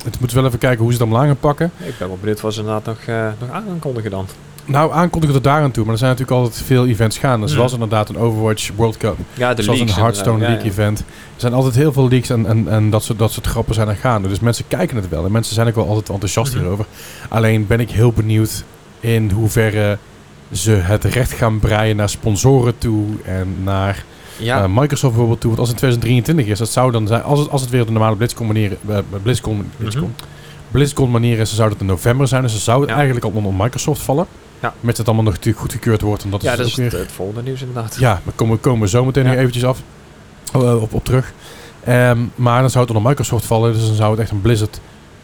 het moet wel even kijken hoe ze het allemaal aan gaan pakken.
ik ben wel benieuwd wat ze inderdaad nog, eh nog aan gaan kondigen dan.
Nou, aankondigen tot daar aan toe. Maar er zijn natuurlijk altijd veel events gaande.
Ja.
Zoals inderdaad een Overwatch World Cup.
Ja, de
zoals een Hearthstone League event. Er zijn altijd heel veel leaks en, en, en dat, soort, dat soort grappen zijn er gaande. Dus mensen kijken het wel. En mensen zijn ook wel altijd enthousiast
Mhm.
hierover. Alleen ben ik heel benieuwd in hoeverre ze het recht gaan breien naar sponsoren toe. En naar
Ja,
Eh, Microsoft bijvoorbeeld toe. Want als het 2023 is, dat zou dan zijn. Als het, als het weer de normale BlizzCon manier, eh,
Mhm.
BlizzCon, BlizzCon, BlizzCon manier is, dan zou dat in november zijn. Dus dan zou het
Ja.
eigenlijk allemaal onder Microsoft vallen.
Ja.
Met het allemaal nog natuurlijk goedgekeurd wordt. En dat
ja dus
is
dat
ook
is het,
weer.
het volgende nieuws inderdaad.
Ja, daar komen, komen we zo meteen
Ja.
nog eventjes af. eh, op, op terug. Ehm, maar dan zou het onder Microsoft vallen. Dus dan zou het echt een Blizzard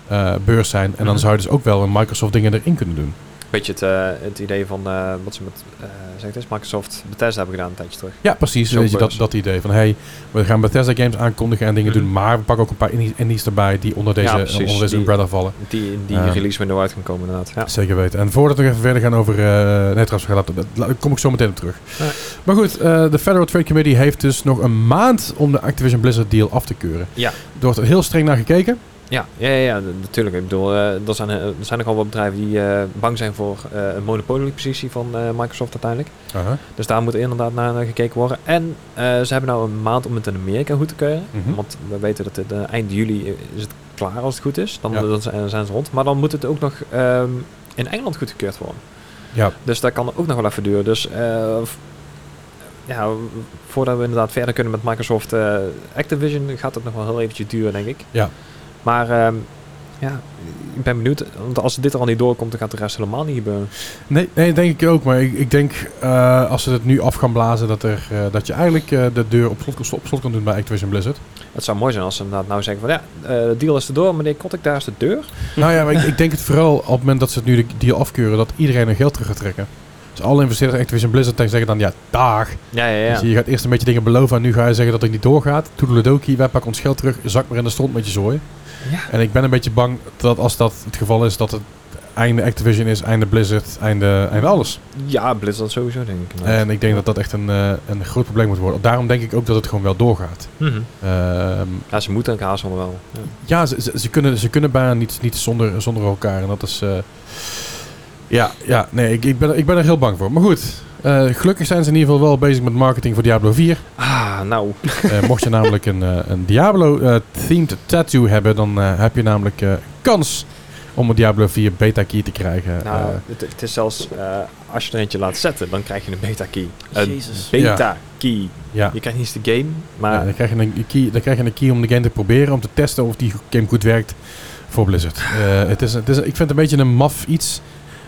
eh, beurs zijn. En dan
Mhm.
zou je dus ook wel een Microsoft dingen erin kunnen doen.
Beetje het, eh, het idee van eh, wat ze met eh, zeg het eens, Microsoft Bethesda hebben gedaan een tijdje terug.
Ja, precies.
Zo'n
Weet je, dat,
beurs.
dat idee van hey, we gaan Bethesda games aankondigen en dingen
Mhm.
doen. Maar we pakken ook een paar indies- indies erbij die onder deze,
Ja, precies.
onder deze
Die-
umbrella vallen.
Die, die
Ja.
release window uit gaan komen inderdaad. Ja.
Zeker weten. En voordat we nog even verder gaan over... eh nee, trouwens, we gaan later- dat- daar kom ik zo meteen op terug.
Ja.
Maar goed, eh, de Federal Trade Committee heeft dus nog een maand om de Activision Blizzard deal af te keuren.
Ja.
Er wordt er heel streng naar gekeken.
Ja, ja, ja, ja, d- natuurlijk. Ik bedoel, eh, er, zijn, eh, er zijn nogal wat bedrijven die eh, bang zijn voor eh, een monopoliepositie van eh, Microsoft uiteindelijk. Dus daar moet inderdaad naar eh, gekeken worden. En eh, ze hebben nou een maand om het in Amerika goed te keuren.
Mhm.
Want we weten dat het eh, eind juli eh, is het klaar als het goed is. Dan,
Ja.
dan zijn dan zijn ze rond. Maar dan moet het ook nog ehm, in Engeland goedgekeurd worden.
Ja.
Dus dat kan ook nog wel even duren. Dus eh, v- ja, voordat we inderdaad verder kunnen met Microsoft eh, Activision, gaat het nog wel heel eventjes duren, denk ik.
Ja.
Maar ehm, ja, ik ben benieuwd. Want als dit er al niet doorkomt, dan gaat de rest helemaal niet gebeuren.
Nee, nee, denk ik ook. Maar ik, ik denk eh, als ze het nu af gaan blazen... dat, er, eh, dat je eigenlijk eh, de deur op slot, op slot kan doen bij Activision Blizzard.
Het zou mooi zijn als ze inderdaad nou zeggen van ja, eh, de deal is erdoor, meneer Kotick, daar is de deur.
nou ja, maar ik, ik denk het vooral op het moment dat ze het nu de deal afkeuren... dat iedereen hun geld terug gaat trekken. Dus alle investeerders, Activision Blizzard, tegen zeggen dan ja, dag.
Ja, ja,
Dus je gaat eerst een beetje dingen beloven en nu ga je zeggen dat het niet doorgaat. Toedeledokie, wij pakken ons geld terug, zak maar in de stront met je zooi.
Ja.
En ik ben een beetje bang dat als dat het geval is, dat het einde Activision is, einde Blizzard, einde, einde alles.
Ja, Blizzard sowieso, denk ik. Nou,
En ik denk dat dat echt een, eh, een groot probleem moet worden. Daarom denk ik ook dat het gewoon wel doorgaat.
Mhm.
Ehm,
Ja, ze moeten elkaar soms wel. Ja.
ja, ze, ze, ze kunnen, ze kunnen bijna niet, niet zonder, zonder elkaar. En dat is... eh, ja, ja, nee, ik, ik, ben, er- ik ben er heel bang voor. Maar goed, eh, gelukkig zijn ze in ieder geval wel bezig met marketing voor Diablo 4.
Ah, nou.
Eh, mocht je namelijk een, eh, een Diablo-themed tattoo hebben, dan eh, heb je namelijk eh, kans om een Diablo 4 beta key te krijgen.
nou
Eh,
het, het is zelfs, eh, als je er eentje laat zetten, dan krijg je een beta key. Een
Jezus.
beta key.
ja.
Je krijgt niet eens de game,
Ja,
maar
dan, krijg je een key, dan krijg je een key om de game te proberen, om te testen of die game goed werkt voor Blizzard. Eh, het is, het is, ik vind het een beetje een maf iets,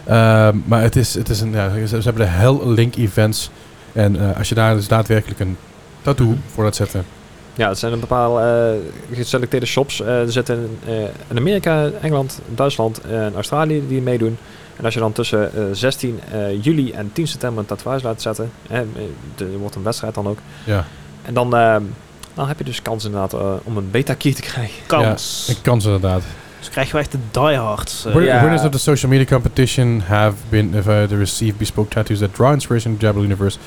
Eh, maar het is, het is een, ja, ze, ze hebben de Hell Link events. En eh, als je daar dus daadwerkelijk een tattoo voor laat zetten,
Ja, het zijn een bepaalde eh, geselecteerde shops. eh er zitten in, eh, in Amerika, Engeland, Duitsland eh, en Australië die meedoen. En als je dan tussen eh, 16 eh, juli en 10 september een tatoeage laat zetten, hè, eh, er wordt een wedstrijd dan ook.
ja,
En dan, eh, dan heb je dus kans inderdaad eh, om een beta key te krijgen.
Kans.
een kans inderdaad.
Dus krijgen we echt de diehards. eh.
Win-
Ja.
Winners of the social media competition have been uh, invited to receive bespoke tattoos that draw inspiration from Diablo universe.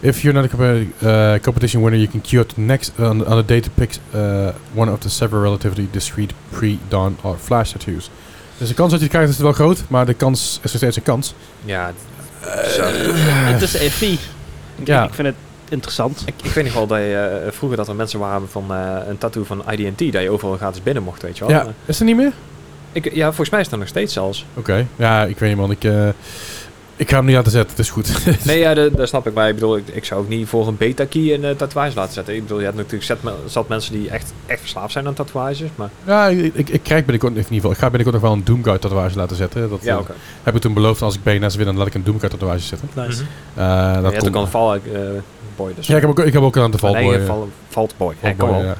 If you're not a comp- uh, competition winner, you can queue up to next on, on a day to pick uh, one of the several relatively discreet pre-dawn or flash tattoos. Dus de kans dat je het krijgt is wel groot, maar de kans is nog steeds een kans.
Ja,
het is EFI. Ik,
Ja.
ik vind het interessant.
ik, ik weet nog wel dat je, eh, vroeger dat er mensen waren van eh, een tattoo van ID&T, dat je overal gratis binnen mocht, weet je wel. Eh,
ja, is er niet meer?
Ik, ja, volgens mij is dat nog steeds zelfs.
Oké. Ja, ik weet niet man. Ik, eh, ik ga hem niet laten zetten. Het is goed.
Nee, ja, dat, dat snap ik. Maar ik bedoel, ik, ik zou ook niet voor een beta-key een eh, tatoeage laten zetten. Ik bedoel, je hebt natuurlijk zat, me- zat mensen die echt, echt verslaafd zijn aan tatoeages. Maar
ja, ik, ik, ik krijg binnenkort in ieder geval. Ik ga binnenkort nog wel een Doomguard tatoeage laten zetten. Dat,
ja,
eh,
oké.
Heb ik toen beloofd als ik BNS win, dan laat ik een Doomguard tatoeage zetten.
Nice.
Mhm.
Eh,
Je
dat
hebt ook al
komt.
een val, eh, boy. Dus
Ja, ik heb ook, ik heb ook een aan de valboy.
Nee,
eh,
val, valt
valboy,
boy. Hey, kom op.
ja.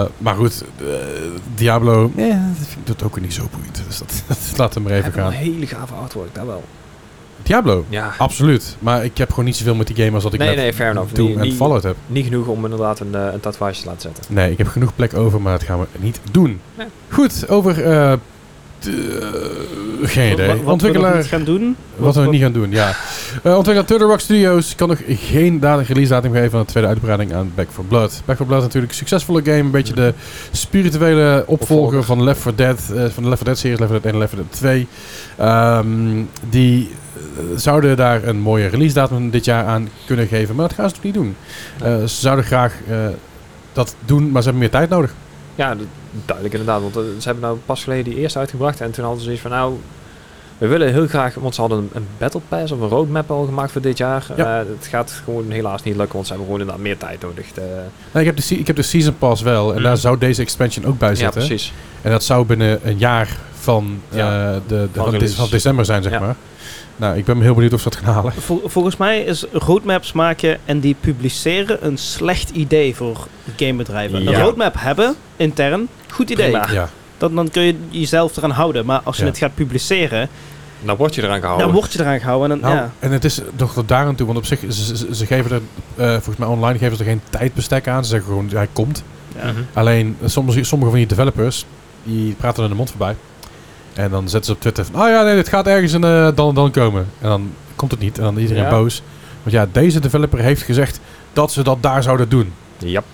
Eh, maar goed, eh, Diablo, eh, dat vind ik dat ook weer niet zo boeiend. Dus dat, dat laat hem maar even
Heb wel een
gaan.
hele gave artwork, dat wel.
Diablo,
Ja,
absoluut. Maar ik heb gewoon niet zoveel met die game als dat ik
Nee,
met
nee, fair enough.
Doom
Die-
en
die-
Fallout heb.
niet genoeg om inderdaad een, eh, een tatoeage te laten zetten.
Nee, ik heb genoeg plek over, maar dat gaan we niet doen.
Nee.
Goed, over... eh, t- eh, geen
Wat-
idee.
Wat, wat we nog
Ontwikkelaar...
niet gaan doen.
Wat we niet gaan doen, ja. Eh ontwikkelaar Turtle Rock Studios kan nog geen datum, release datum geven aan de tweede uitbreiding aan Back 4 Blood. Back 4 Blood is natuurlijk een succesvolle game, een beetje de spirituele opvolger
Opvolger.
van Left 4 Dead, eh, van de Left 4 Dead series, Left 4 Dead 1 en Left 4 Dead 2. Ehm, die eh, zouden daar een mooie release datum dit jaar aan kunnen geven, maar dat gaan ze toch niet doen. Eh, ze zouden graag eh, dat doen, maar ze hebben meer tijd nodig.
Ja, dat- duidelijk inderdaad. Want eh, ze hebben nou pas geleden die eerste uitgebracht. En toen hadden ze iets van, nou, we willen heel graag... Want ze hadden een, een battle pass of een roadmap al gemaakt voor dit jaar.
Ja.
Eh, het gaat gewoon helaas niet lukken, want ze hebben gewoon inderdaad meer tijd nodig. eh.
Nou, ik, heb de, se- ik heb de Season Pass wel, en
Mhm.
daar zou deze expansion ook bij
ja,
zitten.
precies.
En dat zou binnen een jaar van,
Ja,
eh, de, de- van,
release.
de- van december zijn, zeg
Ja.
maar. Nou, ik ben heel benieuwd of ze dat gaan halen.
Vol- volgens mij is roadmaps maken en die publiceren een slecht idee voor gamebedrijven. Een
Ja.
roadmap hebben, intern, goed idee.
Prima.
Ja.
Dan, dan kun je jezelf eraan houden. Maar als je
Ja.
het gaat publiceren,
Dan Nou, word je eraan gehouden.
dan word je eraan gehouden. En dan,
Nou,
ja.
En het is toch tot daar aan toe, want op zich, ze, ze- ze geven er, eh, volgens mij online geven ze er geen tijdbestek aan. Ze zeggen gewoon, hij komt.
Ja.
Mhm.
Alleen, eh, sommige, sommige van die developers, die praten er de mond voorbij. En dan zetten ze op Twitter van, oh ja, nee, dit gaat ergens en eh, dan en dan komen. En dan komt het niet en dan iedereen
Ja.
boos. Want ja, deze developer heeft gezegd dat ze dat daar zouden doen.
Jap.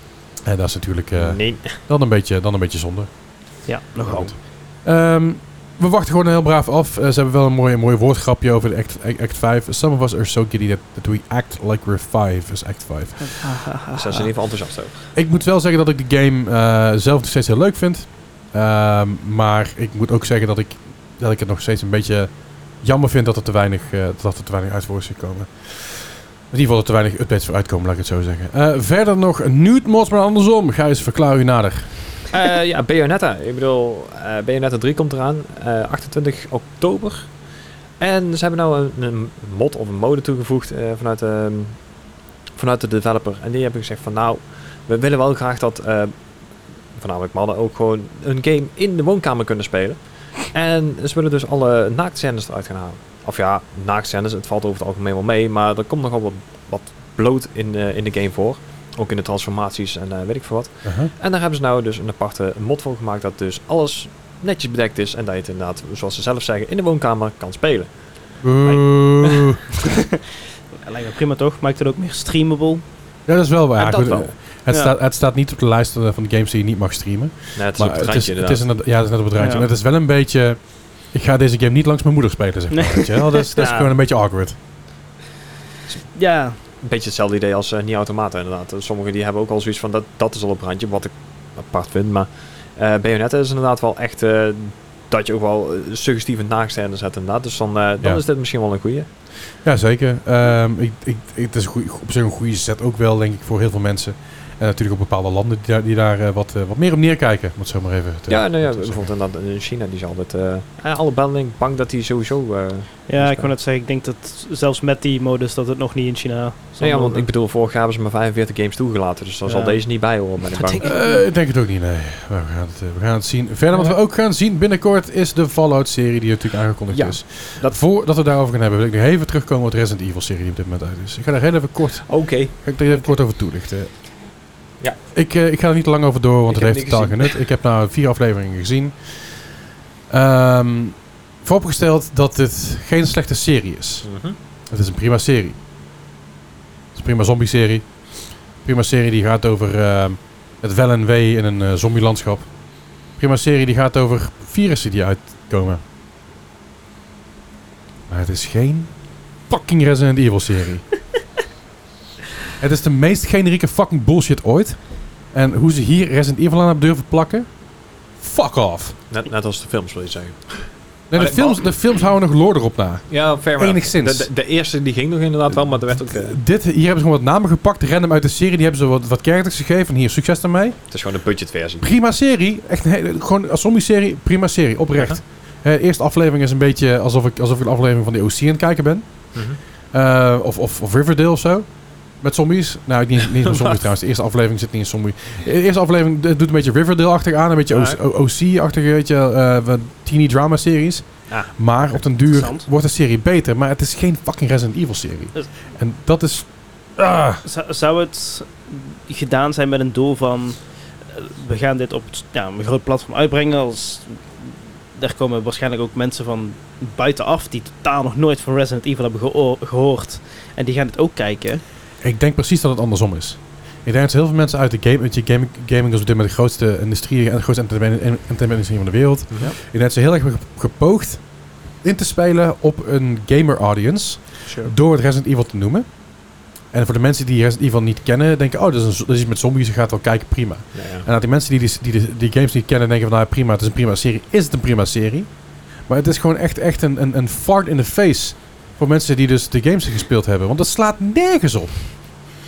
En dat is natuurlijk eh,
Nee.
dan, een beetje, dan een beetje zonde.
ja,
Maar
nogal.
goed. Ehm, we wachten gewoon heel braaf af. Eh, ze hebben wel een mooi, een mooi woordgrapje over de act, act, act 5. Some of us are so giddy that, that we act like we're 5 is Act 5.
Ze zijn in ieder geval enthousiast over.
Ik moet wel zeggen dat ik de game eh, zelf nog steeds heel leuk vind. Ehm, maar ik moet ook zeggen dat ik, dat ik het nog steeds een beetje jammer vind dat er te weinig, eh, dat er te weinig uit voor is gekomen. In ieder geval er te weinig updates voor uitkomen, laat ik het zo zeggen. Eh, verder nog nude mods, maar andersom. Ga eens verklaar u nader.
Eh, ja, Bayonetta. Ik bedoel, eh Bayonetta 3 komt eraan. eh, 28 oktober. En ze hebben nou een, een mod of een mode toegevoegd eh, vanuit, de, vanuit de developer. En die hebben gezegd van nou, we willen wel graag dat eh, voornamelijk mannen ook gewoon een game in de woonkamer kunnen spelen. En ze willen dus alle naaktscènes eruit gaan halen. Of ja, naakscènes, het valt over het algemeen wel mee. Maar er komt nogal wat, wat bloot in, eh, in de game voor. Ook in de transformaties en eh, weet ik veel wat.
Aha.
En daar hebben ze nou dus een aparte mod voor gemaakt dat dus alles netjes bedekt is. En dat je het inderdaad, zoals ze zelf zeggen, in de woonkamer kan spelen.
Oeh.
Ah, Lijkt me prima toch? Maakt het ook meer streamable?
Ja, dat is wel waar.
En dat
Goed, eh,
wel.
Het,
Ja.
staat, het staat niet op de lijst eh, van de games die je niet mag streamen.
Nee, het is
Maar
op het
het is,
randje
het is
inderdaad.
inderdaad- ja, het is net op het rijtje.
Ja.
En het is wel een beetje... Ik ga deze game niet langs mijn moeder spelen, zeg maar.
Nee.
weet je wel. Dat is, dat is
Ja.
gewoon een beetje awkward.
Ja,
Een beetje hetzelfde idee als eh, niet automaten inderdaad. Eh, Sommigen die hebben ook al zoiets van dat, dat is al op het randje, wat ik apart vind. Maar eh Bayonetta is inderdaad wel echt eh, dat je ook wel eh, suggestieve naakstijden zet inderdaad. Dus dan, eh, dan
Ja.
is dit misschien wel een goeie.
Ja, zeker. Ehm, ik, ik, ik- het is een goeie, op zich een goede set ook wel, denk ik, voor heel veel mensen. En natuurlijk op bepaalde landen die daar, die daar eh, wat, eh, wat meer op neerkijken. Om het zo maar even te
Ja, nou ja,
te zeggen.
bijvoorbeeld inderdaad in China die zal dit... eh ja, alle banden bang dat die sowieso... eh,
ja ik wou net zeggen, ik denk dat zelfs met die modus dat het nog niet in China zal
nee, ja, want
mogen.
ik bedoel, vorig jaar hebben ze maar 45 games toegelaten. Dus daar zal
Ja.
deze niet bij horen, ben ik bang.
Eh, ik denk het ook niet, nee. Maar we, gaan het, eh, we gaan het zien. Verder wat we ook gaan zien binnenkort is de Fallout-serie die natuurlijk aangekondigd
Ja,
is.
dat-
Voordat we daarover gaan hebben, wil ik nog even terugkomen op de Resident Evil-serie die op dit moment uit is. Ik ga daar heel even kort,
Oké.
ga ik daar even kort over toelichten.
Ja.
Ik, eh, ik ga er niet te lang over door, want
Ik
het
heb
heeft
niks
totaal geen
gezien.
nut. Ik heb nou vier afleveringen gezien. Ehm, vooropgesteld dat dit geen slechte serie is.
Mhm.
Het is een prima serie. Het is een prima zombie-serie. Prima serie die gaat over eh, het wel en wee in een eh, zombielandschap. Prima serie die gaat over virussen die uitkomen. Maar het is geen fucking Resident Evil-serie. het is de meest generieke fucking bullshit ooit. En hoe ze hier Resident Evil aan hebben durven plakken... Fuck off.
Net, net als de films wil je zeggen.
Nee, de,
Maar-
films, de films houden nog lore erop na.
Ja, fair
enough. Enigszins.
De, de, de eerste die ging nog inderdaad wel, maar er werd ook... eh,
Dit, hier hebben ze gewoon wat namen gepakt, random uit de serie. Die hebben ze wat, wat characters gegeven. Hier, succes daarmee.
het is gewoon een budgetversie.
Prima serie. Echt een hele, gewoon als zombie-serie, prima serie. Oprecht. Eh, de eerste aflevering is een beetje alsof ik, alsof ik een aflevering van de OC aan het kijken ben.
Mhm.
Eh, of, of, of Riverdale of zo. Met zombies. Nou, niet, niet met zombies trouwens. De eerste aflevering zit niet in zombie. De eerste aflevering eh, doet een beetje Riverdale-achtig aan. Een beetje
Ja.
OC-achtige, weet je, eh, wat teeny drama-series.
Ja.
Maar op den duur
Interessant.
wordt de serie beter. Maar het is geen fucking Resident Evil-serie.
Dus-
En dat is... Ah.
Zou, zou het gedaan zijn met een doel van... eh, We gaan dit op het- ja, een groot platform uitbrengen. Als, daar komen waarschijnlijk ook mensen van buitenaf... die totaal nog nooit van Resident Evil hebben geoor- gehoord. En die gaan dit ook kijken.
Ik denk precies dat het andersom is. Ik denk dat heel veel mensen uit de game, want je gaming, gaming is op dit moment de grootste industrie en de grootste entertainment- en- entertainment-industrie van de wereld.
Ja.
Ik denk dat ze heel erg hebben ge- gepoogd in te spelen op een gamer audience door het Resident Evil te noemen. En voor de mensen die Resident Evil niet kennen, denken, oh, dat is, een, zo- dat is iets met zombies, je gaat wel kijken, prima.
Ja, ja.
En dat die mensen die die, die, die- die games niet kennen, denken van, nou, prima, het is een prima serie. Is het een prima serie? Maar het is gewoon echt, echt een, een, een fart in the face voor mensen die dus de games gespeeld hebben. Want dat slaat nergens op.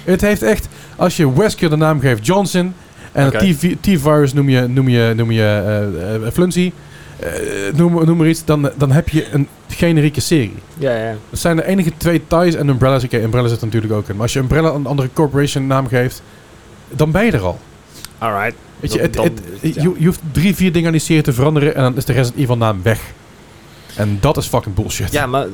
Het heeft echt, als je Wesker de naam geeft Johnson, en
Oké.
het T- T-virus noem je, noem je, noem je eh, eh, Flunsy, eh, noem, noem maar iets, dan, dan heb je een generieke serie.
Ja, ja.
Dat zijn de enige twee ties en Umbrella's. Oké, Umbrella zit er natuurlijk ook in. Maar als je Umbrella een andere corporation naam geeft, dan ben je er al.
Alright.
Weet je,
Dan-
het,
dan
het-
is het, ja.
je, je hoeft drie, vier dingen aan die serie te veranderen en dan is de Resident Evil naam weg. En dat is fucking bullshit.
Ja, maar eh,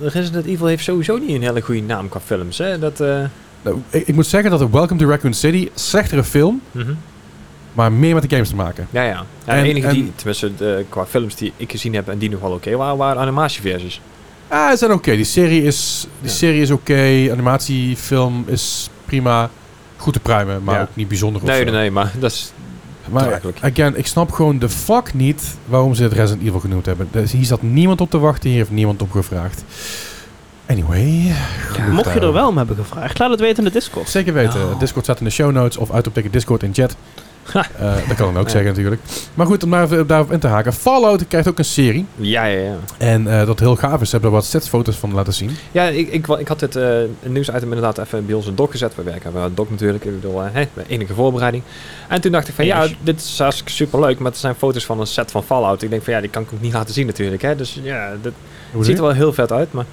Resident Evil heeft sowieso niet een hele goede naam qua films, hè? Dat, eh,
Nou, ik, ik moet zeggen dat Welcome to Raccoon City, slechtere film,
Mhm.
maar meer met de games te maken.
Ja, ja. ja
En-
de enige
en-
die, tenminste de, qua films die ik gezien heb en die nog wel oké waren, waren animatieversies.
Ah, ze zijn oké. Die serie is, die
Ja.
serie is oké. Animatiefilm is prima. Goed te pruimen, maar
Ja.
ook niet bijzonder of
Nee,
zo.
nee, nee, maar dat is...
Maar
Draaglijk.
again, ik snap gewoon de fuck niet waarom ze het Resident Evil genoemd hebben. Dus hier zat niemand op te wachten, hier heeft niemand op gevraagd. Anyway, genoeg
Mocht je er
daarover.
wel om hebben gevraagd, laat het weten in de Discord.
Zeker weten.
Nou.
Discord staat in de show notes of uit op tikken Discord in chat.
Ha.
Eh, dat kan ik ook
Ja.
zeggen natuurlijk. Maar goed, om daar even- daarop in te haken. Fallout krijgt ook een serie.
Ja, ja, ja.
En eh, dat heel gaaf is. Ze hebben er wat setsfoto's van laten zien.
Ja, ik, ik, wa- ik had dit eh nieuwsitem inderdaad even bij ons in doc gezet. We werken bij een doc natuurlijk. Ik bedoel, eh, hè, bij enige voorbereiding. En toen dacht ik van, ja,
Enig.
dit is hartstikke superleuk. Maar het zijn foto's van een set van Fallout. Ik denk van, ja, die kan ik ook niet laten zien natuurlijk, hè. Dus ja, dit
Hoe
ziet er wel heel vet uit, maar...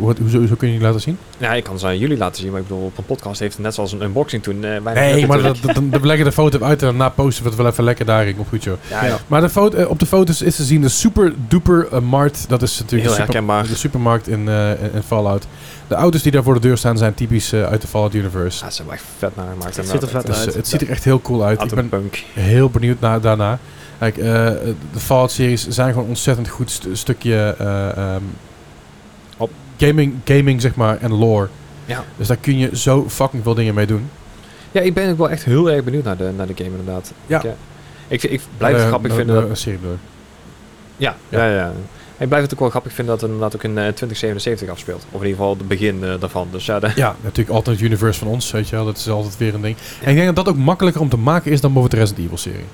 Wat, hoezo, hoezo kun je die laten zien?
Nou, ik kan ze aan jullie laten zien, maar ik bedoel, op een podcast heeft het net zoals een unboxing toen. eh, bijna
Nee,
net
maar
natuurlijk-
dat, dat, dan- we leggen de foto even uit en daarna posten we het wel even lekker daarin. Komt goed, joh.
ja, ja,
Maar de foto, eh, op de foto's is te zien de Super Duper eh, Mart. Dat is natuurlijk
heel
de, super-
herkenbaar.
de supermarkt in, eh, in Fallout. De auto's die daar voor de deur staan zijn typisch eh, uit de Fallout Universe.
Ja, ze hebben echt vet nagemaakt.
Het ziet er
inderdaad.
vet
Dus eh,
uit.
het ziet er echt heel cool uit. Ik ben
Autopunk.
heel benieuwd naar, daarna. Kijk, eh, de Fallout-series zijn gewoon ontzettend goed st- stukje eh, ehm,
Op.
gaming, gaming, zeg maar, en lore.
Ja.
Dus daar kun je zo fucking veel dingen mee doen.
Ja, ik ben ook wel echt heel erg benieuwd naar de, naar de game inderdaad.
Ja.
Ik, eh, ik, ik blijf het
Eh,
grappig
de-
vinden dat...
de serie bedoel ik.
Ja,
Ja.
ja. ja, Ik blijf het ook wel grappig vinden dat het inderdaad ook in eh, 2077 afspeelt. Of in ieder geval het begin eh, daarvan. Dus ja, de-
Ja, natuurlijk alternate universe van ons, weet je wel. Dat is altijd weer een ding. En ik denk dat dat ook makkelijker om te maken is dan bijvoorbeeld de Resident Evil serie.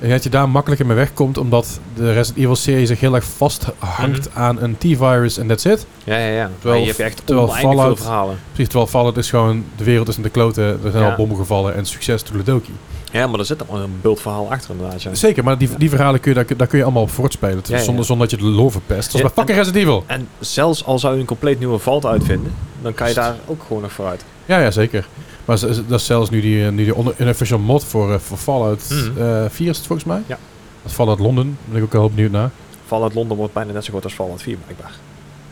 En dat je daar makkelijker mee wegkomt, omdat de Resident Evil serie zich heel erg vasthangt
Mhm.
aan een T-virus en that's it.
ja, ja. ja.
Terwijl-
Maar je hebt echt
terwijl
oneindig veel
Fallout-
verhalen.
Precies, terwijl Fallout is gewoon, de wereld is in de kloten, er zijn
Ja.
al bommen gevallen en succes, toedeledokie.
Ja, maar er zit allemaal een beeldverhaal achter inderdaad. Ja.
Zeker, maar die, die verhalen kun je, daar, kun- daar kun je allemaal op voortspelen,
Ja, ja.
zonder, zonder dat je de lore verpest. Zoals
Ja,
bij fucking Resident Evil.
En zelfs al zou je een compleet nieuwe valt uitvinden, dan kan je daar ook gewoon nog vooruit.
Ja, ja, zeker. Maar ze- ze- dat is zelfs nu die, eh, nu die on- unofficial mod voor, eh, voor Fallout
Mhm.
eh, 4 is het volgens mij.
Ja.
Dat is Fallout Londen, daar ben ik ook heel benieuwd naar.
Fallout Londen wordt bijna net zo groot als Fallout 4 blijkbaar.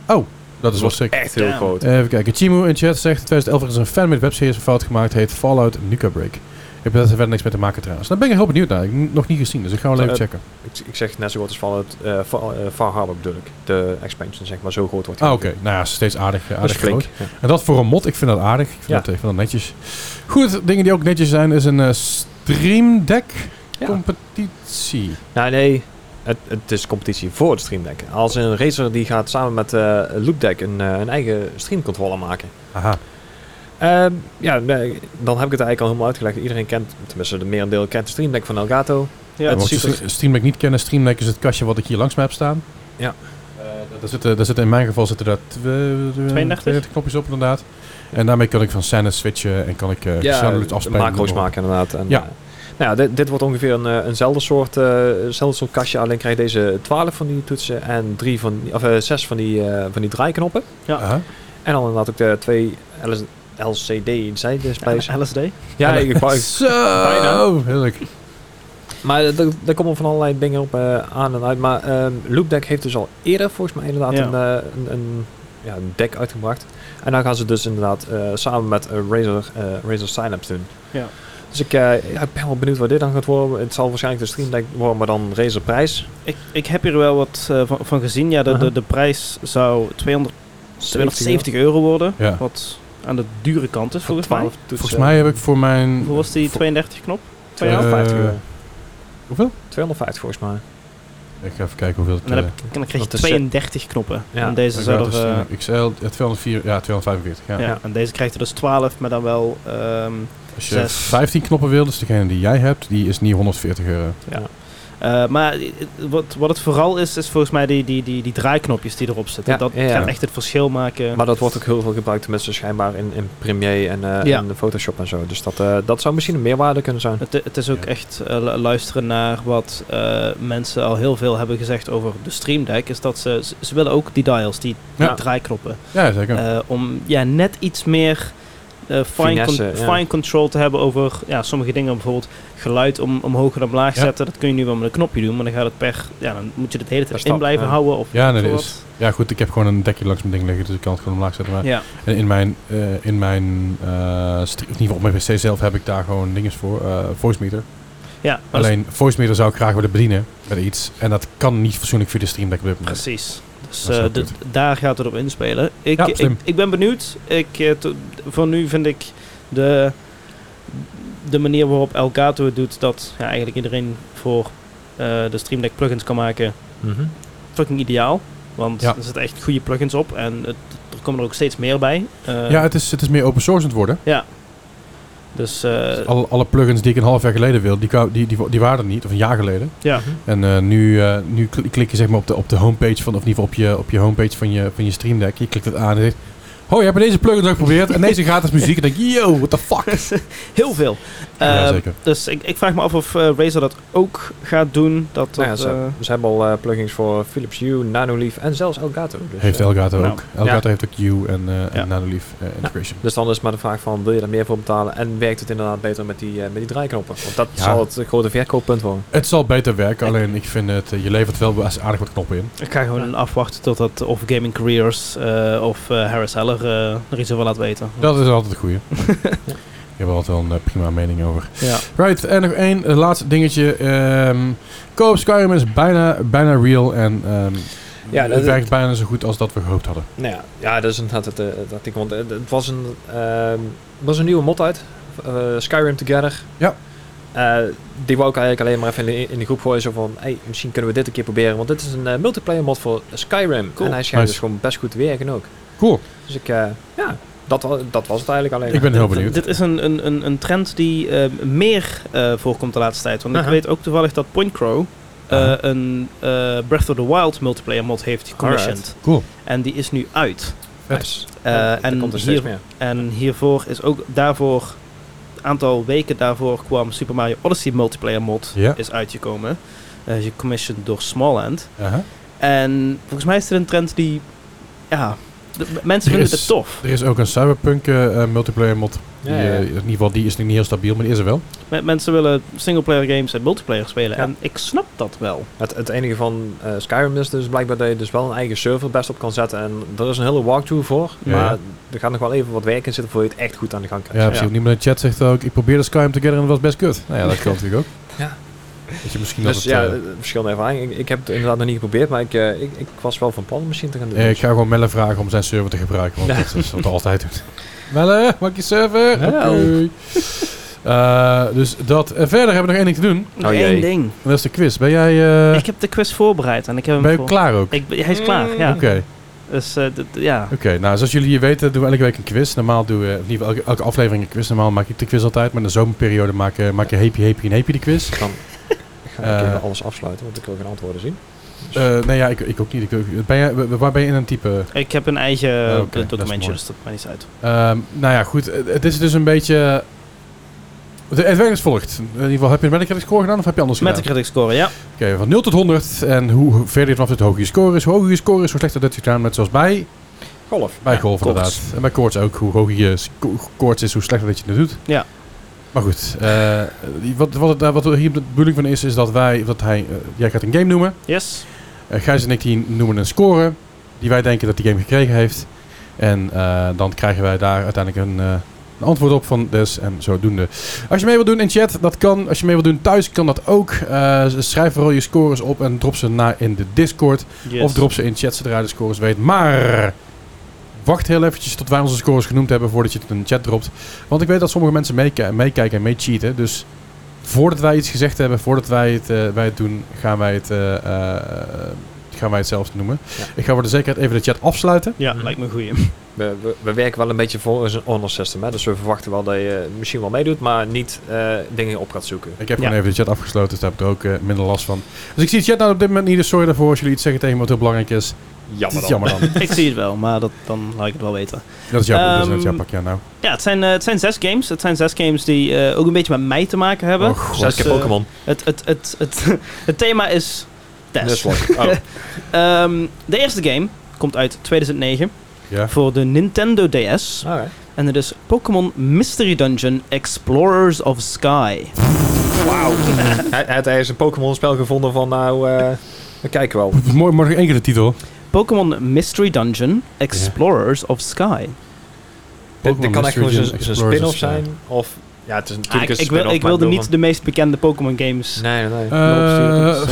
Dat is wel
wordt
sick.
Echt heel
Damn.
groot.
Even kijken. Chimu in chat zegt... 2011 is een fan met webseries een fout gemaakt. Heet Fallout Nuka Break. Ik heb daar verder niks mee te maken trouwens. Daar ben ik heel benieuwd naar. Ik heb het nog niet gezien, dus ik ga wel
Eh,
even checken.
Ik, ik zeg net zo groot als Fallout eh, Far, eh, Far Harbor bedoel ik. De expansion zeg maar, zo groot wordt die.
Ah, oké. Nou ja, steeds aardig, eh,
Dat is
aardig
flink.
groot.
Ja.
En dat voor een mod, ik vind dat aardig. Ik vind,
Ja.
dat, ik vind dat netjes. Goed, dingen die ook netjes zijn is een eh, Stream Deck
Ja.
competitie.
Nou nee, het, het is competitie voor de Stream Deck. Als een racer die gaat samen met eh Loop Deck een, eh, een eigen streamcontroller maken.
Aha.
Ehm, ja, nee, dan heb ik het eigenlijk al helemaal uitgelegd. Iedereen kent, tenminste de merendeel kent de Stream Deck van Elgato.
Ja,
Het
Mocht je
ziet er-
Stre- Stream Deck niet kennen, Stream Deck is het kastje wat ik hier langs me heb staan.
Ja.
Eh, daar, zitten, daar zitten in mijn geval zitten daar twe-
32?
knopjes op inderdaad.
Ja.
En daarmee kan ik van scènes switchen en kan ik eh snelheid
de
afspelen.
macro's maken inderdaad. En,
Ja.
eh, nou ja, dit, dit wordt ongeveer een, eh, eenzelfde soort, eh, eenzelfde soort kastje. Alleen krijg je deze 12 van die toetsen en drie van, die- of, eh, zes van die, eh, van die draaiknoppen.
Aha.
En dan inderdaad ook de twee LS LCD zijdisplays.
Ja, LSD.
Ja, ik gebruik
Zo, heerlijk.
Maar er- er- daar komen van allerlei dingen op eh, aan en uit. Maar ehm, Loopdeck heeft dus al eerder volgens mij inderdaad
Ja.
een, eh, een, een, ja, een deck uitgebracht. En dan gaan ze dus inderdaad eh, samen met eh, Razer, eh Razer Synapse doen.
Ja.
Dus ik, eh, ja, ik ben wel benieuwd wat dit dan gaat worden. Het zal waarschijnlijk de Stream Deck worden, maar dan Razer prijs.
Ik, ik heb hier wel wat eh, van, van gezien. Ja, de, de, de prijs zou 200, 270 euro worden.
Ja.
Wat aan de dure kant is,
Voor
volgens mij.
12 toetsen.
Volgens mij heb ik voor mijn...
Hoe was die
voor-
32 knop?
250
Eh,
euro.
hoeveel?
250 volgens mij.
Ik ga even kijken hoeveel
En
het...
dan,
eh,
heb, ik- en dan krijg je
dat is, eh,
32 knoppen.
ja.
En deze zou er... eh,
gratis XL, ja, 204, ja, 245. Ja.
ja.
Ja.
en deze krijgt er dus 12, maar dan wel... ehm,
Als je
zes.
15 knoppen wil, dus degene die jij hebt, die is niet 140 euro.
eh, maar i- i- wat, wat het vooral is, is volgens mij die, die, die, die draaiknopjes die erop zitten.
Ja,
dat
ja, ja.
gaat echt het verschil maken.
Maar dat wordt ook heel veel gebruikt, tenminste schijnbaar in, in Premiere en, eh,
Ja.
en Photoshop en zo. Dus dat, eh, dat zou misschien een meerwaarde kunnen zijn.
Het, het is ook
Ja.
echt eh, lu- luisteren naar wat eh, mensen al heel veel hebben gezegd over de Stream Deck. Is dat ze, ze- ze willen ook die dials, die, die
Ja.
draaiknoppen.
Ja, zeker.
eh, om ja, net iets meer eh, fine,
Finesse,
con-
ja.
fine control te hebben over ja, sommige dingen. Bijvoorbeeld geluid om, omhoog en omlaag
Ja.
zetten. Dat kun je nu wel met een knopje doen, maar dan gaat het per... Ja, dan moet je het de hele
Per
tijd
stap,
in blijven
ja.
houden. Of
Ja, nee, dat
wat.
is- ja, goed, ik heb gewoon een dekje langs mijn ding liggen, dus ik kan het gewoon omlaag zetten. Maar
Ja.
En in mijn, eh, in mijn eh, stre- in ieder geval op mijn pc zelf heb ik daar gewoon dinges voor, eh voice meter.
ja maar dat is-
Alleen voice meter zou ik graag willen bedienen met iets. En dat kan niet fatsoenlijk via de stream deck op dit moment.
Precies. Dus
Dat is
eh,
heel
d-
kut.
daar gaat het op inspelen. Ik,
Ja,
ik,
slim.
ik ben benieuwd. Ik, eh, to- voor nu vind ik de, de manier waarop Elgato het doet, dat ja, eigenlijk iedereen voor eh, de Stream Deck plugins kan maken,
Mhm.
fucking ideaal. Want
Ja.
er zitten echt goede plugins op en het, er komen er ook steeds meer bij. Eh,
ja, het is, het is meer open source aan het worden.
Dus eh,
Dus alle, alle plugins die ik een half jaar geleden wilde, die, kou- die, die, die waren er niet, of een jaar geleden.
ja,
En eh, nu, eh, nu kl- klik je zeg maar op de, op de homepage van, of in ieder geval op je, op je homepage van je, van je Stream Deck. Je klikt het aan en zegt, Oh, je hebt deze plugins ook geprobeerd. En deze gratis muziek. En denk ik, yo, what the fuck.
Heel veel.
Ja,
Eh,
zeker.
dus ik, ik vraag me af of eh, Razer dat ook gaat doen. Dat,
Nou ja,
dat,
ze,
eh,
ze hebben al eh, plugins voor Philips Hue, Nanoleaf en zelfs Elgato. Dus,
Heeft
eh,
Elgato
nou,
ook. Elgato heeft ook U en, eh en
Ja. Nou.
Nanoleaf eh, integration.
dus dan is maar de vraag van, wil je daar meer voor betalen? En werkt het inderdaad beter met die, eh, met die draaiknoppen? Want dat
Ja.
zal het grote verkooppunt worden.
Het zal beter werken. Alleen ik vind het, eh, je levert wel best aardig wat knoppen in.
ik ga gewoon afwachten totdat of Gaming Careers eh, of eh, Harris Heller eh, er iets over laat weten.
Dat is altijd een goeie. Ik heb er altijd wel een eh, prima mening over.
Ja.
Right, en nog één eh, laatste dingetje. Ehm co-op Skyrim is bijna, bijna real en ehm,
Ja, dat-
het werkt bijna zo goed als dat we gehoopt hadden.
Nou ja, ja dat is inderdaad het, eh, het artikel. Want eh, het was een, ehm, er was een nieuwe mod uit. eh, Skyrim Together.
Ja.
Eh, die wou ik eigenlijk alleen maar even in de, in de groep gooien. Zo van, hey, misschien kunnen we dit een keer proberen. Want dit is een eh, multiplayer mod voor Skyrim.
Cool.
En hij schijnt
Nice.
dus gewoon best goed te werken ook.
Cool.
Dus ik, eh, ja, dat, wa- dat was het eigenlijk alleen.
Ik ben heel
Dit-
benieuwd.
Dit is een, een, een, een trend die eh, meer eh, voorkomt de laatste tijd. Want
Aha.
ik weet ook toevallig dat Point Crow eh,
Aha.
een eh, Breath of the Wild multiplayer mod heeft gecommissioned.
Cool.
En die is nu uit.
Nice.
Eh,
Ja, er
en
komt er
hier-
steeds meer.
En hiervoor is ook daarvoor, een aantal weken daarvoor kwam Super Mario Odyssey multiplayer mod
Ja.
is uitgekomen. Eh gecommissioned door Smallhand.
Aha.
En volgens mij is dit een trend die, ja, de- mensen
Er
vinden
is-
het tof.
Er is ook een Cyberpunk eh, eh, multiplayer mod. Die,
Ja, ja, ja.
eh, in ieder geval, die is niet heel stabiel, maar die is er wel.
Me- Mensen willen singleplayer games en multiplayer spelen.
Ja.
En ik snap dat wel.
Het, het enige van eh, Skyrim is dus blijkbaar dat je dus wel een eigen server best op kan zetten. En er is een hele walkthrough voor.
Ja,
maar
ja.
er gaat nog wel even wat werk in zitten voor je het echt goed aan de gang krijgt.
Ja, precies. Niemand in de chat zegt ook, ik probeerde Skyrim Together en dat was best kut. Nou ja, dat kan natuurlijk ook.
Ja.
Dat je misschien
Dus
dat
ja,
het,
eh, verschillende ervaringen. Ik, ik heb het inderdaad nog niet geprobeerd, maar ik, eh, ik, ik was wel van plan om misschien te gaan doen.
eh, ik ga gewoon Melle vragen om zijn server te gebruiken, want
Ja.
dat is wat hij altijd doet. Melle, maak je server.
Help.
Oké. Eh, dus dat. En verder hebben we nog één ding te doen.
Nog
Oh, jee.
één ding.
En dat is de quiz. Ben jij, eh,
ik heb de quiz voorbereid en ik heb hem
ben je
voor-
klaar ook? Oké,
Ik, ben- hij is klaar, ja.
oké.
Dus eh, d- d- ja.
nou zoals jullie hier weten doen we elke week een quiz. Normaal doen we, of in ieder geval elke, elke aflevering een quiz. Normaal maak ik de quiz altijd, maar in de zomerperiode maak, eh, maak je heepje, heepje en heepje de quiz.
Dan ga Dus ik
Eh.
even alles afsluiten, want ik wil geen antwoorden zien.
Eh nee, ja, ik, ik ook niet. Ik, ook- ben jij, wa- waar ben je in aan het typen?
Ik heb een eigen
Ja, Oh, oké,
eh,
dat is
documentje,
mooi.
dus dat maakt niet uit.
Ehm, nou ja, goed. eh, Het is dus een beetje... Het het werkt als volgt. In ieder geval, heb je een Metacritic score gedaan of heb je anders
Met de
gedaan?
critic score, ja.
Oké, van 0 tot 100. En hoe hoe verder je vanaf het hoger je score is. Hoe hoger je score is, hoe slechter dat je gedaan met zoals bij.
Golf.
Bij
Ja.
golf
koorts.
inderdaad. En bij koorts ook. Hoe hoger je sco- koorts is, hoe slechter dat je het doet.
Ja.
Maar goed. eh, die- wat, wat, het, daar- wat er hier de bedoeling van is, is dat wij... Dat hij, eh, jij gaat een game noemen.
Yes.
Eh, Gijs en ik die noemen een score die wij denken dat die game gekregen heeft. En eh, dan krijgen wij daar uiteindelijk een, eh, een antwoord op van dus en zodoende. Als je mee wilt doen in chat, dat kan. Als je mee wilt doen thuis, kan dat ook. Eh, schrijf vooral je scores op en drop ze na in de Discord.
Yes.
Of drop ze in chat zodra je de scores weet. Maar wacht heel eventjes tot wij onze scores genoemd hebben voordat je het in de chat dropt. Want ik weet dat sommige mensen meeka- meekijken en meecheaten. Dus voordat wij iets gezegd hebben, voordat wij het, eh, wij het doen, gaan wij het, eh, eh, gaan wij het zelf noemen.
Ja.
Ik ga voor de zekerheid even de chat afsluiten.
Ja,
Mhm.
lijkt me een goeie.
We, we, we werken wel een beetje volgens een honor system, hè? dus we verwachten wel dat je misschien wel meedoet, maar niet eh, dingen op gaat zoeken.
Ik heb
Ja.
gewoon even de chat afgesloten, dus daar heb ik er ook eh, minder last van. Dus ik zie de chat nou op dit moment niet, dus sorry daarvoor als jullie iets zeggen tegen me wat heel belangrijk is.
Jammer dan.
Jammer dan.
ik zie het wel, maar dat, dan laat ik het wel weten.
Dat is jouw, dat is net
Ehm,
jouw pak, ja nou.
Ja, het zijn, eh, het zijn zes games. Het zijn zes games die eh, ook een beetje met mij te maken hebben.
Oh, god.
Zes keer
Dus, eh,
Pokémon.
Het, het, het, het, het thema is test.
Nuzlocke. Oh.
Ehm, de eerste game komt uit 2009
Ja.
voor de Nintendo DS.
Alright.
En het is Pokémon Mystery Dungeon Explorers of Sky.
Hij, hij- hij is een Pokémon-spel gevonden van nou, eh, we kijken wel.
Mooi, maar nog één keer de titel.
Pokémon Mystery Dungeon Explorers of Sky.
Dit, dit kan echt gewoon
Mystery
zo'n zo'n
Explorers
spin-off
of Sky.
zijn, of... Ja, het is
Ah, ik,
natuurlijk een
ik wil,
spin-off,
ik
maar
wilde
bedoel
niet dus- de meest bekende Pokémon games. dus,
van- Nee, nee, nee.
Eh,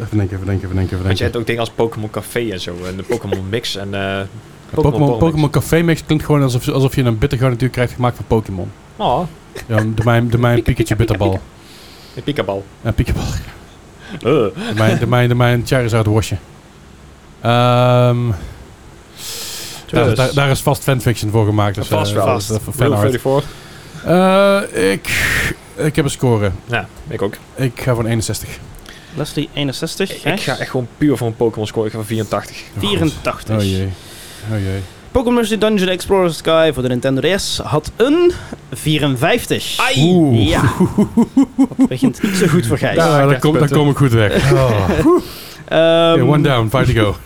even denken, even denken, even denken, even
Want je
denken.
hebt ook dingen als Pokémon Café en zo. En de Pokémon Mix en eh
Pokémon,
Borrel
Pokémon Café Mix klinkt gewoon alsof, alsof je een bittergarnituur krijgt gemaakt van Pokémon.
Mix. Oh,
Ja, doe mij, doe mij een Pikachu
Pika, pika, pika,
bitterbal.
een pikabal.
Een Pikabal.
Eh.
Doe mij- Doe mij- doe mij een Charizard wasje. Ehm, daar,
Dus,
daar, daar is vast fanfiction voor gemaakt. Dus,
Vast
eh,
wel.
dat is, eh,
Rule
fanart.
34.
Eh, ik, ik heb een score.
Ja, ik ook.
Ik ga voor een 61.
Leslie 61,
Ik, ik ga echt gewoon puur voor een Pokémon score. Ik ga voor 84.
Oh,
84.
God. Oh jee. Oh jee.
Pokémon Mystery Dungeon Explorer Sky voor de Nintendo DS had een 54.
Oeh.
Ja. Dat begint niet zo goed voor Gijs.
Ja, daar, kom, daar kom ik goed weg. Oh.
Ehm,
Oké, one down, five to go.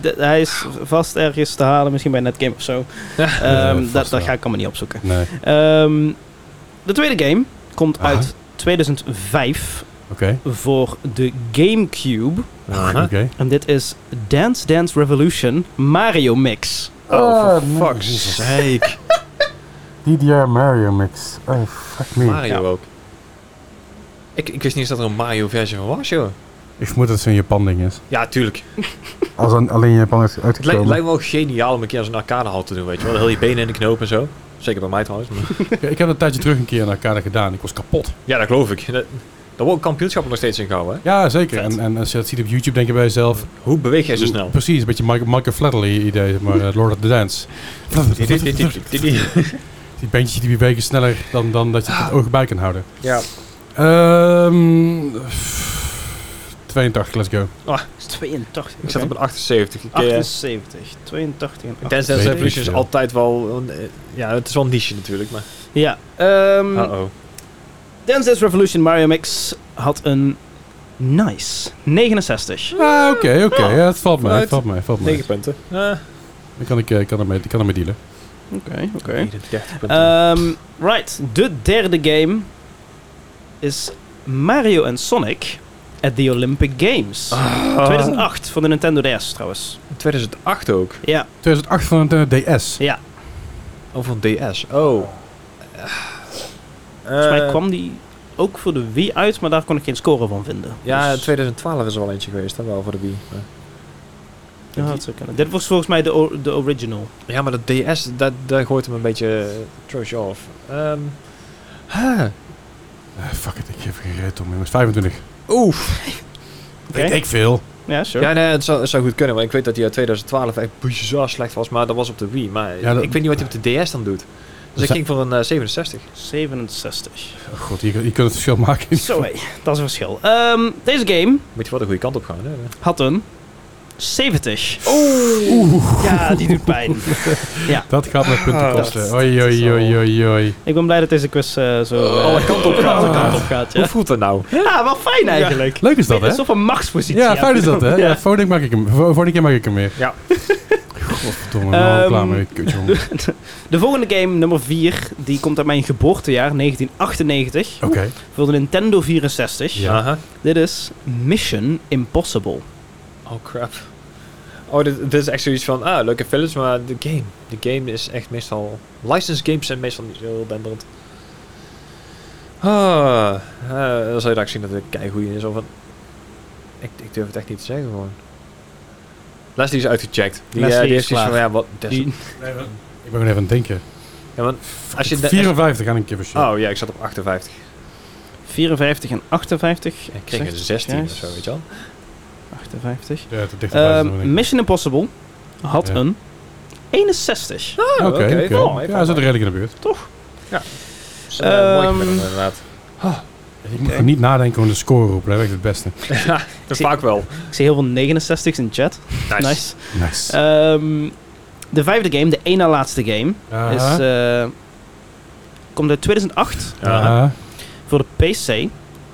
d- Hij is vast ergens te halen, misschien bij Netgame of zo. Ehm,
Eh, vast
dat, dat
wel.
ga ik allemaal niet opzoeken.
Nee,
Ehm, de tweede game komt
Aha.
uit 2005
oké.
voor de GameCube.
Aha.
Oké.
En dit is Dance Dance Revolution Mario Mix.
Oh,
Ah,
for fuck's sake.
DDR Mario Mix. Oh, fuck
Mario
Ja.
ook. Ik, ik wist niet eens dat er een Mario-versie van was, joh.
Ik vermoed dat het zo'n Japan-ding is.
Ja, tuurlijk.
Als een, alleen Japan is
Het lijkt, lijkt me wel geniaal om een keer als een arcadehal te doen, weet je wel. Heel je benen in de knoop en zo. Zeker bij mij trouwens. maar-
Ik heb dat een tijdje terug een keer in arcade gedaan. Ik was kapot.
ja, dat geloof ik. Dat, daar wordt kampioenschappen nog steeds in gehouden, hè.
Ja, zeker.
Vet.
En, en als je dat ziet op YouTube, denk je bij jezelf...
Hoe beweeg jij zo snel?
Precies, een beetje Michael, Michael Flatley idee, maar eh, Lord of the Dance. Die bandjes die bewegen sneller dan, dan dat je het oog bij kan houden.
Ja.
Ehm 82, let's go.
Dat Ah, is 82.
Ik zat op
oké.
een 78. Ik, eh,
78, 82 en
Dance Dance
78.
Weet ik
Revolution is
veel.
altijd wel... een, eh, Ja, het is wel een niche natuurlijk, maar...
Ja. ehm,
Uh-oh.
Dance Dance Revolution Mario Mix had een nice 69.
Ah, oké, oké. Ja, het valt mij, het
Vooruit.
valt mij, het valt mij.
9 punten. Eh,
Dan kan ik, eh, kan ermee, ik kan ermee dealen.
Oké, oké.
39 punten.
Ehm, right, de derde game is Mario en Sonic at the Olympic Games.
Ah.
2008 van de Nintendo DS trouwens.
2008 ook.
Ja,
2008 van de DS.
ja.
Of van DS. Oh.
Volgens
Eh,
mij kwam die ook voor de Wii uit, maar daar kon ik geen score van vinden.
Ja,
Dus-
2012 is er wel eentje geweest, hè, wel voor de Wii. maar-
Ja, dat zou kunnen. Dit was volgens mij de, o- de original.
Ja, maar dat DS, dat, dat gooit hem een beetje eh, trash off. Ehm huh.
Eh, fuck it, ik geef geen reet om, jongens. 25.
Oef.
Oké.
Weet ik veel.
Ja, sure.
Ja, nee, het zou, het zou goed kunnen, want ik weet dat die uit 2012 echt bizar slecht was, maar dat was op de Wii. Maar
Ja, dat-
ik weet niet wat hij op de DS dan doet. Dus ik
Za-
ging voor een eh, 67.
67.
Oh god, je, je kunt het verschil maken.
Zo hé, dat is een verschil. Ehm, deze game
Moet je wel de goede kant op gaan, hè?
had een 70.
Oeh,
Ja, die doet pijn.
dat gaat met punten
Ah,
kosten.
dat-
Oei, oei, oei, oei, oei.
Ik ben blij dat deze quiz eh, zo
Oh,
alle kanten op gaat. Alle kanten op gaat ja.
Hoe voelt dat nou?
ja, wel fijn eigenlijk.
Leuk is dat,
Dat
hè?
is toch een machtspositie.
Ja, fijn is dat, hè? Ja,
Ja.
volgende keer maak ik hem, vo- volgende keer maak ik hem weer.
Ja.
Godverdomme, ik ben al
Ehm,
klaar mee, kutjongen.
De volgende game, nummer 4, die komt uit mijn geboortejaar, 1998.
Oké.
Voor de Nintendo 64.
Ja.
Aha.
Dit is Mission Impossible.
Oh crap. Oh, dit, dit is echt zoiets van, ah, leuke films, maar de game. De game is echt meestal... Licensed games zijn meestal niet zo heel denderend. Ah, eh, dan zou je daar zien dat het keigoed is. Of een, ik, ik durf het echt niet te zeggen gewoon. Leslie is uitgecheckt. Die, eh,
Leslie
die
is
heeft zoiets van,
klaar.
ja, wat... dat is-
Die-
Ik ben gewoon even aan het denken.
ja, want als je... de-
54 aan een keer shit.
oh ja, ik zat op 58.
54 en 58.
Ik kreeg een
Zegt
16 of
Gijs.
zo, weet je wel.
58.
Ja, te dicht
Ehm,
erbij is dan
Mission Impossible had
Ja.
een 61.
wel
Oh,
niet. Oké, oké.
val mee, val
Ja, zit er
mee.
redelijk in de buurt.
Dus, eh, mooi
Ehm,
gemiddelde, inderdaad.
Ik moet gewoon niet nadenken over de score roepen, dat werkt het beste.
ja, dat
zie-
vaak wel.
Ik zie heel veel 69's in chat. Nice.
Nice.
Ehm, de vijfde game, de één na laatste game,
Aha.
is, eh, komt uit 2008
Aha.
Aha.
voor de PC,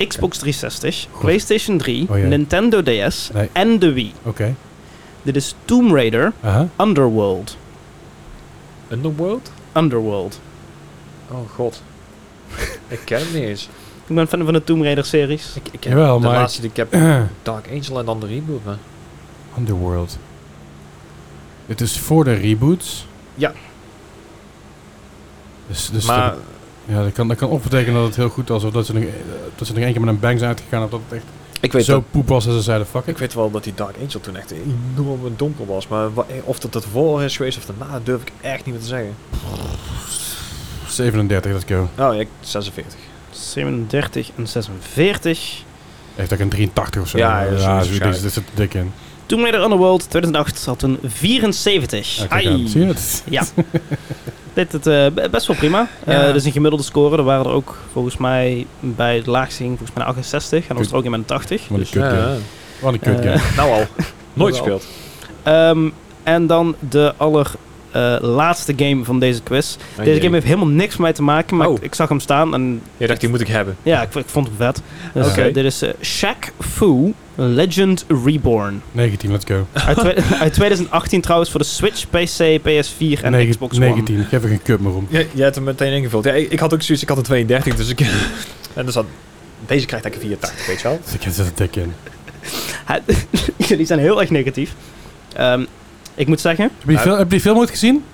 Xbox 360,
Goed.
PlayStation 3,
Oh, jee.
Nintendo DS
Nee.
en de Wii.
Oké.
Dit is Tomb Raider
Aha.
Underworld.
Underworld?
Underworld.
Oh god. ik ken hem niet eens.
Ik ben fan van de Tomb Raider series.
Ik, ik
Jawel,
de
maar ik-
laatste die ik heb Dark Angel en dan de reboot. Maar.
Underworld. Het is voor de reboots.
Ja.
Dus, dus
maar
ja, dat kan, dat kan of betekenen dat het heel goed was, of dat ze nog, eh, dat ze nog één keer met een bang zijn uitgegaan, of dat het echt
ik, weet
zo
dat,
poep was dat ze zeiden, fuck it.
ik weet wel dat die Dark Angel toen echt enorm donker was. Maar wa- eh, of dat dat voor is geweest of daarna durf ik echt niet meer te zeggen.
37, let's go.
Oh ja, ik- 46.
37 en 46.
Heeft ook een 83 of zo.
Ja, ja,
ja,
zoiets
zo- dit
waarschijnlijk.
dit zit er dik in.
Tomb Raider Underworld 2008 had een 74.
Ja, kijk
Ai.
aan. Zie je het?
Ja. Dit het, eh, be- best wel prima. Eh
Ja.
dat is een gemiddelde score. Er waren er ook volgens mij bij het laagste ging volgens mij een 68. En dan was er ook iemand een 80.
Wat een
Dus,
kut game. Wat een kut
Eh,
game.
Nou al. Nooit
Jawel.
gespeeld.
ehm, en dan de aller eh, laatste game van deze quiz.
Oh,
deze
jee.
game heeft helemaal niks met mij te maken, maar
Oh.
ik, ik zag hem staan en
Je dacht, die moet ik hebben.
ja, ik, ik vond hem vet. Dus,
Oké.
eh, dit is eh, Shaq Fu Legend Reborn.
19, let's go.
uit, twe- uit 2018 trouwens voor de Switch, PC, PS4 en
Negen-
Xbox One.
19, ik heb er geen kut meer om.
Ja, jij hebt hem meteen ingevuld. Ja, ik, ik had ook zoiets, ik had een 32, dus ik... en dus had, deze krijgt eigenlijk een 84, weet je wel.
Dus ik zit er dik in.
Hij- Jullie zijn heel erg negatief. Ehm, ik moet zeggen,
Heb je, die
Ja.
film, heb je die film ooit gezien?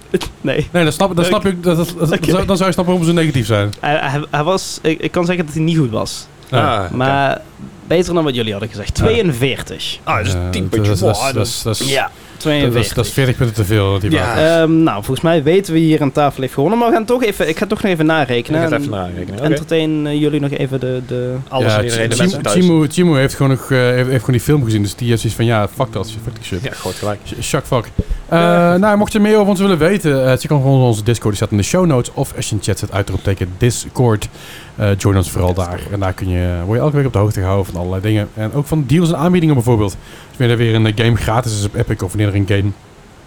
nee.
Nee, dan snap, dan
Leuk.
snap ik, dat, dat- dat-
Oké.
zou- dan zou je snappen waarom ze negatief zijn.
Hij, hij- hij was, ik, ik kan zeggen dat hij niet goed was.
Ja.
Ah, oké.
Maar beter dan wat jullie hadden gezegd. 42.
Ah, dat is
Eh,
een 10
dat
puntje.
is- dat is-
Wow,
dat is- dat is-
Ja,
dat
42.
is- dat is 40 punten te veel. Die
Ja.
waren.
Ehm, nou, volgens mij weten we hier aan tafel heeft gewonnen. Maar we gaan toch even, ik ga toch nog even
Ik ga
narekenen.
het even
En
narekenen. Oké.
Entertain eh, jullie nog even de... de...
Alles
Ja,
en iedereen, de
Chim-
mensen thuis.
Chimu, Chimu heeft gewoon nog eh, heeft, heeft gewoon die film gezien, dus die heeft zoiets van ja, fuck dat, fuck die shit.
Ja, goed gelijk.
Sh- Shaq fuck. Eh, Nou, mocht je meer over ons willen weten, eh, check dan gewoon onze Discord, die staat in de show notes. Of als je in chat zet, uitroepteken Discord. Eh, join ons vooral daar. En daar kun je, word je elke week op de hoogte gehouden van allerlei dingen. En ook van deals en aanbiedingen bijvoorbeeld. Dus wanneer er weer een eh, game gratis is op Epic, of wanneer er een game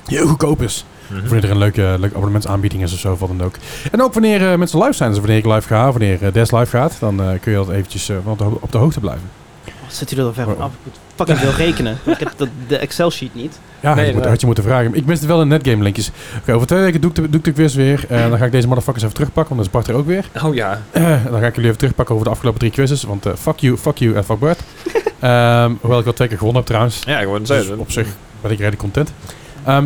heel goedkoop is.
Oh
Of wanneer er een leuke, leuke abonnementsaanbieding is of zo, wat dan ook. En ook wanneer eh, mensen live zijn. Dus wanneer ik live ga, wanneer eh, Des live gaat, dan eh, kun je dat eventjes eh, op, de, ho- op de hoogte blijven.
Oh, zit jullie er ver van
Oh.
af? Ik moet fucking veel rekenen. Ik heb dat- de Excel-sheet niet.
Ja,
Nee,
dat moet-
nee.
had je moeten vragen. Ik miste wel een netgame linkjes. Oké, over twee weken doe ik, de, doe ik de quiz weer. En dan ga ik deze motherfuckers even terugpakken, want dan is Bart er ook weer.
Oh ja.
Eh, dan ga ik jullie even terugpakken over de afgelopen drie quizzes. Want eh, fuck you, fuck you en fuck Bart. Ehm, hoewel ik wel twee keer gewonnen heb trouwens.
Ja, gewoon
Dus
zo.
op zich ben ik redelijk content. Ehm,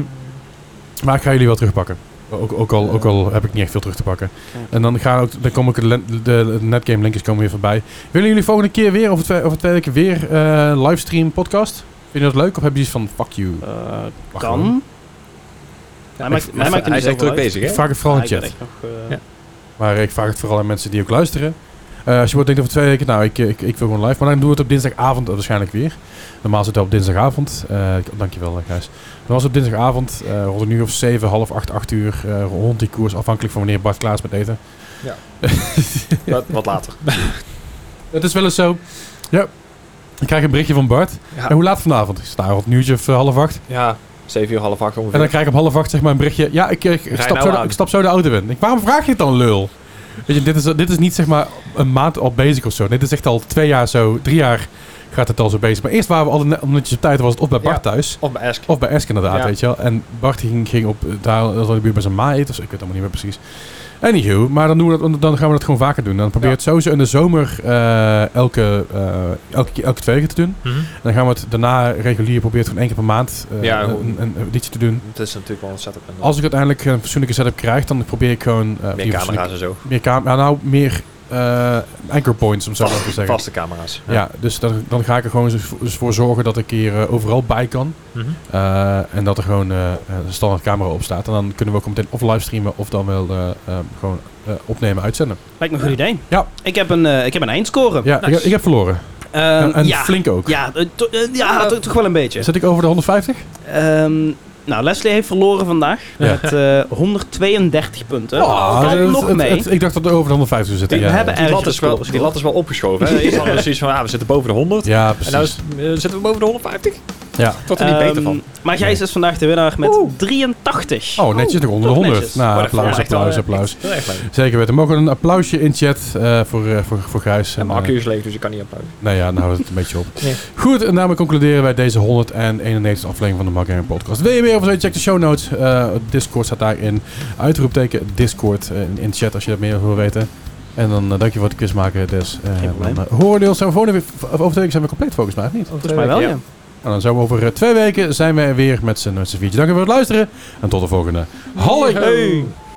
maar ik ga jullie wel terugpakken. Ook, ook, al, ook al heb ik niet echt veel terug te pakken.
Oké.
En dan, ga ook, dan kom ik de, len- de, de netgame linkjes komen weer voorbij. Willen jullie volgende keer weer, over twee, over twee weken weer, eh, livestream podcast? Vind je dat leuk? Of heb je iets van fuck you?
Eh,
Wacht gewoon.
kan. Hij maakt, hij maakt er
hij
niet
is echt
zoveel
druk
uit.
bezig,
Ik
hè?
vraag het vooral
Ja,
in
ik ben
chat.
echt nog, eh,
Ja.
Maar ik vraag het vooral aan mensen die ook luisteren. Eh, als je wordt denkt over twee weken, nou, ik, ik, ik wil gewoon live. Maar dan doen we het op dinsdagavond waarschijnlijk weer. Normaal zit het op dinsdagavond. Eh, dankjewel, eh, Gijs. Dan was het op dinsdagavond eh, rond een uur of zeven, half acht, acht uur. eh, rond die koers, afhankelijk van wanneer Bart klaar is met eten.
Wat, wat later.
Het is wel eens zo. Ja. Ik krijg een berichtje van Bart. En
Ja,
hoe laat vanavond? Ik sta rond een uurtje of eh, half acht.
ja 7 uur, half 8
En dan
ongeveer.
krijg ik om half acht zeg maar een berichtje. Ja, ik, eh, ik, ik
Rij
stap,
nou
zo de,
aan.
ik stap zo de auto in. Ik, waarom vraag je het dan, lul? Weet je, dit is, dit is niet zeg maar een maand al bezig of zo. Dit is echt al twee jaar zo, drie jaar gaat het al zo bezig. Maar eerst waren we al net- omdat je op tijd was het of bij Bart thuis.
Of bij Ask.
Of bij Esk inderdaad,
Ja.
weet je wel. En Bart ging, ging op, daar dat was in de buurt bij zijn ma eten of zo. Ik weet het allemaal niet meer precies. Anywho, maar dan, doen we dat, dan gaan we dat gewoon vaker doen. Dan probeer je
Ja.
het sowieso in de zomer eh, elke, eh, elke, keer- elke twee weken te doen. En dan gaan we het daarna regulier proberen gewoon één keer per maand eh,
Ja,
een,
hoe-
een, een editie te doen.
Het is natuurlijk wel een setup. en-
Als ik uiteindelijk eh, een fatsoenlijke setup krijg, dan probeer ik gewoon... eh,
meer
niet
camera's
fatsoenlijk-
en zo.
Meer cam ja, nou, meer eh, anchor points, om zo maar te zeggen.
Vaste camera's.
Ja, dus dan, dan ga ik er gewoon eens voor- eens voor zorgen dat ik hier eh, overal bij kan.
Mhm.
Eh, en dat er gewoon eh, een standaard camera op staat. En dan kunnen we ook meteen of livestreamen of dan wel eh, eh, gewoon eh, opnemen, uitzenden.
Lijkt me een goed idee.
Ja.
Ik heb een, eh, ik heb een eindscore.
Ja, ik, ik heb verloren.
Ehm,
en en
ja.
flink ook.
Ja, eh, to- eh, ja to- toch wel een beetje.
Zit ik over de 150?
Ehm, nou, Leslie heeft verloren vandaag
Ja.
met eh, 132 punten.
Ah,
Valt
het-
nog
het-
mee.
het- ik dacht dat we over de 150 zou zitten.
We
ja.
hebben
Die,
ergens
lat is wel,
gescoord.
die lat is wel opgeschoven. Hè? Eerst hadden we zoiets van, ah, we zitten boven de 100.
ja,
En nou is,
precies. Ah,
eh, zitten we boven de 150.
Ja.
Tot er niet beter
Ehm,
van.
Maar Gijs is vandaag de winnaar met 83.
Oh, netjes nog onder de
toch
100.
netjes.
Nou,
Maar dat vond
applaus,
ik echt wel,
applaus,
eh,
applaus.
Heel erg leuk.
Zeker weten. Mogen we een applausje in chat eh, voor, eh, voor, voor Gijs?
En mijn
eh,
accu is leeg, dus ik kan niet uploaden.
nou ja, nou houdt het een beetje op.
Nee.
Goed, en daarmee concluderen wij deze 191 aflevering van de Mark Gaming Podcast. Wil je meer of zo? Check de show notes. Eh, Discord staat daarin. Uitroepteken Discord eh, in, in chat als je dat meer wil weten. En dan eh, dank je voor het quiz maken, Des. Eh,
Geen probleem. Oh.
dan, eh, horen we ons over volgende week- over twee weken zijn we compleet volgens mij, of niet?
Volgens mij wel, ja.
En dan zijn we over eh, twee weken zijn we er weer met z'n met z'n viertje. Dank je voor het luisteren en tot de volgende. Hallo!
Hey.